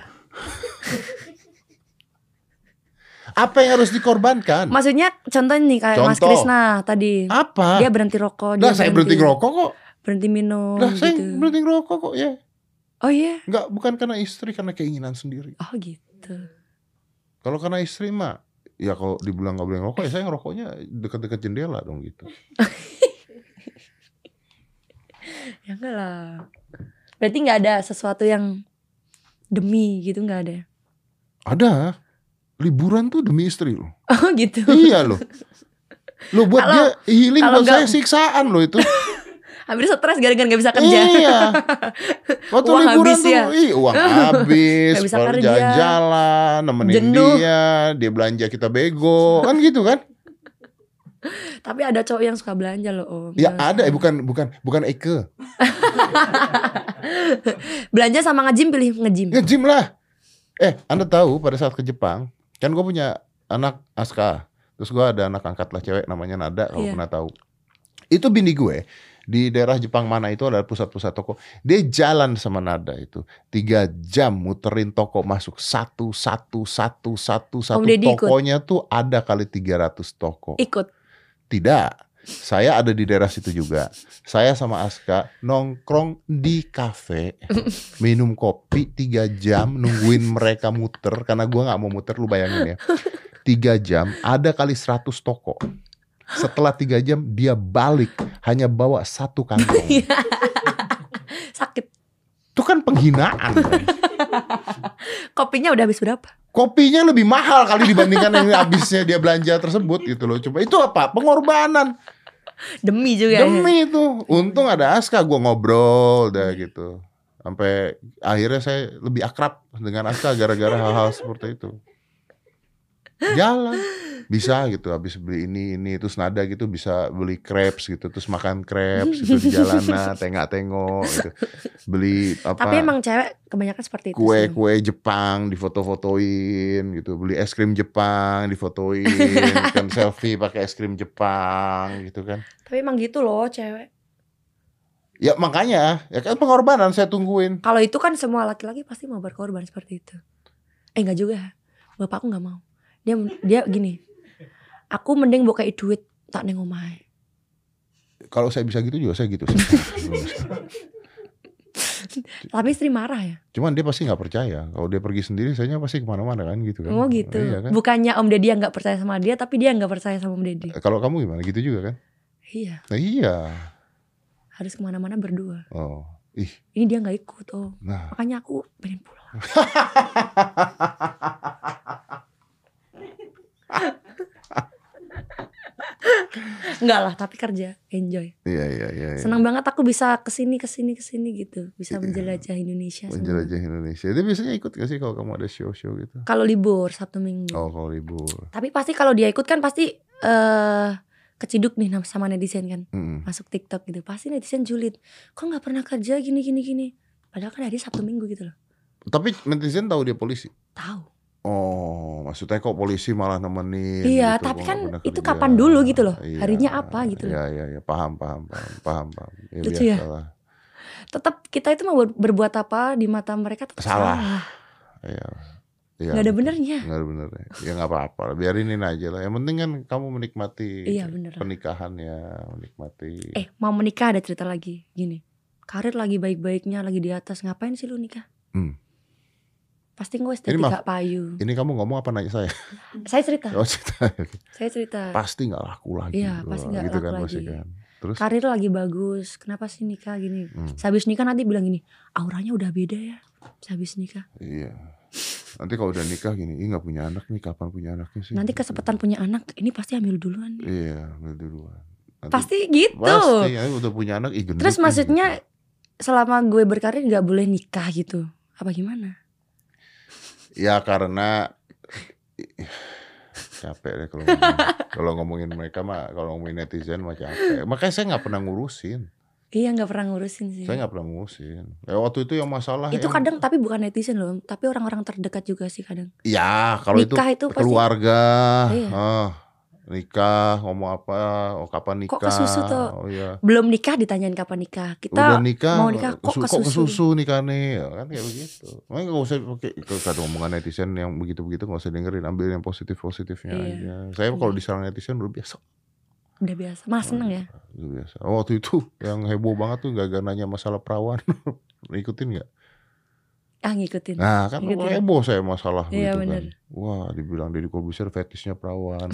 A: Apa yang harus dikorbankan?
B: Maksudnya contoh nih kayak Mas
A: Contoh.
B: Krisna tadi.
A: Apa?
B: Dia berhenti rokok,
A: Lah
B: dia
A: saya berhenti ngerokok kok.
B: berhenti minum
A: Lah saya
B: gitu.
A: berhenti ngerokok kok ya.
B: Oh iya.
A: Enggak bukan karena istri karena keinginan sendiri.
B: Oh gitu.
A: Kalau karena istri mah ya kalau dibilang nggak boleh ngerokok ya saya ngerokoknya dekat-dekat jendela dong gitu.
B: Ya enggak lah. Berarti nggak ada sesuatu yang demi gitu nggak ada.
A: Ada liburan tuh demi istri loh.
B: Oh gitu.
A: iya loh. Lo buat
B: Kalau-
A: dia healing
B: kalau
A: buat
B: nggak-
A: saya siksaan loh itu.
B: Hampir stres gara-gara nggak bisa kerja.
A: Iya. Waktu
B: Uang
A: liburan
B: habis
A: tuh,
B: ya?
A: ih, uang habis,
B: Nggak bisa
A: kalau
B: kerja.
A: jalan-jalan, nemenin
B: Jenuh.
A: dia, dia belanja kita bego, kan gitu kan?
B: Tapi ada cowok yang suka belanja loh om.
A: Ya ada, eh, bukan bukan bukan Eke,
B: Belanja sama ngejim pilih ngejim.
A: ngejim Ya, lah. Eh, anda tahu pada saat ke Jepang, kan gue punya anak Aska, terus gue ada anak angkat lah cewek namanya Nada kalau
B: Iya.
A: pernah tahu. Itu bini gue di daerah Jepang mana itu ada pusat-pusat toko. Dia jalan sama Nada itu tiga jam muterin toko masuk satu satu satu satu satu
B: Deddy ikut.
A: tokonya tuh ada kali 300 toko.
B: Ikut.
A: Tidak. Saya ada di daerah situ juga. Saya sama Aska nongkrong di kafe, minum kopi tiga jam, nungguin mereka muter karena gua nggak mau muter. Lu bayangin ya, tiga jam ada kali 100 toko. Setelah tiga jam dia balik hanya bawa satu kantong.
B: Sakit.
A: Itu kan penghinaan. Bang.
B: Kopinya udah habis berapa?
A: Kopinya lebih mahal kali dibandingkan yang habisnya dia belanja tersebut gitu loh. Coba itu apa? Pengorbanan.
B: Demi juga. ya.
A: Demi itu. Untung ada Aska gue ngobrol dah gitu. Sampai akhirnya saya lebih akrab dengan Aska gara-gara hal-hal seperti itu. Jalan bisa gitu habis beli ini ini terus nada gitu bisa beli crepes gitu terus makan crepes gitu di jalanan tengok-tengok gitu beli apa
B: Tapi emang cewek kebanyakan seperti itu. sih.
A: kue-kue Jepang difoto-fotoin gitu, beli es krim Jepang difotoin, kan selfie pakai es krim Jepang gitu kan.
B: Tapi emang gitu loh cewek.
A: Ya makanya, ya kan pengorbanan saya tungguin.
B: Kalau itu kan semua laki-laki pasti mau berkorban seperti itu. Eh nggak juga. Bapakku nggak mau. Dia dia gini. Aku mending buka duit tak neng omahe.
A: Kalau saya bisa gitu juga saya gitu. sih.
B: Tapi istri marah ya.
A: Cuman dia pasti nggak percaya. Kalau dia pergi sendiri, saya pasti kemana-mana kan gitu kan.
B: Oh gitu.
A: Iya kan.
B: Bukannya Om Deddy yang nggak percaya sama dia, tapi dia yang nggak percaya sama Om Deddy.
A: Kalau kamu gimana? Gitu juga kan?
B: Iya,
A: Nah, iya.
B: harus kemana-mana berdua.
A: Oh, ih.
B: Ini dia nggak ikut, Om.
A: Nah,
B: Makanya aku pengen pulang. Enggak lah, tapi kerja, enjoy.
A: iya iya iya. iya.
B: Senang banget aku bisa kesini, kesini, kesini gitu. Bisa
A: Iya.
B: menjelajah Indonesia. senang banget.
A: menjelajah Indonesia. Dia biasanya ikut gak sih kalau kamu ada show-show gitu?
B: Kalau libur Sabtu Minggu.
A: Oh, kalau libur.
B: Tapi pasti kalau dia ikut kan pasti eh keciduk nih sama netizen kan.
A: Mm.
B: masuk TikTok gitu pasti netizen julid kok nggak pernah kerja gini gini gini padahal kan hari Sabtu Minggu gitu loh
A: Tapi netizen tahu dia polisi.
B: tahu
A: Oh, maksudnya kok polisi malah nemenin?
B: Iya,
A: gitu,
B: tapi
A: kok
B: kan
A: nggak pernah
B: itu
A: kerja.
B: kapan dulu gitu loh, harinya apa gitu loh.
A: Iya, iya, iya, paham, paham, paham, paham, paham. Ya,
B: Lucu ya?
A: biasalah.
B: tetap kita itu mau ber- berbuat apa di mata mereka tetap
A: Salah.
B: salah,
A: Iya. Iya.
B: nggak ada benernya
A: Nggak ada benernya. Ya nggak apa-apa, lah, biarinin aja lah. Yang penting kan kamu menikmati
B: iya bener lah.
A: pernikahannya, menikmati.
B: eh mau menikah ada cerita lagi gini karir lagi baik-baiknya lagi di atas ngapain sih lu nikah
A: Hmm.
B: pasti gue
A: Ini maaf.
B: estetika payu
A: Ini kamu ngomong apa nanya saya?
B: saya cerita
A: Oh, cerita.
B: saya cerita
A: Pasti nggak laku lagi.
B: Iya,
A: Wah,
B: pasti nggak
A: gitu
B: laku
A: kan, pasti
B: lagi.
A: kan. Terus
B: karir lagi bagus kenapa sih nikah gini
A: Hmm.
B: sehabis nikah nanti bilang gini auranya udah beda ya sehabis nikah
A: iya. Nanti kalau udah nikah gini, ih nggak punya anak nih, kapan punya anaknya sih?
B: nanti kesempatan punya anak ini pasti hamil duluan nih.
A: Iya, nanti duluan. Nanti-
B: pasti gitu
A: Pasti, nanti udah punya anak, ih gendut
B: terus
A: nih,
B: maksudnya
A: gitu.
B: selama gue berkarir nggak boleh nikah gitu apa gimana
A: Ya karena capek deh kalau ngomongin. kalau ngomongin mereka mah kalau ngomongin netizen mah capek makanya saya nggak pernah ngurusin
B: iya nggak pernah ngurusin sih
A: saya nggak ya. pernah ngurusin ya, waktu itu yang masalah
B: itu
A: yang-
B: kadang tapi bukan netizen loh tapi orang-orang terdekat juga sih kadang
A: ya kalau itu
B: nikah itu, pasti
A: keluarga
B: Iya.
A: ah, nikah ngomong apa oh kapan nikah
B: Kok kesusu tuh?
A: oh iya
B: Belum nikah ditanyain kapan
A: udah
B: nikah. Kita
A: nikah
B: mau nikah, kok
A: kesu-
B: kesusu?
A: kesusu nikah nih Ya kan kayak begitu makanya nggak usah pakai kalau kata omongan netizen yang begitu begitu nggak usah dengerin ambil yang positif positifnya
B: Iya.
A: aja saya kalau
B: Iya.
A: diserang netizen udah biasa
B: udah biasa. Mas seneng ya.
A: udah biasa Oh, waktu itu yang heboh banget tuh gak nanya masalah perawan ikutin nggak
B: Ah ngikutin.
A: Nah kan
B: Gitu.
A: heboh saya masalah
B: Iya,
A: gitu
B: bener.
A: kan. Wah dibilang Deddy Corbuzier fetishnya perawan.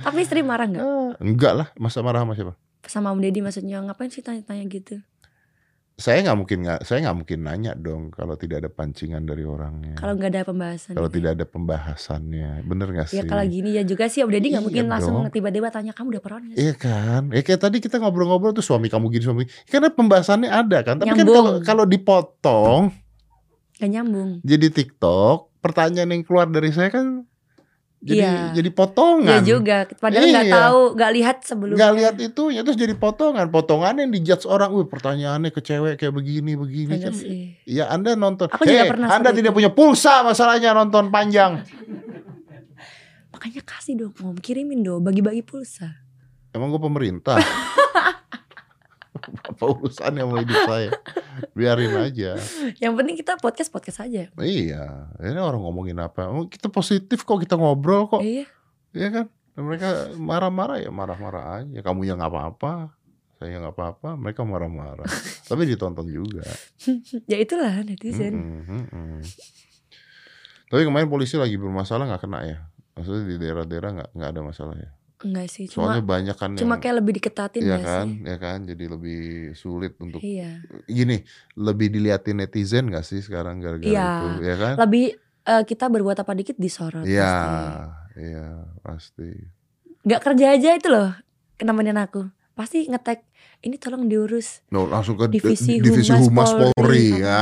B: Tapi istri marah nggak?
A: Eh, Enggak lah masa marah sama siapa?
B: Sama Om Deddy maksudnya ngapain sih tanya-tanya gitu?
A: Saya nggak mungkin nggak saya nggak mungkin nanya dong kalau tidak ada pancingan dari orangnya.
B: Kalau nggak ada pembahasan.
A: Kalau
B: gitu.
A: tidak ada pembahasannya, bener nggak sih?
B: Ya kalau gini ya juga sih Om Deddy nggak
A: Iya
B: mungkin langsung
A: dong.
B: tiba-tiba tanya kamu udah perawan nggak sih?"
A: Iya kan, ya kayak tadi kita ngobrol-ngobrol tuh suami kamu gini suami, karena pembahasannya ada kan. Tapi kan
B: Nyambung.
A: kalau kalau dipotong
B: Gak nyambung.
A: jadi TikTok, pertanyaan yang keluar dari saya kan jadi
B: Iya.
A: jadi potongan.
B: Iya juga. Padahal nggak
A: Iya.
B: tahu, nggak lihat sebelumnya.
A: nggak lihat itunya terus jadi potongan potongan yang dijudge orang wih pertanyaannya ke cewek kayak begini begini
B: Bener
A: kan
B: sih.
A: ya anda nonton
B: Aku juga
A: Hei,
B: pernah
A: anda
B: seperti
A: tidak punya pulsa masalahnya nonton panjang
B: Makanya kasih dong, Om kirimin dong, bagi-bagi pulsa.
A: emang gue pemerintah apa urusannya sama hidup saya biarin aja
B: Yang penting kita podcast podcast aja.
A: iya ini orang ngomongin apa Oh, kita positif kok kita ngobrol kok
B: Iya.
A: Iya kan? Dan mereka marah-marah ya marah-marah aja. Kamu yang nggak apa-apa, saya nggak apa-apa. Mereka marah-marah. Tapi ditonton juga.
B: ya itulah netizen.
A: Mm-mm, mm-mm. Tapi kemarin polisi lagi bermasalah nggak kena ya? Maksudnya di daerah-daerah nggak nggak ada masalah ya?
B: Enggak sih,
A: Soalnya
B: cuma
A: banyak kan
B: cuma
A: yang
B: kayak lebih diketatin
A: Iya
B: nggak
A: kan,
B: sih.
A: ya kan, jadi lebih sulit untuk
B: Iya.
A: gini lebih diliatin netizen gak sih sekarang gara-gara
B: Iya.
A: itu, ya kan?
B: Lebih eh, kita berbuat apa dikit disorot.
A: Iya,
B: pasti.
A: iya pasti.
B: Nggak kerja aja itu loh, nemenin aku. Pasti ngetek. Ini tolong diurus.
A: No, langsung ke
B: Divisi
A: divisi
B: Humas
A: humas, Polri.
B: Polri. Oh.
A: Ya,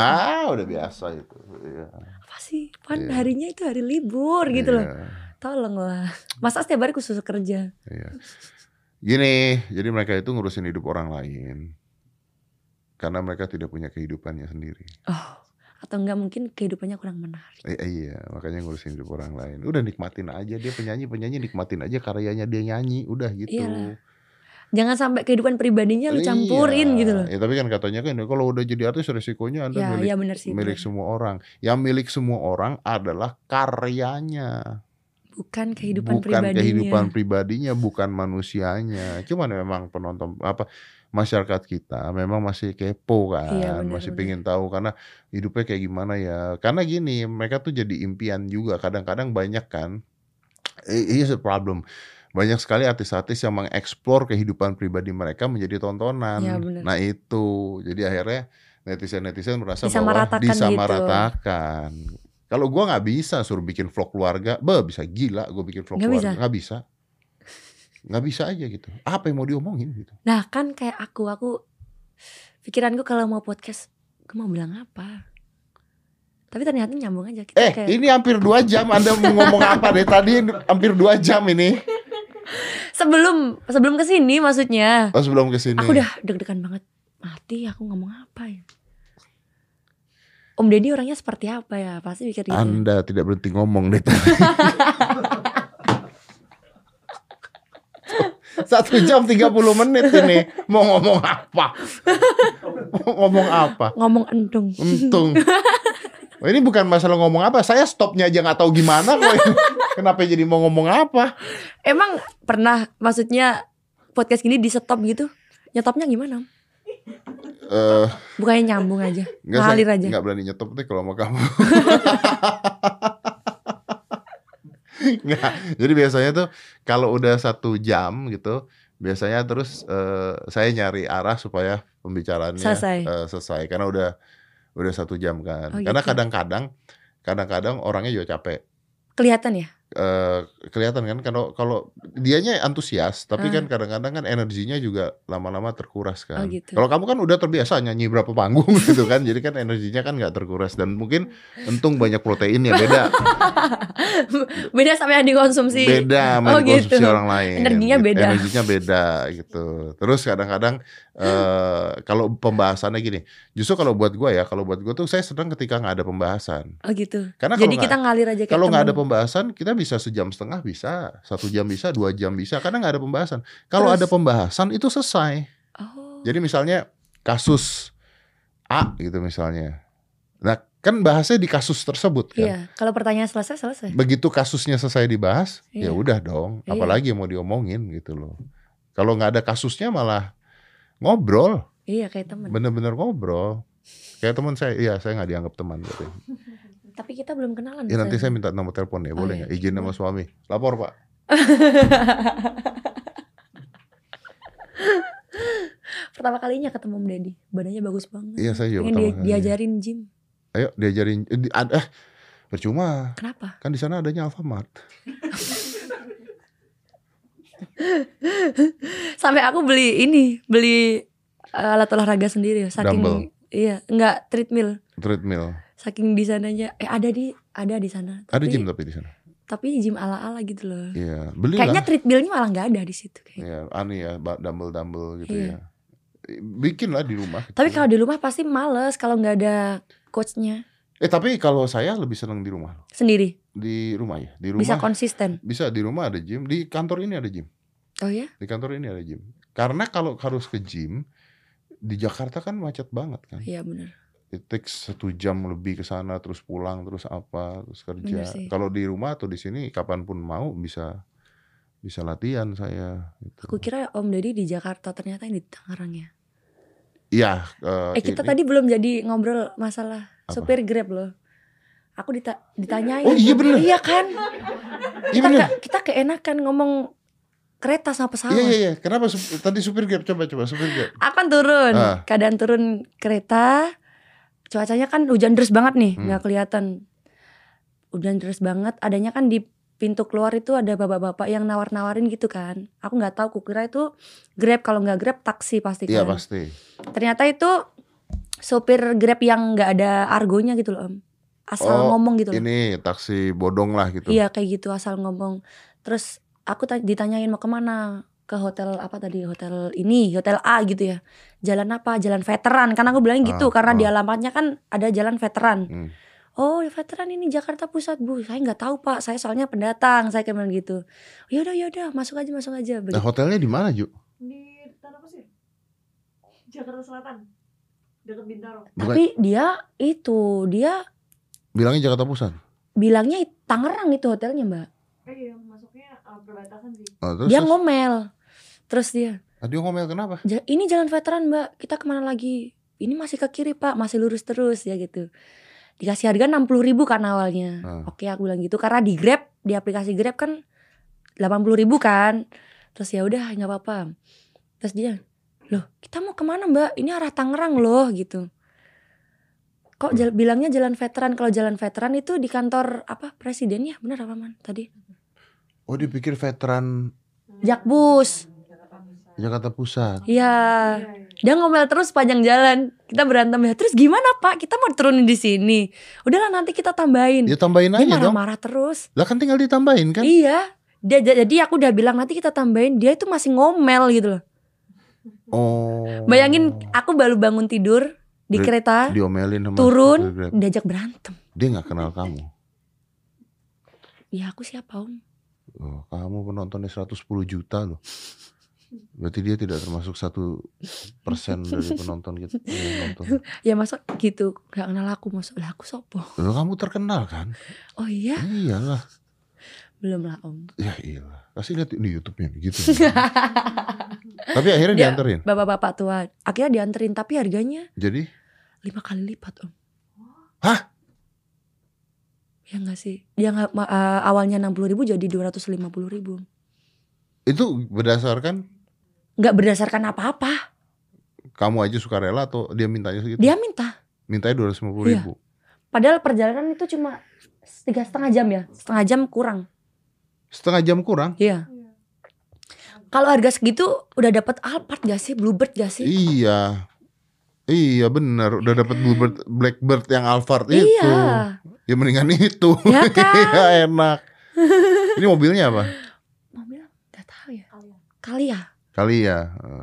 A: udah biasa itu. Iya.
B: Apa sih? Pan
A: Iya.
B: harinya itu hari libur gitu loh.
A: Iya,
B: Tolong lah. Masa setiap hari khusus kerja?
A: iya. Gini, jadi mereka itu ngurusin hidup orang lain karena mereka tidak punya kehidupannya sendiri.
B: Oh, atau enggak mungkin kehidupannya kurang menarik.
A: Eh, eh, iya, makanya ngurusin hidup orang lain. Udah nikmatin aja dia penyanyi penyanyi nikmatin aja karyanya dia nyanyi, udah gitu.
B: Iyalah. Jangan sampai kehidupan pribadinya lu campurin
A: Iya.
B: gitu loh.
A: Ya tapi kan katanya kan kalau udah jadi artis resikonya anda
B: Ya,
A: milik
B: ya benar sih.
A: milik
B: benar.
A: semua orang. Yang milik semua orang adalah karyanya.
B: Bukan
A: bukan
B: kehidupan pribadinya.
A: kehidupan pribadinya bukan manusianya cuman memang penonton apa masyarakat kita memang masih kepo kan
B: Iya, benar,
A: masih
B: benar.
A: pengen tahu karena hidupnya kayak gimana ya karena gini mereka tuh jadi impian juga kadang-kadang banyak kan i- is a problem banyak sekali artis-artis yang mengeksplor kehidupan pribadi mereka menjadi tontonan
B: Iya, benar.
A: nah itu jadi akhirnya netizen-netizen merasa bahwa
B: Disamaratakan gitu.
A: disamaratakan kalau gua nggak bisa suruh bikin vlog keluarga, bah bisa gila gue bikin vlog
B: Nggak
A: keluarga,
B: bisa.
A: nggak bisa, nggak bisa aja gitu. Apa yang mau diomongin gitu?
B: Nah, kan kayak aku, aku pikiranku kalau mau podcast, aku mau bilang apa? Tapi ternyata nyambung aja kita
A: Eh,
B: kayak
A: ini hampir dua jam Anda mau ngomong apa deh tadi? Hampir dua jam ini.
B: sebelum sebelum ke sini maksudnya.
A: Oh sebelum kesini.
B: Aku udah deg-degan banget. Mati aku ngomong apa ya? Om Deddy orangnya seperti apa ya? Pasti pikir gitu.
A: Anda tidak berhenti ngomong deh tadi. Satu jam 30 menit ini mau ngomong apa? Mau ngomong apa?
B: Ngomong entung.
A: Untung. Wah, ini bukan masalah ngomong apa. Saya stopnya aja nggak tahu gimana kok. ini. Kenapa jadi mau ngomong apa?
B: Emang pernah maksudnya podcast gini di stop gitu? Nyetopnya gimana? Om?
A: Eh,
B: Bukannya nyambung aja,
A: nggak, saya
B: ngalir aja.
A: nggak berani nyetop deh kalau sama kamu. Nggak. Jadi biasanya tuh kalau udah satu jam gitu, biasanya terus eh, saya nyari arah supaya pembicaraannya
B: Selesai.
A: eh, selesai. Karena udah udah satu jam kan.
B: Oh,
A: Karena
B: gitu.
A: kadang-kadang, kadang-kadang orangnya juga capek.
B: Kelihatan ya?
A: eh, kelihatan kan kalau kalau dianya antusias tapi
B: Ah.
A: kan kadang-kadang kan energinya juga lama-lama terkuras kan.
B: Oh, gitu.
A: Kalau kamu kan udah terbiasa nyanyi berapa panggung gitu kan. Jadi kan energinya kan nggak terkuras dan mungkin untung banyak protein ya beda
B: Beda sama yang dikonsumsi.
A: beda sama
B: Oh,
A: yang dikonsumsi
B: gitu.
A: orang lain.
B: Energinya
A: gitu.
B: beda.
A: Energinya beda gitu. Terus kadang-kadang eh kalau pembahasannya gini, justru kalau buat gua ya, kalau buat gua tuh saya senang ketika nggak ada pembahasan.
B: Oh gitu.
A: Karena kalau
B: Jadi
A: nggak-
B: kita ngalir aja kayak
A: kalau nggak ada
B: temen.
A: pembahasan kita Kita bisa sejam setengah bisa, satu jam bisa, dua jam bisa. Karena nggak ada pembahasan. Kalau
B: Terus-
A: ada pembahasan itu selesai.
B: Oh.
A: Jadi misalnya kasus A gitu misalnya. Nah kan bahasnya di kasus tersebut kan.
B: Iya, kalau pertanyaan selesai selesai.
A: Begitu kasusnya selesai dibahas, ya
B: Iya.
A: udah dong.
B: Iya.
A: Apalagi yang mau diomongin gitu loh. Kalau nggak ada kasusnya malah ngobrol,
B: Iya, kayak temen.
A: bener-bener ngobrol. Kayak teman saya, iya saya nggak dianggap teman. Gitu.
B: Tapi kita belum kenalan.
A: Ya nanti saya
B: Ustaz.
A: minta nomor teleponnya,
B: Oh,
A: boleh
B: iya.
A: nggak? Izin sama suami. Lapor pak.
B: Pertama kalinya ketemu Om Deddy, badannya bagus banget.
A: Iya saya juga
B: Pengen
A: pertama
B: dia-
A: kali.
B: diajarin gym.
A: Ayo diajarin. Eh, di- ad- eh percuma,
B: Kenapa?
A: kan di sana adanya Alfamart.
B: Sampai aku beli ini, beli eh, alat olahraga sendiri saking
A: Dumbbell.
B: iya, enggak treadmill.
A: Treadmill.
B: Saking di sananya eh ada di ada di sana.
A: Ada
B: Tapi-
A: gym tapi di sana.
B: Tapi gym ala-ala gitu loh.
A: Iya, belilah.
B: Kayaknya treadmillnya malah nggak ada di situ kayaknya.
A: Ya, aneh ya, ba- dumbbell-dumbbell gitu ya.
B: Iya.
A: Bikinlah di rumah. gitu.
B: Tapi kalau di rumah pasti males kalau nggak ada coachnya
A: eh tapi kalau saya lebih seneng di rumah.
B: sendiri.
A: Di rumah ya, di rumah.
B: Bisa
A: Bisa,
B: konsisten.
A: di rumah ada gym, di kantor ini ada gym.
B: Oh ya?
A: Di kantor ini ada gym. Karena kalau harus ke gym di Jakarta kan macet banget kan.
B: Iya benar.
A: It takes satu jam lebih ke sana terus pulang terus apa terus kerja.
B: Bener sih.
A: Kalau di rumah atau di sini kapanpun mau bisa bisa latihan saya. Gitu.
B: Aku kira Om Deddy di Jakarta ternyata yang di Tangerang ya.
A: Iya.
B: Eh kita tadi belum jadi ngobrol masalah supir Grab loh. Aku dita- ditanyain.
A: Oh, iya bener.
B: Iya kan?
A: Iya
B: kita,
A: bener.
B: nggak- kita keenakan ngomong kereta sama pesawat.
A: Iya iya iya. Kenapa sup- tadi supir Grab coba coba supir Grab.
B: Akan turun.
A: Ah.
B: Keadaan turun kereta. Cuacanya kan hujan deras banget nih,
A: Hmm.
B: nggak kelihatan. Hujan deras banget. Adanya kan di pintu keluar itu ada bapak-bapak yang nawar-nawarin gitu kan. Aku nggak tahu, kukira itu Grab kalau nggak Grab taksi pasti
A: Iya
B: kan.
A: pasti.
B: Ternyata itu sopir Grab yang nggak ada argonya gitu loh, Om. Asal
A: Oh,
B: ngomong gitu loh.
A: Ini taksi bodong lah gitu.
B: Iya kayak gitu asal ngomong. Terus aku ta- ditanyain mau kemana? Ke hotel apa tadi? Hotel ini, hotel A gitu ya. Jalan apa? Jalan veteran. Karena aku bilang gitu
A: Ah, ah.
B: karena di alamatnya kan ada jalan veteran.
A: Hmm.
B: Oh, ya veteran ini Jakarta Pusat, Bu. Saya nggak tahu, Pak. Saya soalnya pendatang. Saya kayak bilang gitu. Yaudah, yaudah, masuk aja, masuk aja.
A: Nah
B: Begitu.
A: hotelnya di mana Ju?
D: Di Tanah Pasir. Jakarta Selatan. Dekat Bintaro.
A: Bukan,
B: Tapi dia itu, dia
A: bilangnya Jakarta Pusat.
B: bilangnya Tangerang itu hotelnya, Mbak.
D: Eh iya, masuknya uh, perbatasan sih.
A: Nah, terus,
B: dia
A: terus.
B: ngomel. Terus dia,
A: Ah, dia ngomel kenapa?
B: "Ja- ini jalan veteran mbak kita kemana lagi ini masih ke kiri pak masih lurus terus ya gitu dikasih harga 60.000 ribu kan awalnya
A: Hmm.
B: oke aku bilang gitu karena di grab di aplikasi grab kan 80.000 ribu kan terus ya udah nggak apa-apa terus dia loh kita mau kemana mbak ini arah Tangerang loh gitu kok
A: Hmm.
B: jal- bilangnya jalan veteran kalau jalan veteran itu di kantor apa presiden ya benar apa man tadi
A: Oh dia pikir veteran
D: Hmm. Iya,
B: Jakbus.
D: Jakarta
A: Jakarta
D: Pusat.
A: Pusat.
B: ya
D: Iya, iya.
B: Dia ngomel terus panjang jalan. Kita berantem ya. Terus gimana Pak? Kita mau turunin di sini. Udahlah nanti kita tambahin.
A: Ya tambahin
B: Hmm. dia
A: aja dong.
B: marah-marah terus.
A: Lah kan tinggal ditambahin kan?
B: Iya. Dia j- jadi aku udah bilang nanti kita tambahin. Dia itu masih ngomel gitu loh.
A: Oh.
B: Bayangin aku baru bangun tidur di
A: Ber-
B: kereta,
A: diomelin sama
B: turun,
A: supir Grab.
B: diajak berantem.
A: Dia nggak kenal kamu.
B: Ya aku siapa Om?
A: Oh, kamu penontonnya 110 juta loh. Berarti dia tidak termasuk satu persen dari penonton kita. yang nonton.
B: Ya masa gitu gak kenal aku masuk lah aku sopo.
A: Loh, kamu terkenal kan?
B: Oh iya,
A: Iyalah.
B: belum lah Om.
A: Ya iyalah. Kasih lihat di YouTube-nya gitu. Tapi akhirnya
B: Dia-
A: dianterin.
B: Bapak-bapak tua. Akhirnya dianterin tapi harganya
A: Jadi
B: lima kali lipat Om.
A: Hah?
B: Ya enggak sih. Dia nggak ma- eh, awalnya 60.000 ribu jadi 250.000 ribu.
A: itu berdasarkan
B: Nggak berdasarkan apa-apa.
A: kamu aja suka rela atau dia mintanya segitu?
B: Dia minta.
A: Mintanya dua ratus lima puluh
B: Iya.
A: ribu.
B: Padahal perjalanan itu cuma tiga setengah jam ya. Setengah jam kurang.
A: Setengah jam kurang.
B: Iya. Kalau harga segitu udah dapat Alphard gak sih? Bluebird gak sih?
A: Iya. Iya benar, udah dapat Bluebird Blackbird yang Alphard itu.
B: Iya.
A: Ya mendingan itu.
B: Ya kan?
A: Iya enak. Ini mobilnya apa?
B: Mau bilang gak tahu ya.
D: Kalian.
B: Kali ya.
A: eh, Kali ya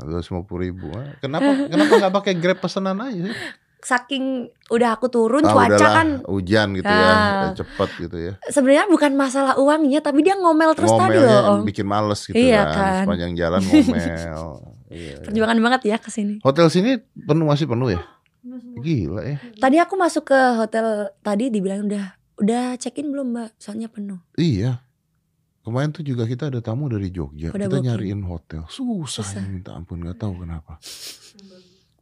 A: dua ratus ribu. Ah, Kenapa kenapa nggak pakai Grab pesanan aja? sih?
B: saking udah aku turun
A: Ah,
B: cuaca
A: udahlah,
B: kan
A: hujan gitu
B: Ah.
A: ya, cepet gitu ya.
B: sebenarnya bukan masalah uangnya tapi dia ngomel terus tadi
A: Ngomelnya
B: loh om
A: bikin males gitu
B: Iya
A: kan.
B: kan.
A: Sepanjang jalan ngomel. Iya, iya.
B: perjuangan banget ya kesini
A: Hotel sini penuh masih penuh ya? Gila ya.
B: tadi aku masuk ke hotel tadi dibilang udah udah check in belum mbak soalnya penuh
A: Iya. Kemarin tuh juga kita ada tamu dari Jogja.
B: Pada
A: kita
B: booking.
A: nyariin hotel. Susah, ya,
B: Susah.
A: minta ampun nggak tahu kenapa.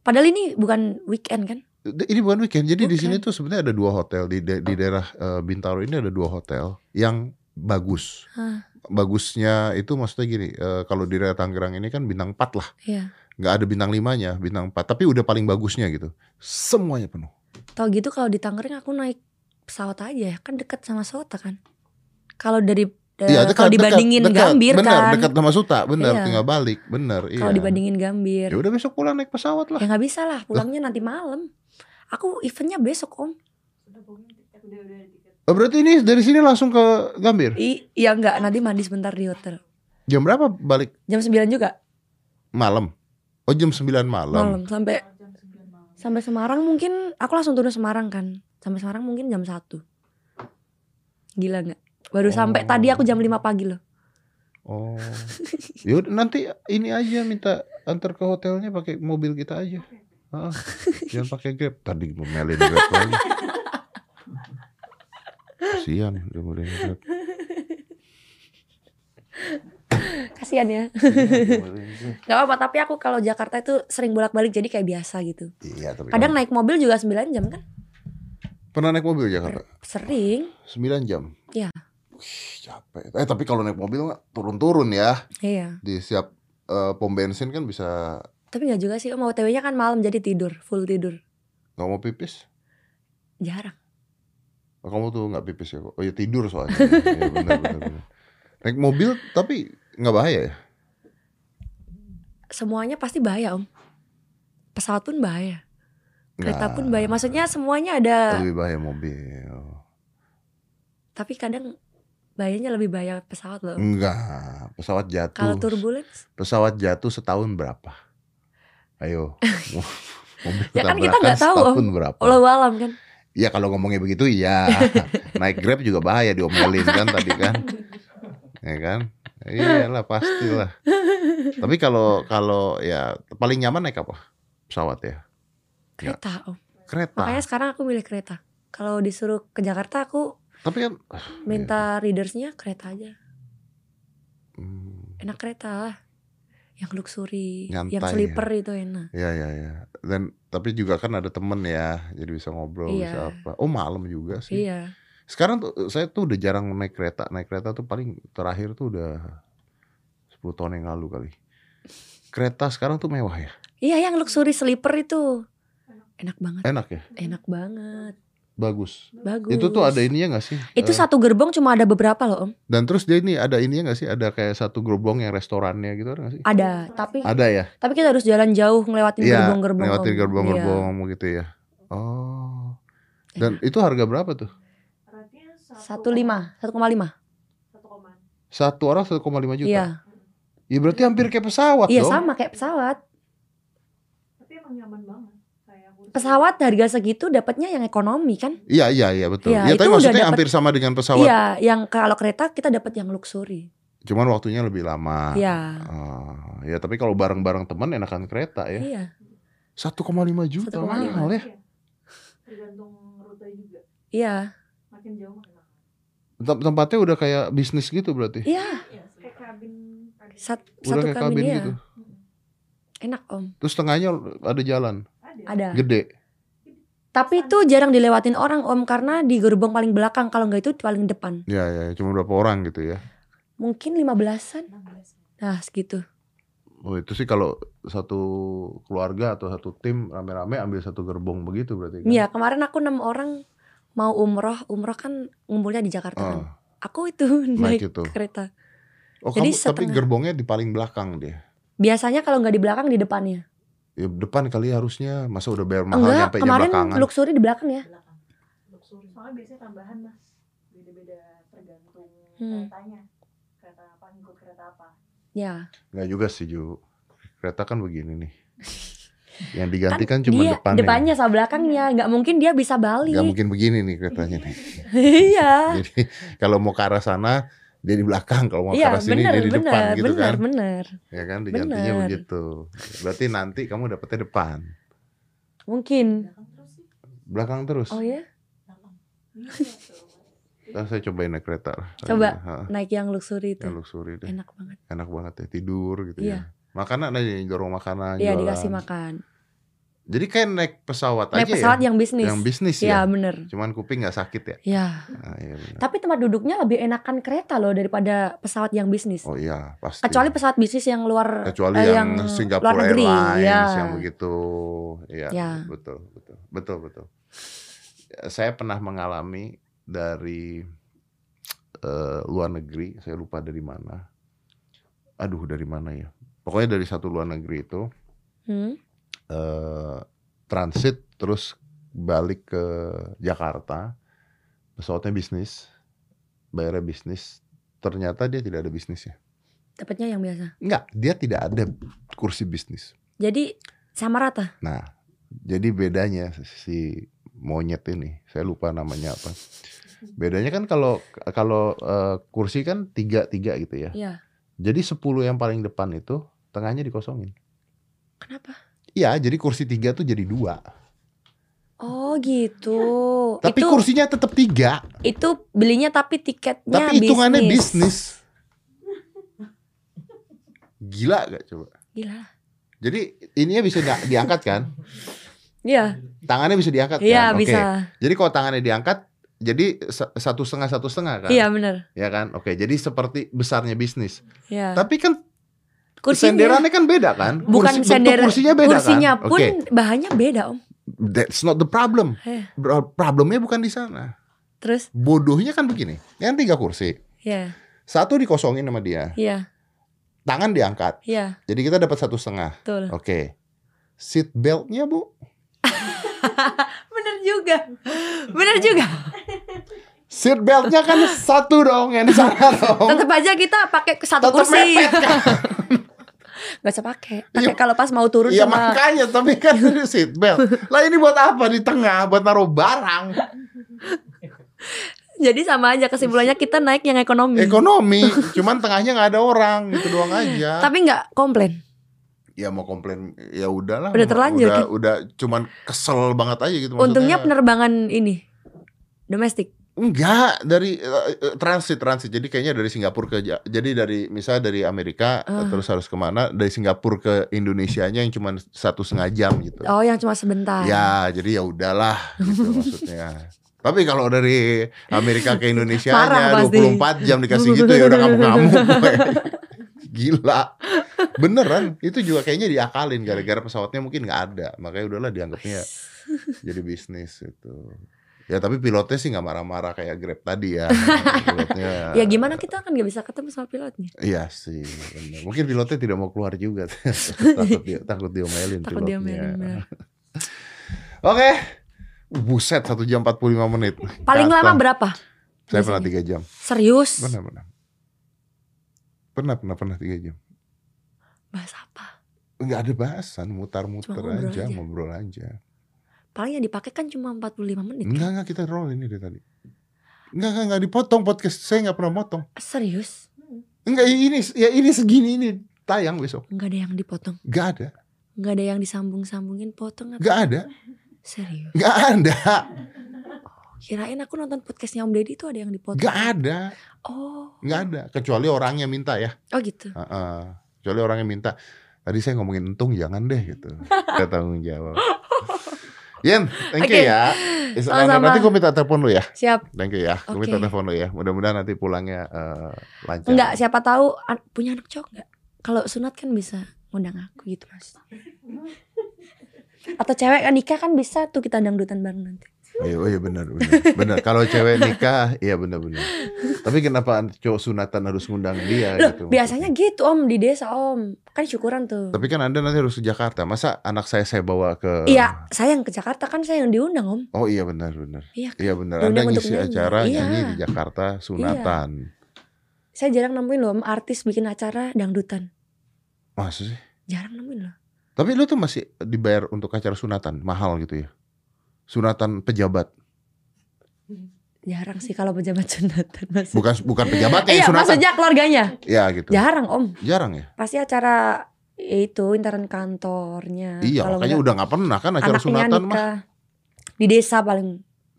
B: padahal ini bukan weekend kan
A: Ini bukan weekend. Jadi di
B: Bukan.
A: sini tuh sebenarnya ada dua hotel di da-
B: Oh.
A: di daerah eh, Bintaro ini ada dua hotel yang bagus.
B: Hah.
A: Bagusnya itu maksudnya gini, eh, kalau di daerah Tangerang ini kan bintang 4 lah.
B: Iya.
A: Nggak ada bintang 5-nya, bintang 4, tapi udah paling bagusnya gitu. Semuanya penuh.
B: tau gitu kalau di Tangerang aku naik pesawat aja ya kan deket sama Sota kan kalau dari eh,
A: Iya, dekat,
B: kalau
A: dekat,
B: dibandingin
A: dekat.
B: Gambir
A: bener,
B: kan
A: dekat sama Suta, bener,
B: Iya.
A: tinggal balik, bener. iya.
B: kalau dibandingin Gambir
A: Ya udah besok pulang naik pesawat lah.
B: ya nggak bisa lah pulangnya nanti malam aku eventnya besok om
D: Eh,
A: Oh, Berarti ini dari sini langsung ke Gambir.
B: I, ya nggak nanti mandi sebentar di hotel
A: Jam berapa balik
B: jam 9 juga
A: malam? Oh jam 9 malam.
B: malam
D: Iya,
B: sampai sampai Semarang mungkin aku langsung turun Semarang kan sampai Semarang mungkin jam 1 gila nggak
A: Oh.
B: baru sampai tadi aku jam 5 pagi loh
A: Oh. Yaudah nanti ini aja minta antar ke hotelnya pakai mobil kita aja. Heeh. jangan pakai Grab. Tadi ngomelin Grab lagi. Kasihan dia ngomelin Grab.
B: kasihan ya nggak apa-apa tapi aku kalau Jakarta itu sering bolak-balik jadi kayak biasa gitu
A: Iya, tapi
B: kadang naik mobil juga 9 jam kan
A: pernah naik mobil Jakarta?
B: sering
A: 9 jam.
B: Iya.
A: Wih, capek. Eh, tapi kalau naik mobil mah turun-turun ya.
B: iya
A: Di siap eh, pom bensin kan bisa
B: tapi nggak juga sih om OTW-nya kan malam jadi tidur full tidur
A: nggak mau pipis.
B: jarang
A: Oh, kamu tuh nggak pipis ya kok? Oh ya tidur soalnya. ya, benar, benar, benar. Naik mobil tapi nggak bahaya ya?
B: semuanya pasti bahaya om pesawat pun bahaya kereta pun
A: Nah.
B: bahaya maksudnya semuanya ada
A: Lebih bahaya mobil.
B: tapi kadang bahayanya lebih bahaya pesawat loh Om.
A: Enggak. Pesawat jatuh.
B: kalau turbulence
A: Pesawat jatuh setahun berapa? Ayo. mo- mobil
B: Ya kan
A: tabrakan
B: kita nggak tahu,
A: setahun berapa?
B: Allah alam kan
A: Ya kalau ngomongnya begitu iya. Naik Grab juga bahaya diomelin kan tadi kan. Ya kan? Iyalah pastilah. Tapi kalau kalau ya paling nyaman naik apa? Pesawat ya. Ya.
B: kereta om
A: Kereta.
B: makanya sekarang aku milih kereta kalau disuruh ke Jakarta aku
A: Tapi kan Iya.
B: minta readersnya kereta aja
A: Hmm.
B: enak kereta lah yang luxury
A: Nyantai
B: yang
A: ya.
B: sleeper itu enak
A: Ya ya ya. Dan tapi juga kan ada temen ya, jadi bisa ngobrol
B: Iya.
A: bisa apa. Oh malam juga sih.
B: iya
A: Sekarang tuh eh, saya tuh udah jarang naik kereta. Naik kereta tuh paling terakhir tuh udah 10 tahun yang lalu kali. Kereta sekarang tuh mewah ya,
B: iya yang luxury sleeper itu enak banget
A: enak ya,
B: enak banget
A: bagus.
B: bagus
A: Itu tuh ada ininya gak sih?
B: itu
A: Eh,
B: satu gerbong cuma ada beberapa loh om
A: Dan terus dia ini ada ininya gak sih? Ada kayak satu gerobong yang restorannya gitu ada gak sih?
B: ada tapi
A: Ada ya?
B: tapi kita harus jalan jauh ngelewatin
A: Iya,
B: gerbong-gerbong
A: Lewatin
B: Om. Iya.
A: gerbong-gerbong gitu ya. Oh. Dan itu harga berapa tuh?
B: Iya. satu lima satu koma lima
A: Satu orang 1,5 juta.
B: iya
A: Ya berarti hampir kayak pesawat
B: iya
A: dong.
B: sama kayak pesawat
D: Tapi emang nyaman banget. Kayak kursi.
B: pesawat harga segitu dapatnya yang ekonomi kan
A: Iya iya iya betul.
B: Iya,
A: Ya, tapi
B: itu udah
A: maksudnya
B: dapet-
A: hampir sama dengan pesawat.
B: iya yang kalau kereta kita dapat yang luxury
A: Cuman waktunya lebih lama.
B: iya
A: Ah, ya tapi kalau bareng-bareng teman enakan kereta ya.
B: iya
A: 1,5 juta
B: 1,5.
A: mahal ya.
D: Iya. Tergantung rute juga.
B: iya
D: Makin jauh makin mahal.
A: Tem- Tempatnya udah kayak bisnis gitu berarti.
B: iya
D: Kayak kabin.
B: Sat-
A: Udah
B: satu
A: kayak
B: kabin
A: kabin
B: iya.
A: gitu.
B: enak om
A: Terus tengahnya ada jalan
D: Ada.
B: ada
A: gede.
B: tapi itu jarang dilewatin orang om karena di gerbong paling belakang kalau nggak itu paling depan
A: Ya ya cuma berapa orang gitu ya.
B: mungkin 15an nah segitu
A: Oh itu sih kalau satu keluarga atau satu tim rame-rame ambil satu gerbong begitu berarti kan.
B: iya kemarin aku enam orang mau umroh umroh kan ngumpulnya di Jakarta kan
A: Ah,
B: aku itu
A: naik
B: naik,
A: itu.
B: kereta
A: Oh
B: Jadi
A: kamu, tapi
B: setengah.
A: gerbongnya di paling belakang dia.
B: biasanya kalau nggak di belakang di depannya
A: Ya depan kali harusnya. Masa udah bayar mahal
B: enggak
A: nyampe
B: kemarin
A: belakangan.
B: luxury di belakang ya
D: Luxury. Soalnya biasanya tambahan mas. Beda-beda tergantung
B: Hmm.
D: keretanya. Kereta apa, ngikut kereta apa.
B: ya
A: Nggak juga sih Ju Kereta kan begini nih Yang digantikan
B: Kan
A: cuma
B: dia,
A: depannya.
B: depannya sama belakangnya nggak mungkin dia bisa balik
A: Gak mungkin begini nih keretanya nih.
B: iya
A: Jadi kalau mau ke arah sana dia di belakang, kalau mau ke
B: iya
A: arah sini
B: bener
A: dia di
B: bener
A: depan gitu
B: bener
A: kan.
B: bener
A: Ya kan digantinya
B: Bener.
A: begitu. Berarti nanti kamu dapetnya depan,
B: mungkin
D: Belakang terus sih.
A: belakang terus.
B: oh ya
D: Belakang. Iya tuh.
A: Ntar saya cobain naik kereta. lah.
B: Coba.
A: Ha,
B: naik yang luxury itu
A: ah. yang luxury deh.
B: enak banget
A: Enak banget ya tidur gitu
B: Iya.
A: ya. Makanan aja nih, dorong makanan.
B: iya
A: jualan.
B: dikasih makan
A: Jadi kayak naik pesawat
B: naik
A: aja
B: pesawat
A: ya.
B: yang bisnis
A: Yang bisnis ya.
B: Iya bener
A: Cuman kuping nggak sakit ya.
B: ya
A: Ah, iya benar.
B: tapi tempat duduknya lebih enakan kereta loh daripada pesawat yang bisnis
A: Oh iya pasti.
B: kecuali pesawat bisnis yang luar
A: kecuali
B: eh,
A: yang,
B: yang
A: Singapura
B: luar negeri,
A: Airlines
B: ya.
A: yang begitu ya,
B: Ya.
A: betul betul betul betul Ya, saya pernah mengalami dari eh, luar negeri saya lupa dari mana aduh dari mana ya pokoknya dari satu luar negeri itu
B: Hmm?
A: eh, transit terus balik ke Jakarta pesawatnya bisnis bayarnya bisnis ternyata dia tidak ada bisnisnya
B: dapatnya yang biasa
A: enggak dia tidak ada kursi bisnis
B: jadi sama rata
A: Nah, jadi bedanya si monyet ini, saya lupa namanya apa. Bedanya kan kalau kalau eh, kursi kan tiga tiga gitu ya.
B: Iya.
A: Jadi 10 yang paling depan itu tengahnya dikosongin.
B: kenapa
A: Iya, jadi kursi tiga tuh jadi dua.
B: oh gitu
A: Iya. Tapi
B: itu
A: kursinya tetap tiga.
B: itu belinya tapi tiketnya
A: tapi hitungannya bisnis. Gila gak coba?
B: gila
A: Jadi ininya bisa dia- diangkat kan?
B: Iya,
A: Tangannya bisa diangkat kan?
B: iya
A: Oke.
B: bisa.
A: Jadi kalau tangannya diangkat, jadi sa- satu setengah satu setengah kan?
B: Iya benar.
A: ya kan? Oke, jadi seperti besarnya bisnis.
B: Iya.
A: Tapi kan
B: Kursinya
A: senderannya kan beda kan?
B: bukan
A: bentuk
B: sender.
A: kursinya beda
B: kursinya
A: kan?
B: pun
A: Oke,
B: bahannya beda, Om.
A: that's not the problem.
B: Eh.
A: Bro- Problemnya bukan di sana.
B: Terus
A: Bodohnya kan begini. Yang tiga kursi,
B: ya,
A: satu dikosongin sama dia,
B: iya,
A: tangan diangkat.
B: iya,
A: Jadi kita dapat satu setengah.
B: betul.
A: Oke. Seat beltnya bu,
B: Bener juga. Bener juga.
A: seat beltnya kan satu dong yang di sana dong.
B: Tetap aja kita pakai ke satu
A: Tetep
B: kursi.
A: mepet kan?
B: Gak usah pakai.
A: Iya.
B: Pakai kalau pas mau turun
A: Iya
B: sama
A: makanya tapi kan ini seat belt. Lah ini buat apa di tengah? Buat naruh barang.
B: Jadi sama aja kesimpulannya kita naik yang ekonomi.
A: ekonomi cuman tengahnya nggak ada orang gitu doang aja
B: Tapi nggak komplain.
A: ya mau komplain ya udahlah
B: Udah terlanjur,
A: udah,
B: kan?
A: udah cuman kesel banget aja gitu
B: Untungnya
A: maksudnya
B: penerbangan ini domestik.
A: enggak dari eh, eh, transit transit jadi kayaknya dari Singapura ke Ja- jadi dari misalnya dari Amerika
B: Ah.
A: terus harus kemana dari Singapura ke Indonesianya yang cuman satu setengah jam gitu
B: Oh, yang cuma sebentar.
A: ya jadi ya udahlah gitu maksudnya tapi kalau dari Amerika ke Indonesia
B: Marah
A: nya
B: pasti.
A: 24 jam dikasih gitu ya udah ngamuk-ngamuk gue. Gila. Beneran itu juga kayaknya diakalin gara-gara pesawatnya mungkin nggak ada. Makanya udahlah dianggapnya jadi bisnis itu. Ya tapi pilotnya sih nggak marah-marah kayak Grab tadi ya. Pilotnya.
B: Ya gimana kita kan nggak bisa ketemu sama pilotnya.
A: Iya sih. bener. Mungkin pilotnya tidak mau keluar juga. takut dia takut diomelin
B: Takut
A: pilotnya.
B: dia mainin bener.
A: Oke. Buset 1 jam 45 menit.
B: Paling
A: Kata.
B: lama berapa?
A: Saya pernah
B: biasanya?
A: 3 jam.
B: Serius?
A: Pernah, pernah. Pernah, pernah, pernah 3 jam.
B: Bahas apa?
A: Enggak ada bahasan, mutar-muter
B: Cuma
A: aja,
B: ngobrol aja.
A: ngobrol aja.
B: Paling yang dipakai kan cuma 45 menit. kan?
A: Enggak, enggak kita roll ini dari tadi. Enggak, enggak, enggak dipotong podcast. Saya enggak pernah motong.
B: Serius?
A: Enggak, ini ya ini segini ini tayang besok.
B: Enggak ada yang dipotong.
A: Enggak ada.
B: Enggak ada yang disambung-sambungin potong atau
A: Enggak ada.
B: serius.
A: Enggak ada.
B: Kirain aku nonton podcastnya Om Deddy itu ada yang dipotong.
A: Enggak ada.
B: Oh,
A: Enggak ada. Kecuali orangnya minta ya.
B: oh gitu.
A: Heeh. Kecuali orangnya minta. Tadi saya ngomongin untung jangan deh gitu. Kita tanggung jawab. Yen, thank you
B: Oke.
A: ya. Is-
B: Sama-sama.
A: Nanti gue minta telepon lu ya.
B: Siap.
A: Thank you ya. Gue
B: Oke.
A: minta telepon lu ya. Mudah-mudahan nanti pulangnya eh, lancar.
B: Enggak, siapa tahu an- punya anak cowok enggak? Kalau sunat kan bisa ngundang aku gitu, Mas. Atau cewek kan nikah kan bisa tuh kita dangdutan bareng nanti.
A: Oh iya, oh iya benar benar. Benar. Kalau cewek nikah, iya benar benar. Tapi kenapa cowok sunatan harus ngundang dia
B: Loh,
A: gitu?
B: biasanya gitu Om di desa Om. Kan syukuran tuh.
A: Tapi kan Anda nanti harus ke Jakarta. Masa anak saya saya bawa ke
B: Iya, saya yang ke Jakarta kan saya yang diundang Om.
A: Oh iya benar benar.
B: Iya,
A: Iya benar.
B: Diundang
A: Anda
B: untuk
A: ngisi
B: nyanyi.
A: acara
B: Iya.
A: nyanyi di Jakarta sunatan.
B: Saya jarang nemuin loh Om, artis bikin acara dangdutan.
A: Masa sih?
B: Jarang nemuin loh.
A: Tapi lu tuh masih dibayar untuk acara sunatan, mahal gitu ya. Sunatan pejabat,
B: Jarang sih kalau pejabat sunatan mas.
A: bukan bukan pejabatnya yang
B: Iya,
A: sunatan.
B: maksudnya keluarganya.
A: Ya gitu.
B: Jarang om.
A: Jarang ya.
B: Pasti acara ya itu intern kantornya.
A: Iya,
B: Nah, Kalau
A: makanya
B: nggak,
A: udah nggak pernah kan acara
B: anaknya
A: sunatan mah.
B: nikah. Di desa paling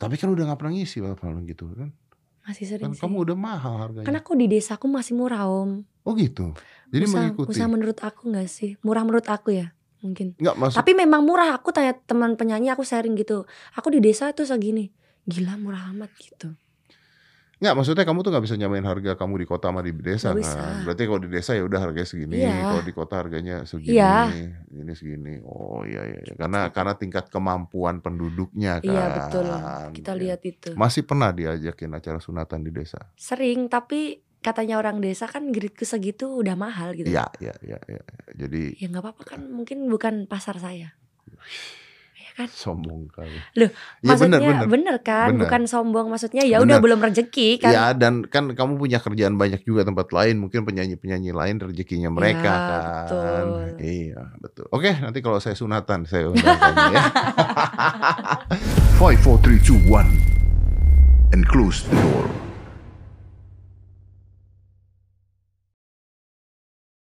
A: Tapi kan udah nggak pernah ngisi kalau gitu kan.
B: masih
A: Kan
B: sering Iya sih.
A: kamu udah mahal harganya.
B: Karena Kan aku di desaku masih murah om.
A: Oh gitu. Jadi
B: usaha,
A: mengikuti.
B: usaha menurut aku nggak sih? Murah menurut aku ya mungkin.
A: Enggak masuk.
B: Tapi memang murah. Aku tanya teman penyanyi aku sharing gitu. Aku di desa tuh segini. Gila murah amat gitu.
A: Nggak, maksudnya kamu tuh nggak bisa nyamain harga kamu di kota sama di desa
B: Nggak bisa.
A: kan. Berarti kalau di desa ya udah harganya segini,
B: Iya.
A: kalau di kota harganya segini,
B: Iya.
A: ini segini. Oh iya iya iya. karena karena tingkat kemampuan penduduknya kan. ya.
B: Iya betul. Kita lihat itu.
A: Masih pernah diajakin acara sunatan di desa.
B: Sering tapi katanya orang desa kan gridku segitu udah mahal gitu.
A: Iya iya iya iya. Jadi
B: Ya nggak apa-apa kan mungkin bukan pasar saya. Ya kan?
A: sombong kali.
B: Loh,
A: Iya
B: maksudnya
A: benar benar.
B: kan,
A: Bener.
B: bukan sombong maksudnya ya udah
A: Bener.
B: belum rezeki kan.
A: Ya dan kan kamu punya kerjaan banyak juga tempat lain mungkin penyanyi-penyanyi lain rezekinya mereka
B: Ya,
A: kan.
B: betul.
A: Iya betul. Oke nanti kalau saya sunatan saya undang kamu ya.
C: 5, 4, 3, 2, 1 And close the door